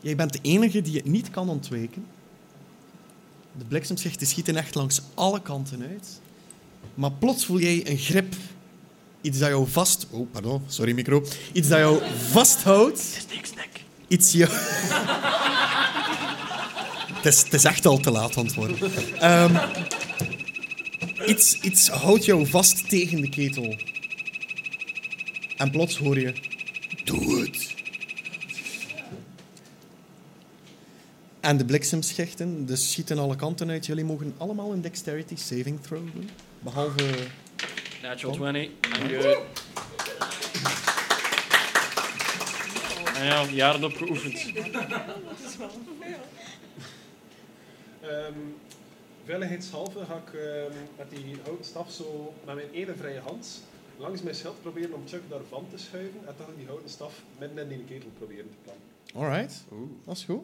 Jij bent de enige die het niet kan ontwijken. De bliksemschichten schieten echt langs alle kanten uit. Maar plots voel jij een grip. Iets dat jou vast... Oh, pardon. Sorry, micro. Iets dat jou vasthoudt Het is niks, Nick. iets je... het, is, het is echt al te laat antwoorden. Ehm iets, iets houdt jou vast tegen de ketel. En plots hoor je... Doe het. En de bliksemschichten, dus schieten alle kanten uit. Jullie mogen allemaal een dexterity saving throw doen. Behalve... Natural 20. Dank je. En Ah ja, jaren op geoefend. Ehm, veiligheidshalve ga ik ehm, met die houten staf zo met mijn ene vrije hand langs mijn schild proberen om Chuck daarvan te schuiven en dan die houten staf midden in die ketel proberen te plannen. Alright, dat is goed.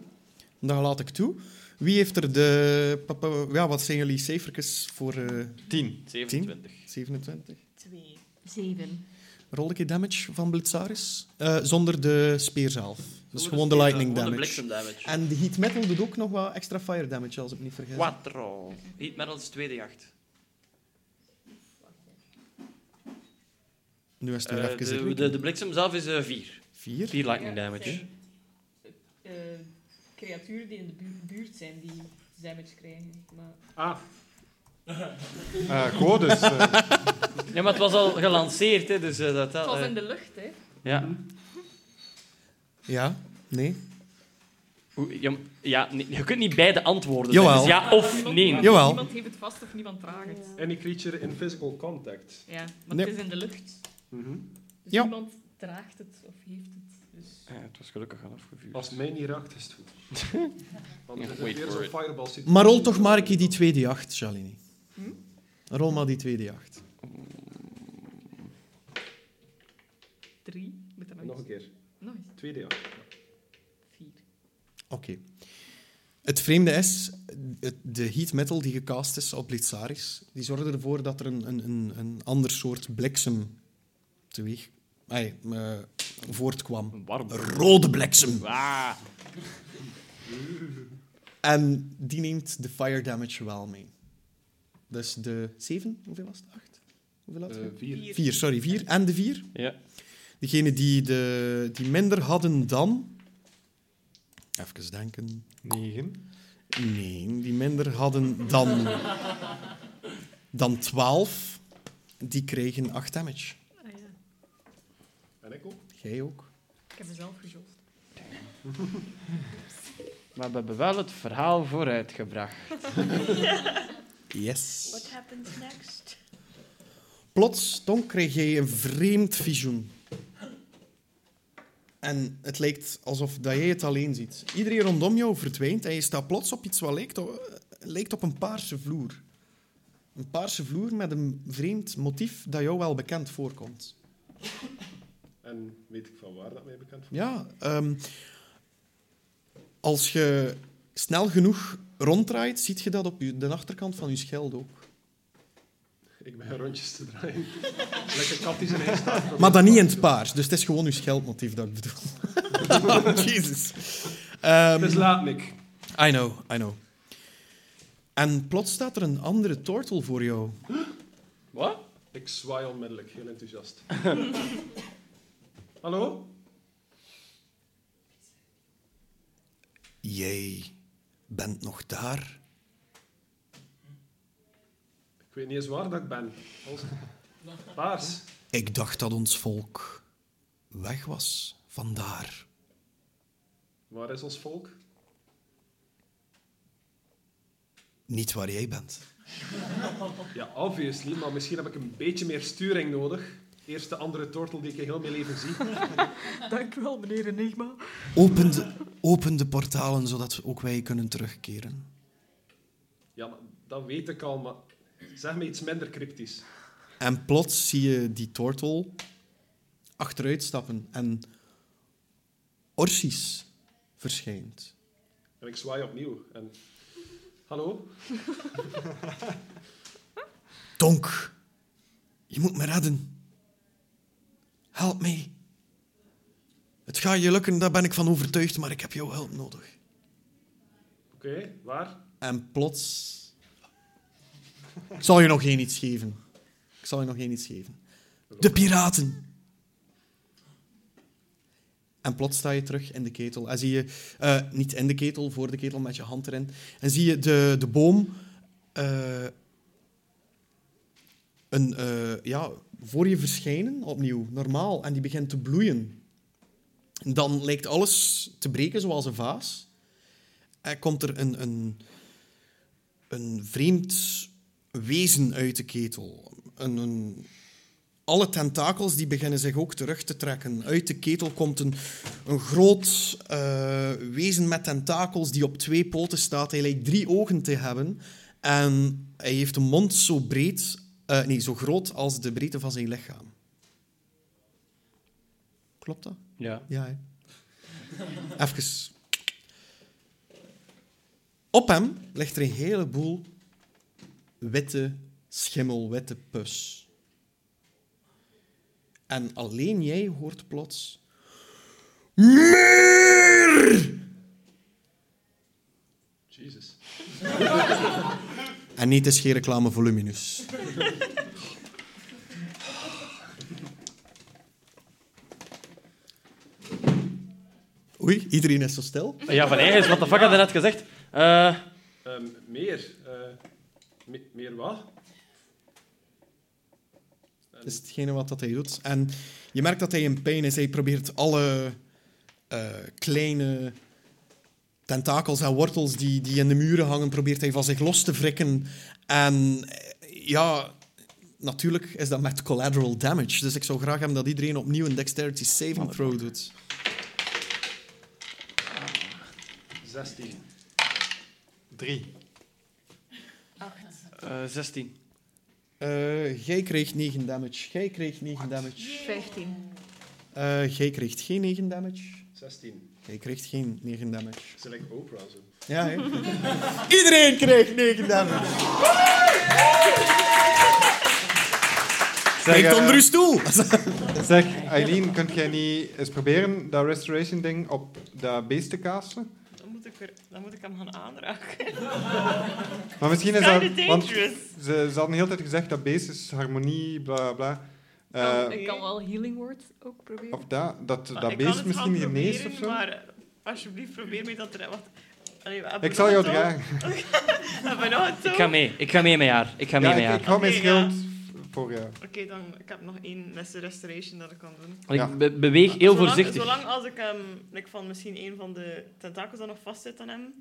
Dan laat ik toe. Wie heeft er de... papa- Ja, wat zijn jullie cijfertjes voor... eh, 10. 27. 27. Twee. Zeven. Roll ik je damage van Blitzaris? Eh, zonder de speer zelf. Dus Zonder gewoon de speer, lightning gewoon damage. De bliksem damage. En de heat metal doet ook nog wel extra fire damage, als ik me niet vergis. Quattro. Heat metal is tweede jacht. Nu is het weer Eh, even de, rekenen. de, de bliksem zelf is eh, vier. Vier? Vier lightning Ja, damage. zijn, eh, creaturen die in de bu- buurt zijn die damage krijgen. Maar Ah, Eh codes. eh. Ja, maar het was al gelanceerd, hè, dus eh, dat... Het dat was eh, in de lucht, hè. ja. Ja? Nee? Oeh, ja, m- ja, nee, je kunt niet beide antwoorden Jawel. zeggen. Dus ja of Niemand- nee. Ja. Jawel. Niemand heeft het vast of niemand draagt het. any creature in physical contact. Ja, maar Nee. het is in de lucht. Mhm. dus Ja. niemand draagt het of heeft het. Dus Ja, Eh, het was gelukkig al afgevuurd. Als mij niet raakt, is het goed. Want Ja, het wait is weer for zo'n it. fireball situatie. Hm? Maar rol toch maar een keer die tweede jacht, Shalini. Rol maar die tweede jacht. Oh, nog een keer. Nog eens. Tweede, ja. Vier. Oké. Het vreemde is, het- de heat metal die gecast is op Litsaris, die zorgde ervoor dat er een, een, een, een ander soort bliksem teweeg ai, eh, voortkwam. Een warm. Een rode bliksem. Ah. En die neemt de fire damage wel mee. Dus de 7, hoeveel was het? 8? Hoeveel had je? Eh, vier. Vier. 4, sorry, 4 en de 4. Ja. Degene die, de, die minder hadden dan. Even denken. Negen. Nee, die minder hadden dan. dan 12. Die kregen 8 damage. Ah, ja. En ik ook. Jij ook. Ik heb mezelf gezocht. Maar we hebben wel het verhaal vooruitgebracht. Yes. What happens next? Plots, Tom, kreeg jij een vreemd visioen. En het lijkt alsof dat jij het alleen ziet. Iedereen rondom jou verdwijnt en je staat plots op iets wat lijkt op, lijkt op een paarse vloer. Een paarse vloer met een vreemd motief dat jou wel bekend voorkomt. En weet ik van waar dat mij bekend voor Ja, ehm, als je snel genoeg ronddraait, ziet je dat op je- de achterkant van je scheld ook. Ik ben rondjes te draaien. Lekker kat die zijn eigen staat. Maar dan niet in het paars, dus het is gewoon uw scheldmotief dat ik bedoel. Jezus. Ehm, Het is laat, Nick. I know, I know. En plots staat er een andere tortel voor jou. Wat? Ik zwaai onmiddellijk, heel enthousiast. Hallo? Jij bent nog daar? Ik weet niet eens waar dat ik ben. Als- Paars. Ik dacht dat ons volk weg was vandaar. Waar is ons volk? Niet waar jij bent. Ja, obviously, maar misschien heb ik een beetje meer sturing nodig. Eerst de andere tortel die ik in heel mijn leven zie. Dank u wel, meneer Enigma. Open de, open de portalen, zodat ook wij kunnen terugkeren. Ja, maar dat weet ik al, maar zeg me iets minder cryptisch. En plots zie je die tortel achteruit stappen en Orsis verschijnt. En ik zwaai opnieuw. En... Hallo? Tonk, je moet me redden. Help mij. Het gaat je lukken, daar ben ik van overtuigd, maar ik heb jouw hulp nodig. Oké, waar? En plots... Ik zal je nog geen iets geven. Ik zal je nog geen iets geven. De piraten. En plots sta je terug in de ketel. En zie je... eh, niet in de ketel, voor de ketel, met je hand erin. En zie je de, de boom... eh, een, eh, ja, voor je verschijnen, opnieuw, normaal. En die begint te bloeien. Dan lijkt alles te breken, zoals een vaas. En komt er een, een, een vreemd wezen uit de ketel. Een, een, alle tentakels die beginnen zich ook terug te trekken. Uit de ketel komt een, een groot eh, wezen met tentakels die op twee poten staat. Hij lijkt drie ogen te hebben. En hij heeft een mond zo breed, eh, nee, zo groot als de breedte van zijn lichaam. Klopt dat? Ja. Ja, hè. Even. Op hem ligt er een heleboel witte schimmel, witte pus. En alleen jij hoort plots... Meer! Jezus. En niet is geen reclame voor Luminus. Oei, iedereen is zo stil. Ja, van eigen is, wat de fuck had je net gezegd? Eh, Ehm, meer. eh, me- meer wat? En- Dat is hetgene wat dat hij doet. En je merkt dat hij in pijn is. Hij probeert alle eh, kleine tentakels en wortels die, die in de muren hangen, probeert hij van zich los te wrikken. En eh, ja, natuurlijk is dat met collateral damage. Dus ik zou graag hebben dat iedereen opnieuw een dexterity saving throw doet. 16. Drie. eh, 16. Eh, jij kreeg 9 damage. Jij kreeg 9 damage. Vijftien. Eh jij krijgt geen 9 damage. 16. Jij krijgt geen 9 damage. Ze lijkt Oprah zo. Ja, hè? Iedereen krijgt 9 damage. Zeg, Kijk eh, onder uw stoel. Zeg, Eileen, kunt jij niet eens proberen dat restoration ding op dat beest te casten? Dan moet ik, er, dan moet ik hem gaan aanraken. Maar misschien is dat... Kind of Want dangerous. ze, ze hadden de hele tijd gezegd dat beest is harmonie, bla bla bla. Eh, ik kan wel healing word ook proberen. of dat, dat, Nou, Maar dat ik kan beest het wel misschien geneest of proberen, zo. Maar eh, alsjeblieft, probeer mij dat te redden. want- Allee, we hebben Ik zal jou nog een dragen. touw. We hebben nog een Ik touw. ga mee. Ik ga mee met haar. Ik ga mee Ja, met ik, haar. ik hou mijn Oké, schild voor jou. Oké, dan ik heb nog één met de restoration dat ik kan doen. Want Ja. ik be- beweeg heel zolang, voorzichtig. Zolang als ik hem like, van misschien een van de tentakels dat nog vastzit aan hem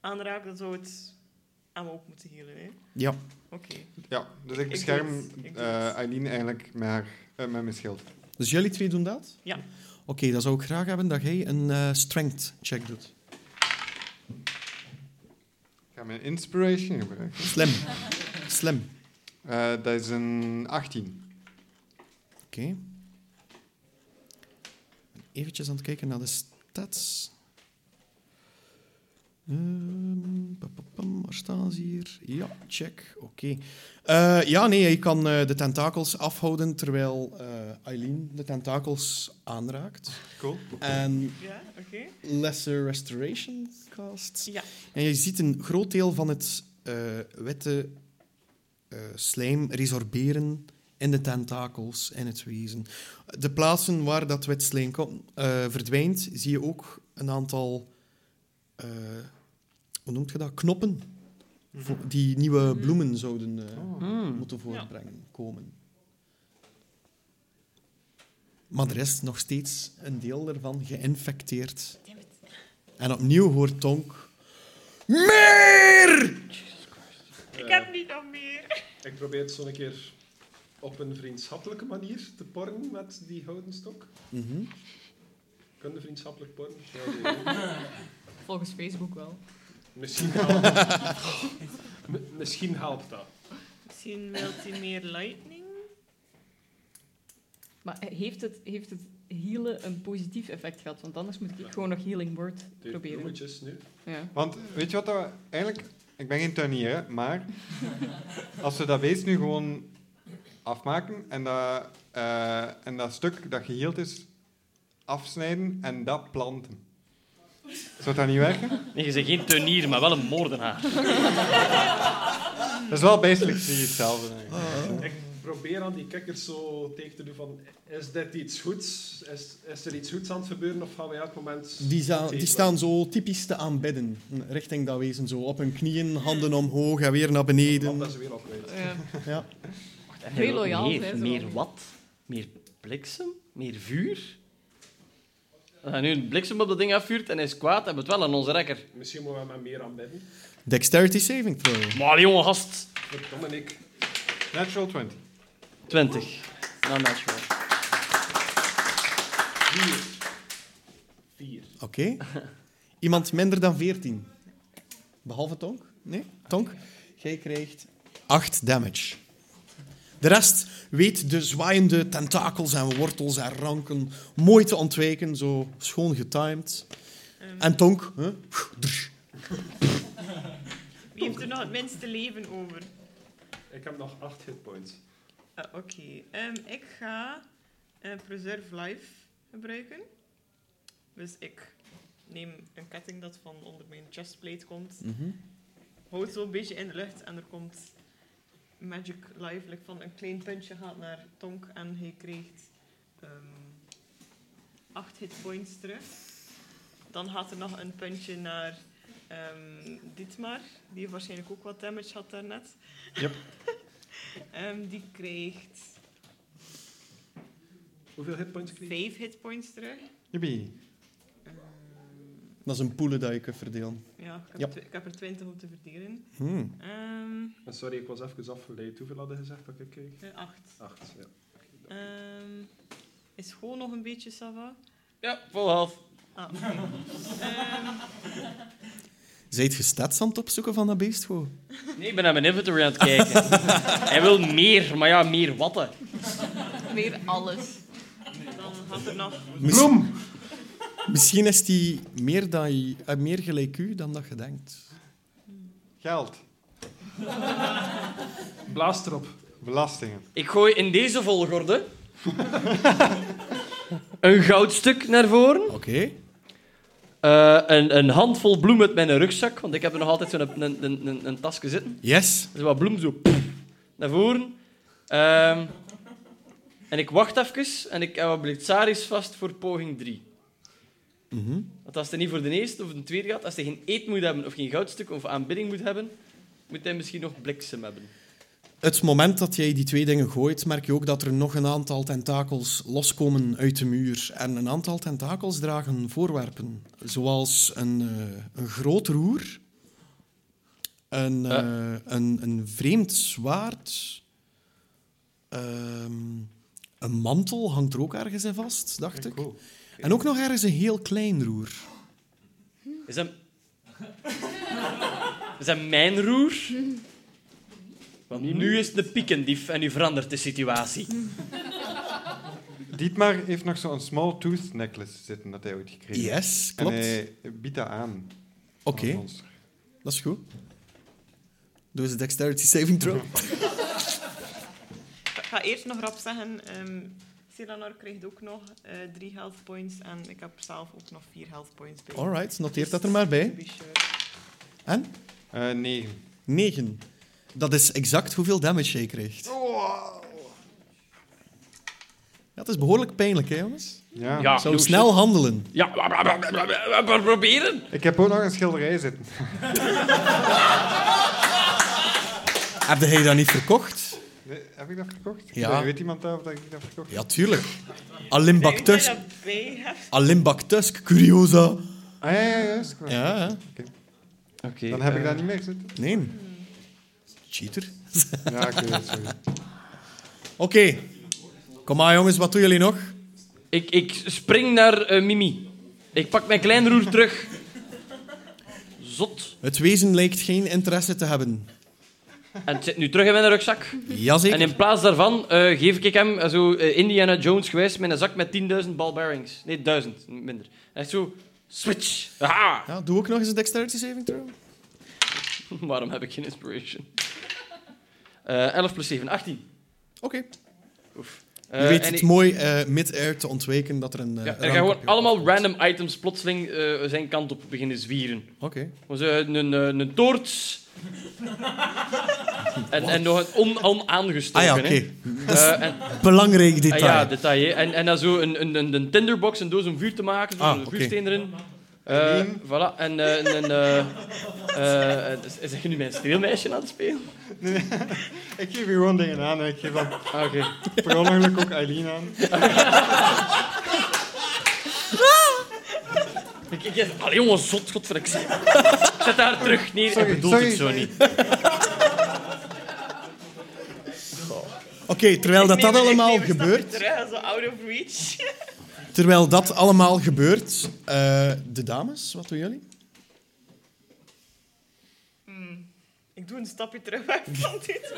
aanraak, dan zou het hem ook moeten healen. Hè? Ja. Oké. Ja, dus ik doe bescherm het. Ik doe het. eh, Eileen eigenlijk met, haar, eh, met mijn schild. Dus jullie twee doen dat? Ja. Oké, dan zou ik graag hebben dat jij een eh, strength check doet. Ik ga mijn inspiration gebruiken. Slim. Slim. Eh, dat is een 18. Oké. Even aan het kijken naar de stats. Ehm, pa, pa, pam, waar staan ze hier? Ja, check. Oké. Eh, ja, nee, je kan eh, de tentakels afhouden terwijl eh, Eileen de tentakels aanraakt. Cool. En Ja, oké. Lesser Restoration casts. Ja. En je ziet een groot deel van het eh, witte eh, slijm resorberen in de tentakels en het wezen. De plaatsen waar dat wit slijm komt, eh, verdwijnt, zie je ook een aantal... eh, hoe noemt je dat? Knoppen. Vo- Die nieuwe bloemen zouden eh, moeten voortbrengen, komen. Maar er is nog steeds een deel daarvan geïnfecteerd. En opnieuw hoort Tonk... Meer! Ik Eh. heb niet nog meer. Eh, Ik probeer het zo een keer op een vriendschappelijke manier te porren met die houten stok. Mhm. Kunnen vriendschappelijk porren? Ja, nee, nee. Volgens Facebook wel. misschien, helpt M- misschien helpt dat. Misschien wilt hij meer lightning? Maar heeft het, heeft het healen een positief effect gehad? Want anders moet ik gewoon nog healing word De proberen. bloemetjes nu. Ja. Want weet je wat dat we- eigenlijk... Ik ben geen tuinier, hè, maar als we dat beest nu gewoon afmaken en dat, eh, en dat stuk dat geheeld is afsnijden en dat planten. Zou dat niet werken? Nee, je bent geen tuinier, maar wel een moordenaar. Dat is wel basically hetzelfde. Eigenlijk. Ik probeer aan die kikkers zo tegen te doen van, is dit iets goeds? Is, is er iets goeds aan het gebeuren of gaan we elk moment... Die, za- tegen- die staan zo typisch te aanbidden, richting dat wezen. Zo op hun knieën, handen omhoog en weer naar beneden. Of dat ze weer opruimen. Ja. Ja. En Heel hij wil loyaal Meer, zijn ze meer wel. wat? Meer bliksem? Meer vuur? Als hij nu een bliksem op dat ding afvuurt en hij is kwaad, hebben we het wel aan onze rekker. Misschien moeten we hem meer aanbidden. Dexterity saving throw. Maar jongen, gast. Verdomme ik. Natural 20. 20. Nou, dat is wel. Vier. Vier. Oké. Iemand minder dan 14. Behalve Tonk? Nee? Tonk? Jij krijgt 8 damage. De rest weet de zwaaiende tentakels en wortels en ranken mooi te ontwijken, zo schoon getimed. En Tonk, hè? Wie heeft er nog het minste leven over? Ik heb nog acht hitpoints. Ah, Oké. Ehm, ik ga eh, Preserve Life gebruiken. Dus ik neem een ketting dat van onder mijn chestplate komt. Houd zo een beetje in de lucht en er komt Magic Life like, van een klein puntje gaat naar Tonk en hij krijgt ehm acht hitpoints terug. Dan gaat er nog een puntje naar ehm Dietmar, die waarschijnlijk ook wat damage had daarnet. Ehm, die krijgt Hoeveel hitpoints kreeg ik? vijf hitpoints terug. Jippie. Ehm, Dat is een poelen dat je kunt verdelen. ja, ik heb, Ja. tw- ik heb er twintig om te verdelen. Hmm. Ehm, Eh, Sorry, ik was even afgeleid. Hoeveel hadden gezegd dat ik kreeg? eh, acht. Acht, ja. Ehm, is gewoon nog een beetje Sava. Ja, vol half. Ah, oké. Ehm, Zijt je stats aan het opzoeken van dat beest? gewoon? Nee, ik ben naar mijn inventory aan het kijken. hij wil meer, maar ja, meer watten. Meer alles. dan was er nog? Miss- Misschien is die meer, dan, je- eh, meer gelijk u dan dat je denkt. Geld. Blaas erop. Belastingen. Ik gooi in deze volgorde een goudstuk naar voren. Oké. Eh, een, een handvol bloem uit mijn rugzak, want ik heb er nog altijd zo'n een, een, een, een, een tasje zitten. Yes. Dus wat bloem zo poef, naar voren. Ehm, en ik wacht even en ik hou wat blitzaris vast voor poging 3. Mhm. Want als hij niet voor de eerste of de tweede gaat, als hij geen eet moet hebben of geen goudstuk of aanbidding moet hebben, moet hij misschien nog bliksem hebben. Het moment dat jij die twee dingen gooit, merk je ook dat er nog een aantal tentakels loskomen uit de muur. En een aantal tentakels dragen voorwerpen. Zoals een, eh, een groot roer, een, eh, een, een vreemd zwaard, ehm, een mantel hangt er ook ergens in vast, dacht ik. Cool. En ook nog ergens een heel klein roer. Is dat... Is dat mijn roer? Want nu is het de piekendief en nu verandert de situatie. Dietmar heeft nog zo'n small tooth necklace zitten dat hij ooit gekregen heeft. Yes, klopt. En hij Oh, biedt dat aan. Oké, aan ons. dat is goed. Doe eens een dexterity saving throw. Ik ga eerst nog rap zeggen, ehm Selanor krijgt ook nog eh, drie health points en ik heb zelf ook nog vier health points bij. Dus Alright, noteer dat er maar bij. To be sure. En? Eh, negen. 9. Dat is exact hoeveel damage jij krijgt. Ja, het is behoorlijk pijnlijk, hè, jongens? Ja. Ah, Ja, Zo doe snel handelen. Ja, we proberen. Ik heb ook nog een schilderij zitten. Heb jij dat niet verkocht? Nee, Heb ik dat verkocht? Ja. Weet iemand daar of dat ik dat verkocht heb? Ja, tuurlijk. Alimbac Ik denk Tusk. dat ik dat bij heb. Alimbac Tusk, Curiosa. Ah, ja, ja, juist. Ja, ja. Oké. Dan heb ik eh, dat niet meer zitten. nee. Cheater. Ja, oké, sorry. Oké. Kom maar, jongens, wat doen jullie nog? Ik, ik spring naar eh, Mimi. Ik pak mijn klein roer terug. Zot. Het wezen lijkt geen interesse te hebben. En het zit nu terug in mijn rugzak. En Jazeker. in plaats daarvan eh, geef ik hem eh, zo eh, Indiana Jones geweest met een zak met 10.000 ball bearings. Nee, 1000, minder. En echt zo, switch. Aha. Ja, doe ook nog eens een dexterity saving throw. Waarom heb ik geen inspiration? Eh 11 plus 7, 18. Oké. Oef. Je Eh, weet en het ik- mooi eh, mid-air te ontweken dat er een... eh, ja, er rank gaan op gewoon je allemaal afkomt. random items plotseling eh, zijn kant op beginnen zwieren. Oké. Was eh, een, een, een toorts. en, en nog een on, Ah onaangestoken. ja, oké. hè. Dat is Eh, en, belangrijk ah detail. ja, detail. hè. En, en dan zo een, een, een, een tinderbox, een doos om vuur te maken, zo Ah, een oké. vuursteen erin. Eh, Eén. voilà, en eh, een... een eh, eh, is- zeg je nu mijn streelmeisje aan het spelen? Ik geef je gewoon dingen aan. hè. Ik geef dat Ah, Oké. per ongeluk ook Eileen aan. Ik, ik, allee, jongen, zot, godverdomme. Ik zet haar terug neer. Sorry, ik bedoel sorry, het zo sorry. niet. Oké, terwijl dat, Ik neem dat een- ik allemaal neem een stapje gebeurt, terug, zo out of reach. terwijl dat allemaal gebeurt, eh, de dames, wat doen jullie? Ik doe een stapje terug weg van dit.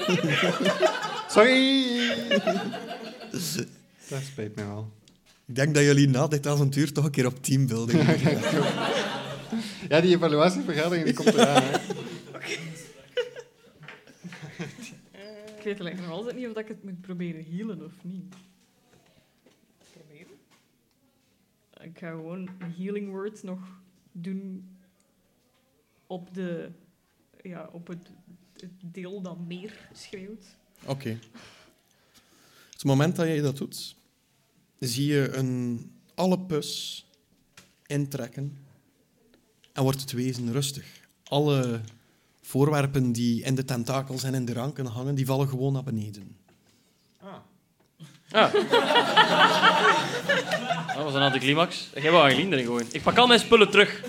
Sorry! Dat spijt me wel. Ik denk dat jullie na dit avontuur toch een keer op teambuilding gaan. Ja, die evaluatievergadering die komt eraan. Hè. Ik weet eigenlijk nog altijd niet of ik het moet proberen healen of niet. Proberen? Ik ga gewoon een healing word nog doen op, de, ja, op het, het deel dat meer schreeuwt. Oké. Het moment dat jij dat doet, zie je een alle pus intrekken en wordt het wezen rustig. Alle voorwerpen die in de tentakels en in de ranken hangen, die vallen gewoon naar beneden. Ah. Dat was een anticlimax. Jij wou Angelien erin gooien. Ik pak al mijn spullen terug.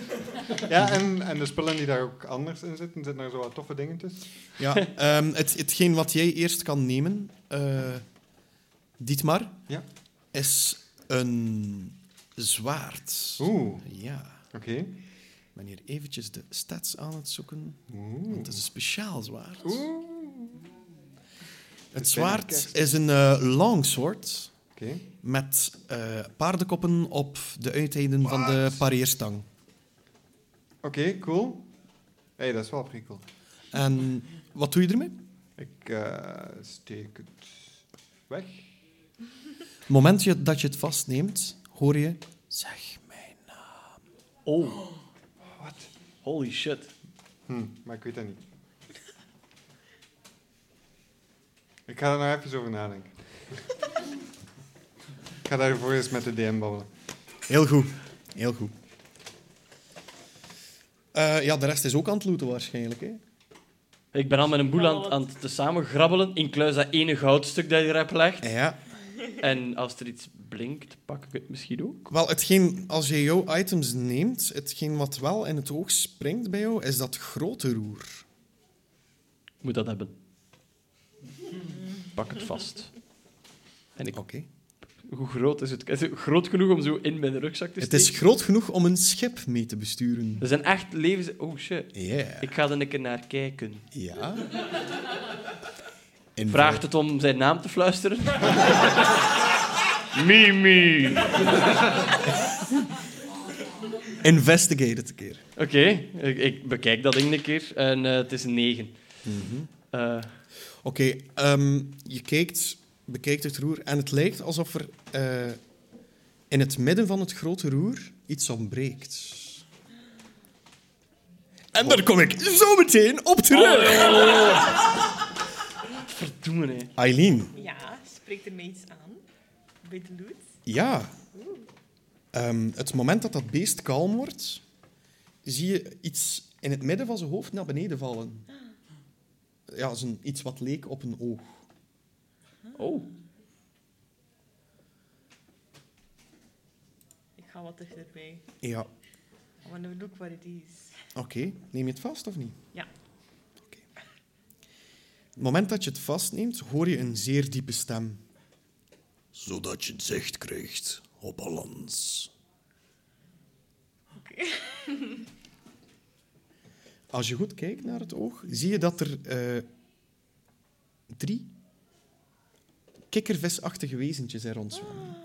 Ja, en, en de spullen die daar ook anders in zitten, zitten er zo wat toffe dingen tussen. Ja, ehm, het, hetgeen wat jij eerst kan nemen, eh Dietmar, Ja. is een zwaard. Oeh, Ja, oké. ik ben hier eventjes de stats aan het zoeken. Oeh. Want het is een speciaal zwaard. Oeh. Het is bijna zwaard kerst. is een eh longsword. Oké. Met eh, paardenkoppen op de uiteinden van de pareerstang. Oké, cool. Hé, hey, dat is wel pretty cool. En wat doe je ermee? Ik eh, steek het weg. Het moment je- dat je het vastneemt, hoor je... Zeg mij. Oh, Wat? holy shit. Hm, maar ik weet dat niet. Ik ga er nou even over nadenken. ik ga daarvoor eens met de DM babbelen. Heel goed. Heel goed. Eh, ja, de rest is ook aan het looten waarschijnlijk. Hè? Ik ben al met een boel aan, aan het samen grabbelen, incluis dat ene goudstuk dat je er hebt gelegd. Ja. En als er iets blinkt, pak ik het misschien ook. Wel, hetgeen, als je jouw items neemt, hetgeen wat wel in het oog springt bij jou, is dat grote roer. Ik moet dat hebben. Pak het vast. En ik, Oké. hoe groot is het? Is het groot genoeg om zo in mijn rugzak te Het steken? is groot genoeg om een schip mee te besturen. Er zijn echt levens... Oh, shit. Yeah. Ik ga er een keer naar kijken. Ja. In Vraagt het om zijn naam te fluisteren? Mimi. Oké, Investigate het een keer. ik, ik bekijk dat ding een keer en eh, het is een 9. Mhm. Eh, Oké, ehm, je kijkt, bekijkt het roer en het lijkt alsof er eh, in het midden van het grote roer iets ontbreekt. En daar kom ik zo meteen op terug. verdomme, hè. Eileen, Ja, spreekt er mij iets aan? Bij de loot? ja. Ehm, het moment dat dat beest kalm wordt, zie je iets in het midden van zijn hoofd naar beneden vallen. Ja, zo'n iets wat leek op een oog. Oh, Ik ga wat dichterbij. Ja, I want to look what it is. Oké, neem je het vast of niet? Ja. Oké. Het moment dat je het vastneemt, hoor je een zeer diepe stem. Zodat je het zicht krijgt op balans. Als je goed kijkt naar het oog, zie je dat er eh, drie kikkervisachtige wezentjes er rondzwemmen.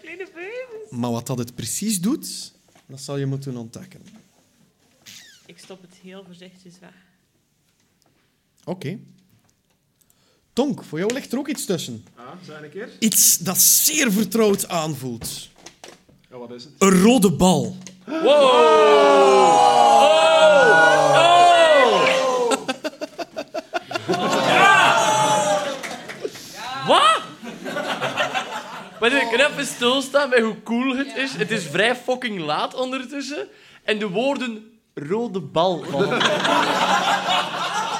Kleine baby. Maar wat dat het precies doet, dat zal je moeten ontdekken. Ik stop het heel voorzichtig weg. Oké. Tonk, voor jou ligt er ook iets tussen. Ah, zeg een keer. Iets dat zeer vertrouwd aanvoelt. Ja, wat is het? Een rode bal. Wat? Maar ik kan even stilstaan bij hoe cool het is. Het is vrij fucking laat ondertussen. En de woorden rode bal vallen.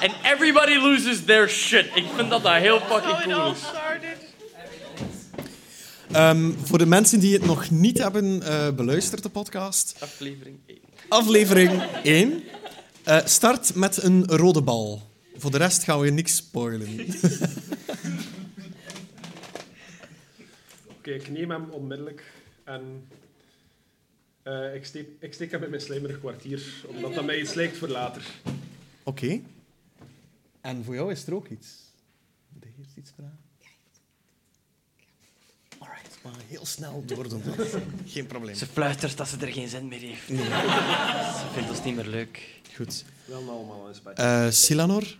En everybody loses their shit. Ik vind dat dat heel fucking How it cool all is. started. Ehm, voor de mensen die het nog niet hebben eh, beluisterd, de podcast. Aflevering 1. Aflevering 1. Eh, start met een rode bal. Voor de rest gaan we niks spoilen. Oké, ik neem hem onmiddellijk en eh, ik, steek, ik steek hem in mijn slijmerig kwartier, omdat dat mij iets lijkt voor later. Oké. En voor jou is er ook iets. Moet ik eerst iets vragen? Alright, maar heel snel door doen. Geen probleem. Ze fluistert dat ze er geen zin meer heeft. Ze vindt ons niet meer leuk. Goed. Wel nou allemaal eens bij. Eh, Silanor,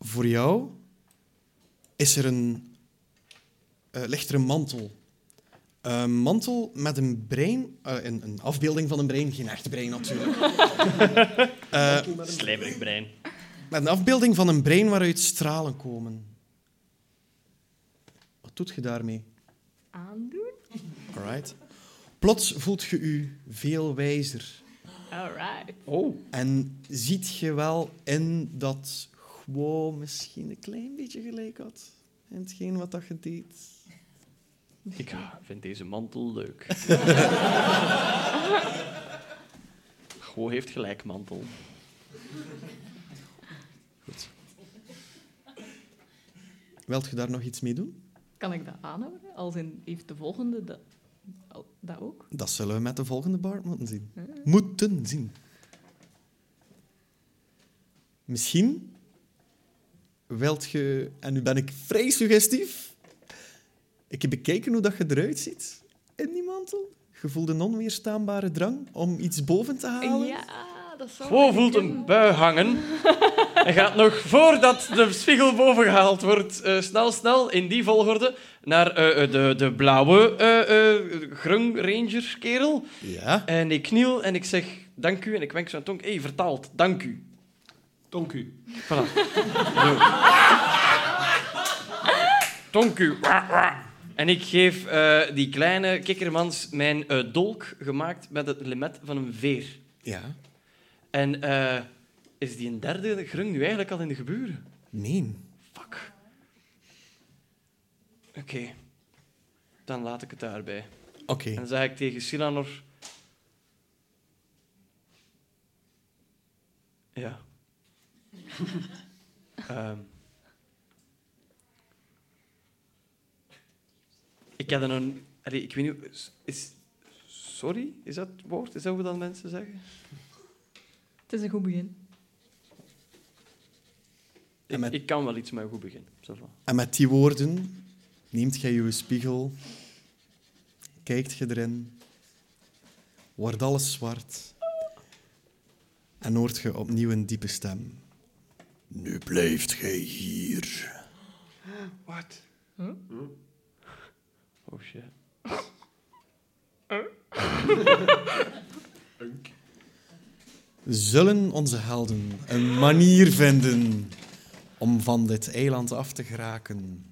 voor jou is er een, eh, ligt er een mantel. Een mantel met een brein, eh, een, een afbeelding van een brein, geen echt brein natuurlijk. Eh, Slijmerig brein. met een afbeelding van een brein waaruit stralen komen. Wat doet je daarmee? Aandoen? Alright. Plots voelt je u veel wijzer. Alright. Oh. En ziet je wel in dat Guo misschien een klein beetje gelijk had in hetgeen wat dat je deed? Ik ah, vind deze mantel leuk. Gewoon heeft gelijk mantel. Wilt je daar nog iets mee doen? Kan ik dat aanhouden? Als in, heeft de volgende dat, al- dat ook? Dat zullen we met de volgende Bart moeten zien. Moeten zien. Misschien wilt je... En nu ben ik vrij suggestief. Ik heb bekeken hoe dat je eruit ziet in die mantel. Je voelt een onweerstaanbare drang om iets boven te halen. Ja, dat zou Flo voelt een bui hangen en gaat nog voordat de spiegel bovengehaald wordt, eh, snel, snel, in die volgorde, naar eh, eh, de, de blauwe eh eh Grung Ranger kerel. Ja. En ik kniel en ik zeg dank u en ik wenk zijn tong. Hé, hey, vertaald, dank u. Tonk u. Voilà. Dank u. En ik geef eh, die kleine kikkermans mijn eh, dolk gemaakt met het lemet van een veer. Ja. En eh, is die een derde grung nu eigenlijk al in de geburen? Nee. Fuck. Oké. Dan laat ik het daarbij. Oké. En dan zeg ik tegen Silanor... Ja. Ehm. ik had een... Allee, ik weet niet... is- Is, sorry? Is dat het woord? Is dat hoe dat mensen zeggen? Het is een goed begin. En Ik, met- ik kan wel iets met goed beginnen. Zo van. En met die woorden neemt jij je spiegel, kijkt je erin, wordt alles zwart en hoort je opnieuw een diepe stem. Nu blijft gij hier. Wat? Oh shit. Zullen onze helden een manier vinden om van dit eiland af te geraken?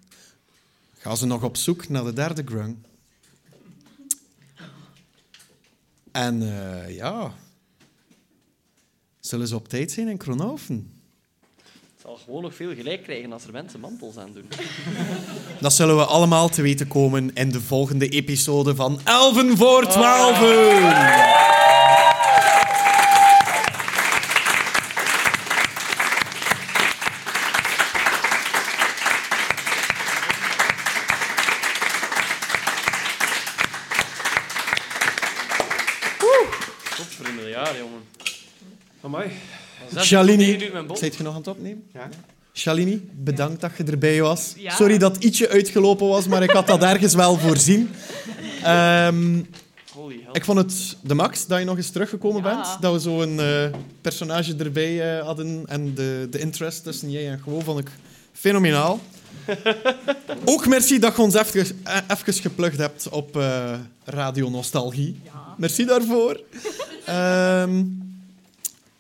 Gaan ze nog op zoek naar de derde grung? En eh, ja, zullen ze op tijd zijn in Kronoven? Het zal gewoon nog veel gelijk krijgen als er mensen mantels aan doen. Dat zullen we allemaal te weten komen in de volgende episode van Elven voor Twaalfen. Tot voor een miljard, jongen. Amai. Shalini, Mijn bol. zijt je nog aan het opnemen? Ja. Shalini, bedankt dat je erbij was. Ja. Sorry dat het ietsje uitgelopen was, maar ik had dat ergens wel voorzien. Ehm, Holy hell. ik vond het de max dat je nog eens teruggekomen Ja. bent. Dat we zo'n eh, personage erbij eh, hadden. En de, de interest tussen jij en gewoon vond ik fenomenaal. Ook merci dat je ons even, eh, even geplukt hebt op eh, Radio Nostalgie. Ja. Merci daarvoor. Ehm,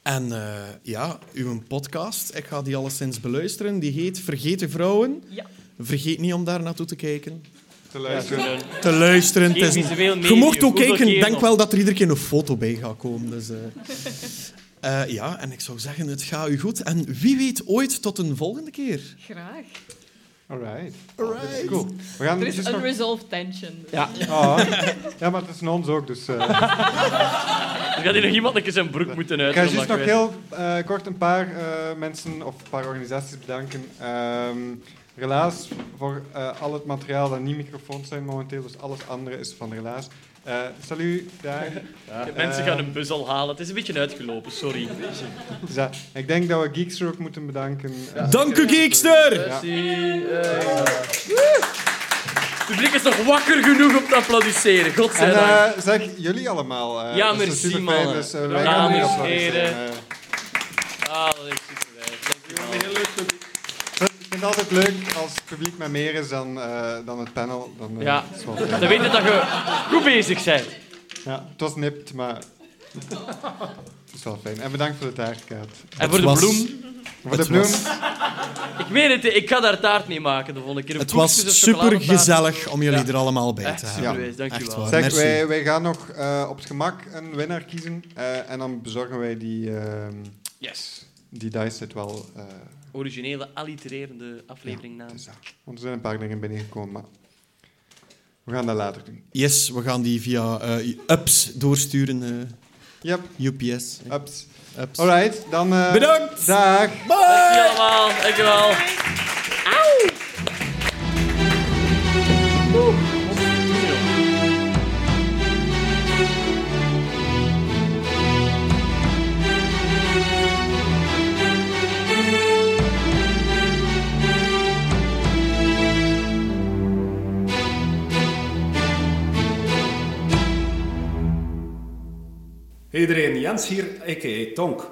en eh, ja, uw podcast, ik ga die alleszins beluisteren. Die heet Vergeten Vrouwen. Ja. Vergeet niet om daar naartoe te kijken. Te luisteren. Een Te luisteren. Het is een- visueel Je medium. mocht ook Hoeveel kijken. keer Ik denk nog? wel dat er iedere keer een foto bij gaat komen. Dus, eh. Eh, ja, en ik zou zeggen, het gaat u goed. En wie weet ooit tot een volgende keer. Graag. Alright. Alright. Dat is cool. We gaan Er is dus nog... unresolved tension. Ja. Ah. ja, maar het is non ook, dus... eh, Er gaat hier nog iemand een keer zijn broek moeten Ik ga uit. juist nog heel eh, kort een paar eh, mensen of een paar organisaties bedanken. Ehm, Relaas voor eh, al het materiaal dat niet microfoons zijn momenteel, dus alles andere is van Relaas. Eh salut, daar. De mensen gaan een bus al halen. Het is een beetje uitgelopen, sorry. Dus ja, ik denk dat we Geekster ook moeten bedanken. Eh, Dank u, Geekster! Ja. Het publiek is nog wakker genoeg om te applaudisseren. En Godzijdank. eh, zeg jullie allemaal. eh, Ja, dat is merci, superfijn, mannen. Dus, eh, wij gaan Dames, jullie applaudisseren. heren. Eh, Ah, dat is superwijs. Dankjewel. ik vind het altijd leuk als het publiek met meer is dan, eh, dan het panel. Dan, eh, Ja. is het wel fijn. Dan weet je dat je goed bezig bent. Ja, het was nipt, maar het is wel fijn. En bedankt voor de taartkaart. En voor de was- bloem. Voor de Het bloem. was- Ik weet het, ik ga daar taart mee maken de volgende keer. Een Het koekjes was of chocolade super op taart. gezellig om jullie Ja. er allemaal bij Echt te super hebben. geweest, Echt dankjewel. waar. Zeg, Ah, Merci. wij, wij gaan nog eh, op het gemak een winnaar kiezen. eh, en dan bezorgen wij die, ehm, Yes. die dice set wel. eh, Originele, allitererende aflevering naam. dus ja. Want er zijn een paar dingen binnengekomen, maar we gaan dat later doen. Yes, we gaan die via eh, ups doorsturen. eh, Yep, UPS. eh, ups. ups. Alright, dan... eh, Bedankt! Dag! Bye! Dankjewel allemaal, dankjewel. Hey iedereen, Jens hier, a.k.a. Tonk.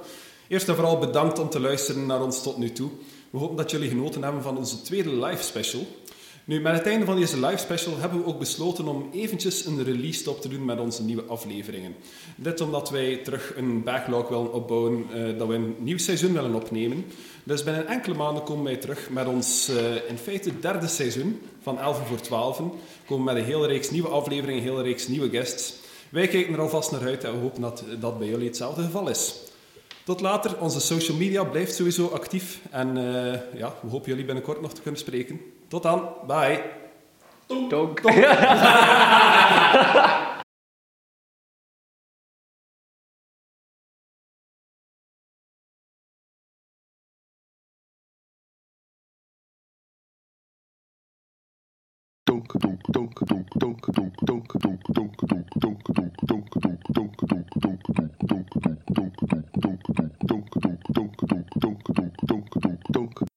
Eerst en vooral bedankt om te luisteren naar ons tot nu toe. We hopen dat jullie genoten hebben van onze tweede live special. Nu, met het einde van deze live special hebben we ook besloten om eventjes een release stop te doen met onze nieuwe afleveringen. Dit omdat wij terug een backlog willen opbouwen, eh, dat we een nieuw seizoen willen opnemen. Dus binnen enkele maanden komen wij terug met ons eh, in feite derde seizoen van 11 voor 12. Komen met een hele reeks nieuwe afleveringen, een hele reeks nieuwe guests. Wij kijken er alvast naar uit en we hopen dat dat bij jullie hetzelfde geval is. Tot later, onze social media blijft sowieso actief en eh, ja, we hopen jullie binnenkort nog te kunnen spreken. Tot dan, bye! Tonk. donk donk donk donk donk donk donk donk donk donk donk donk donk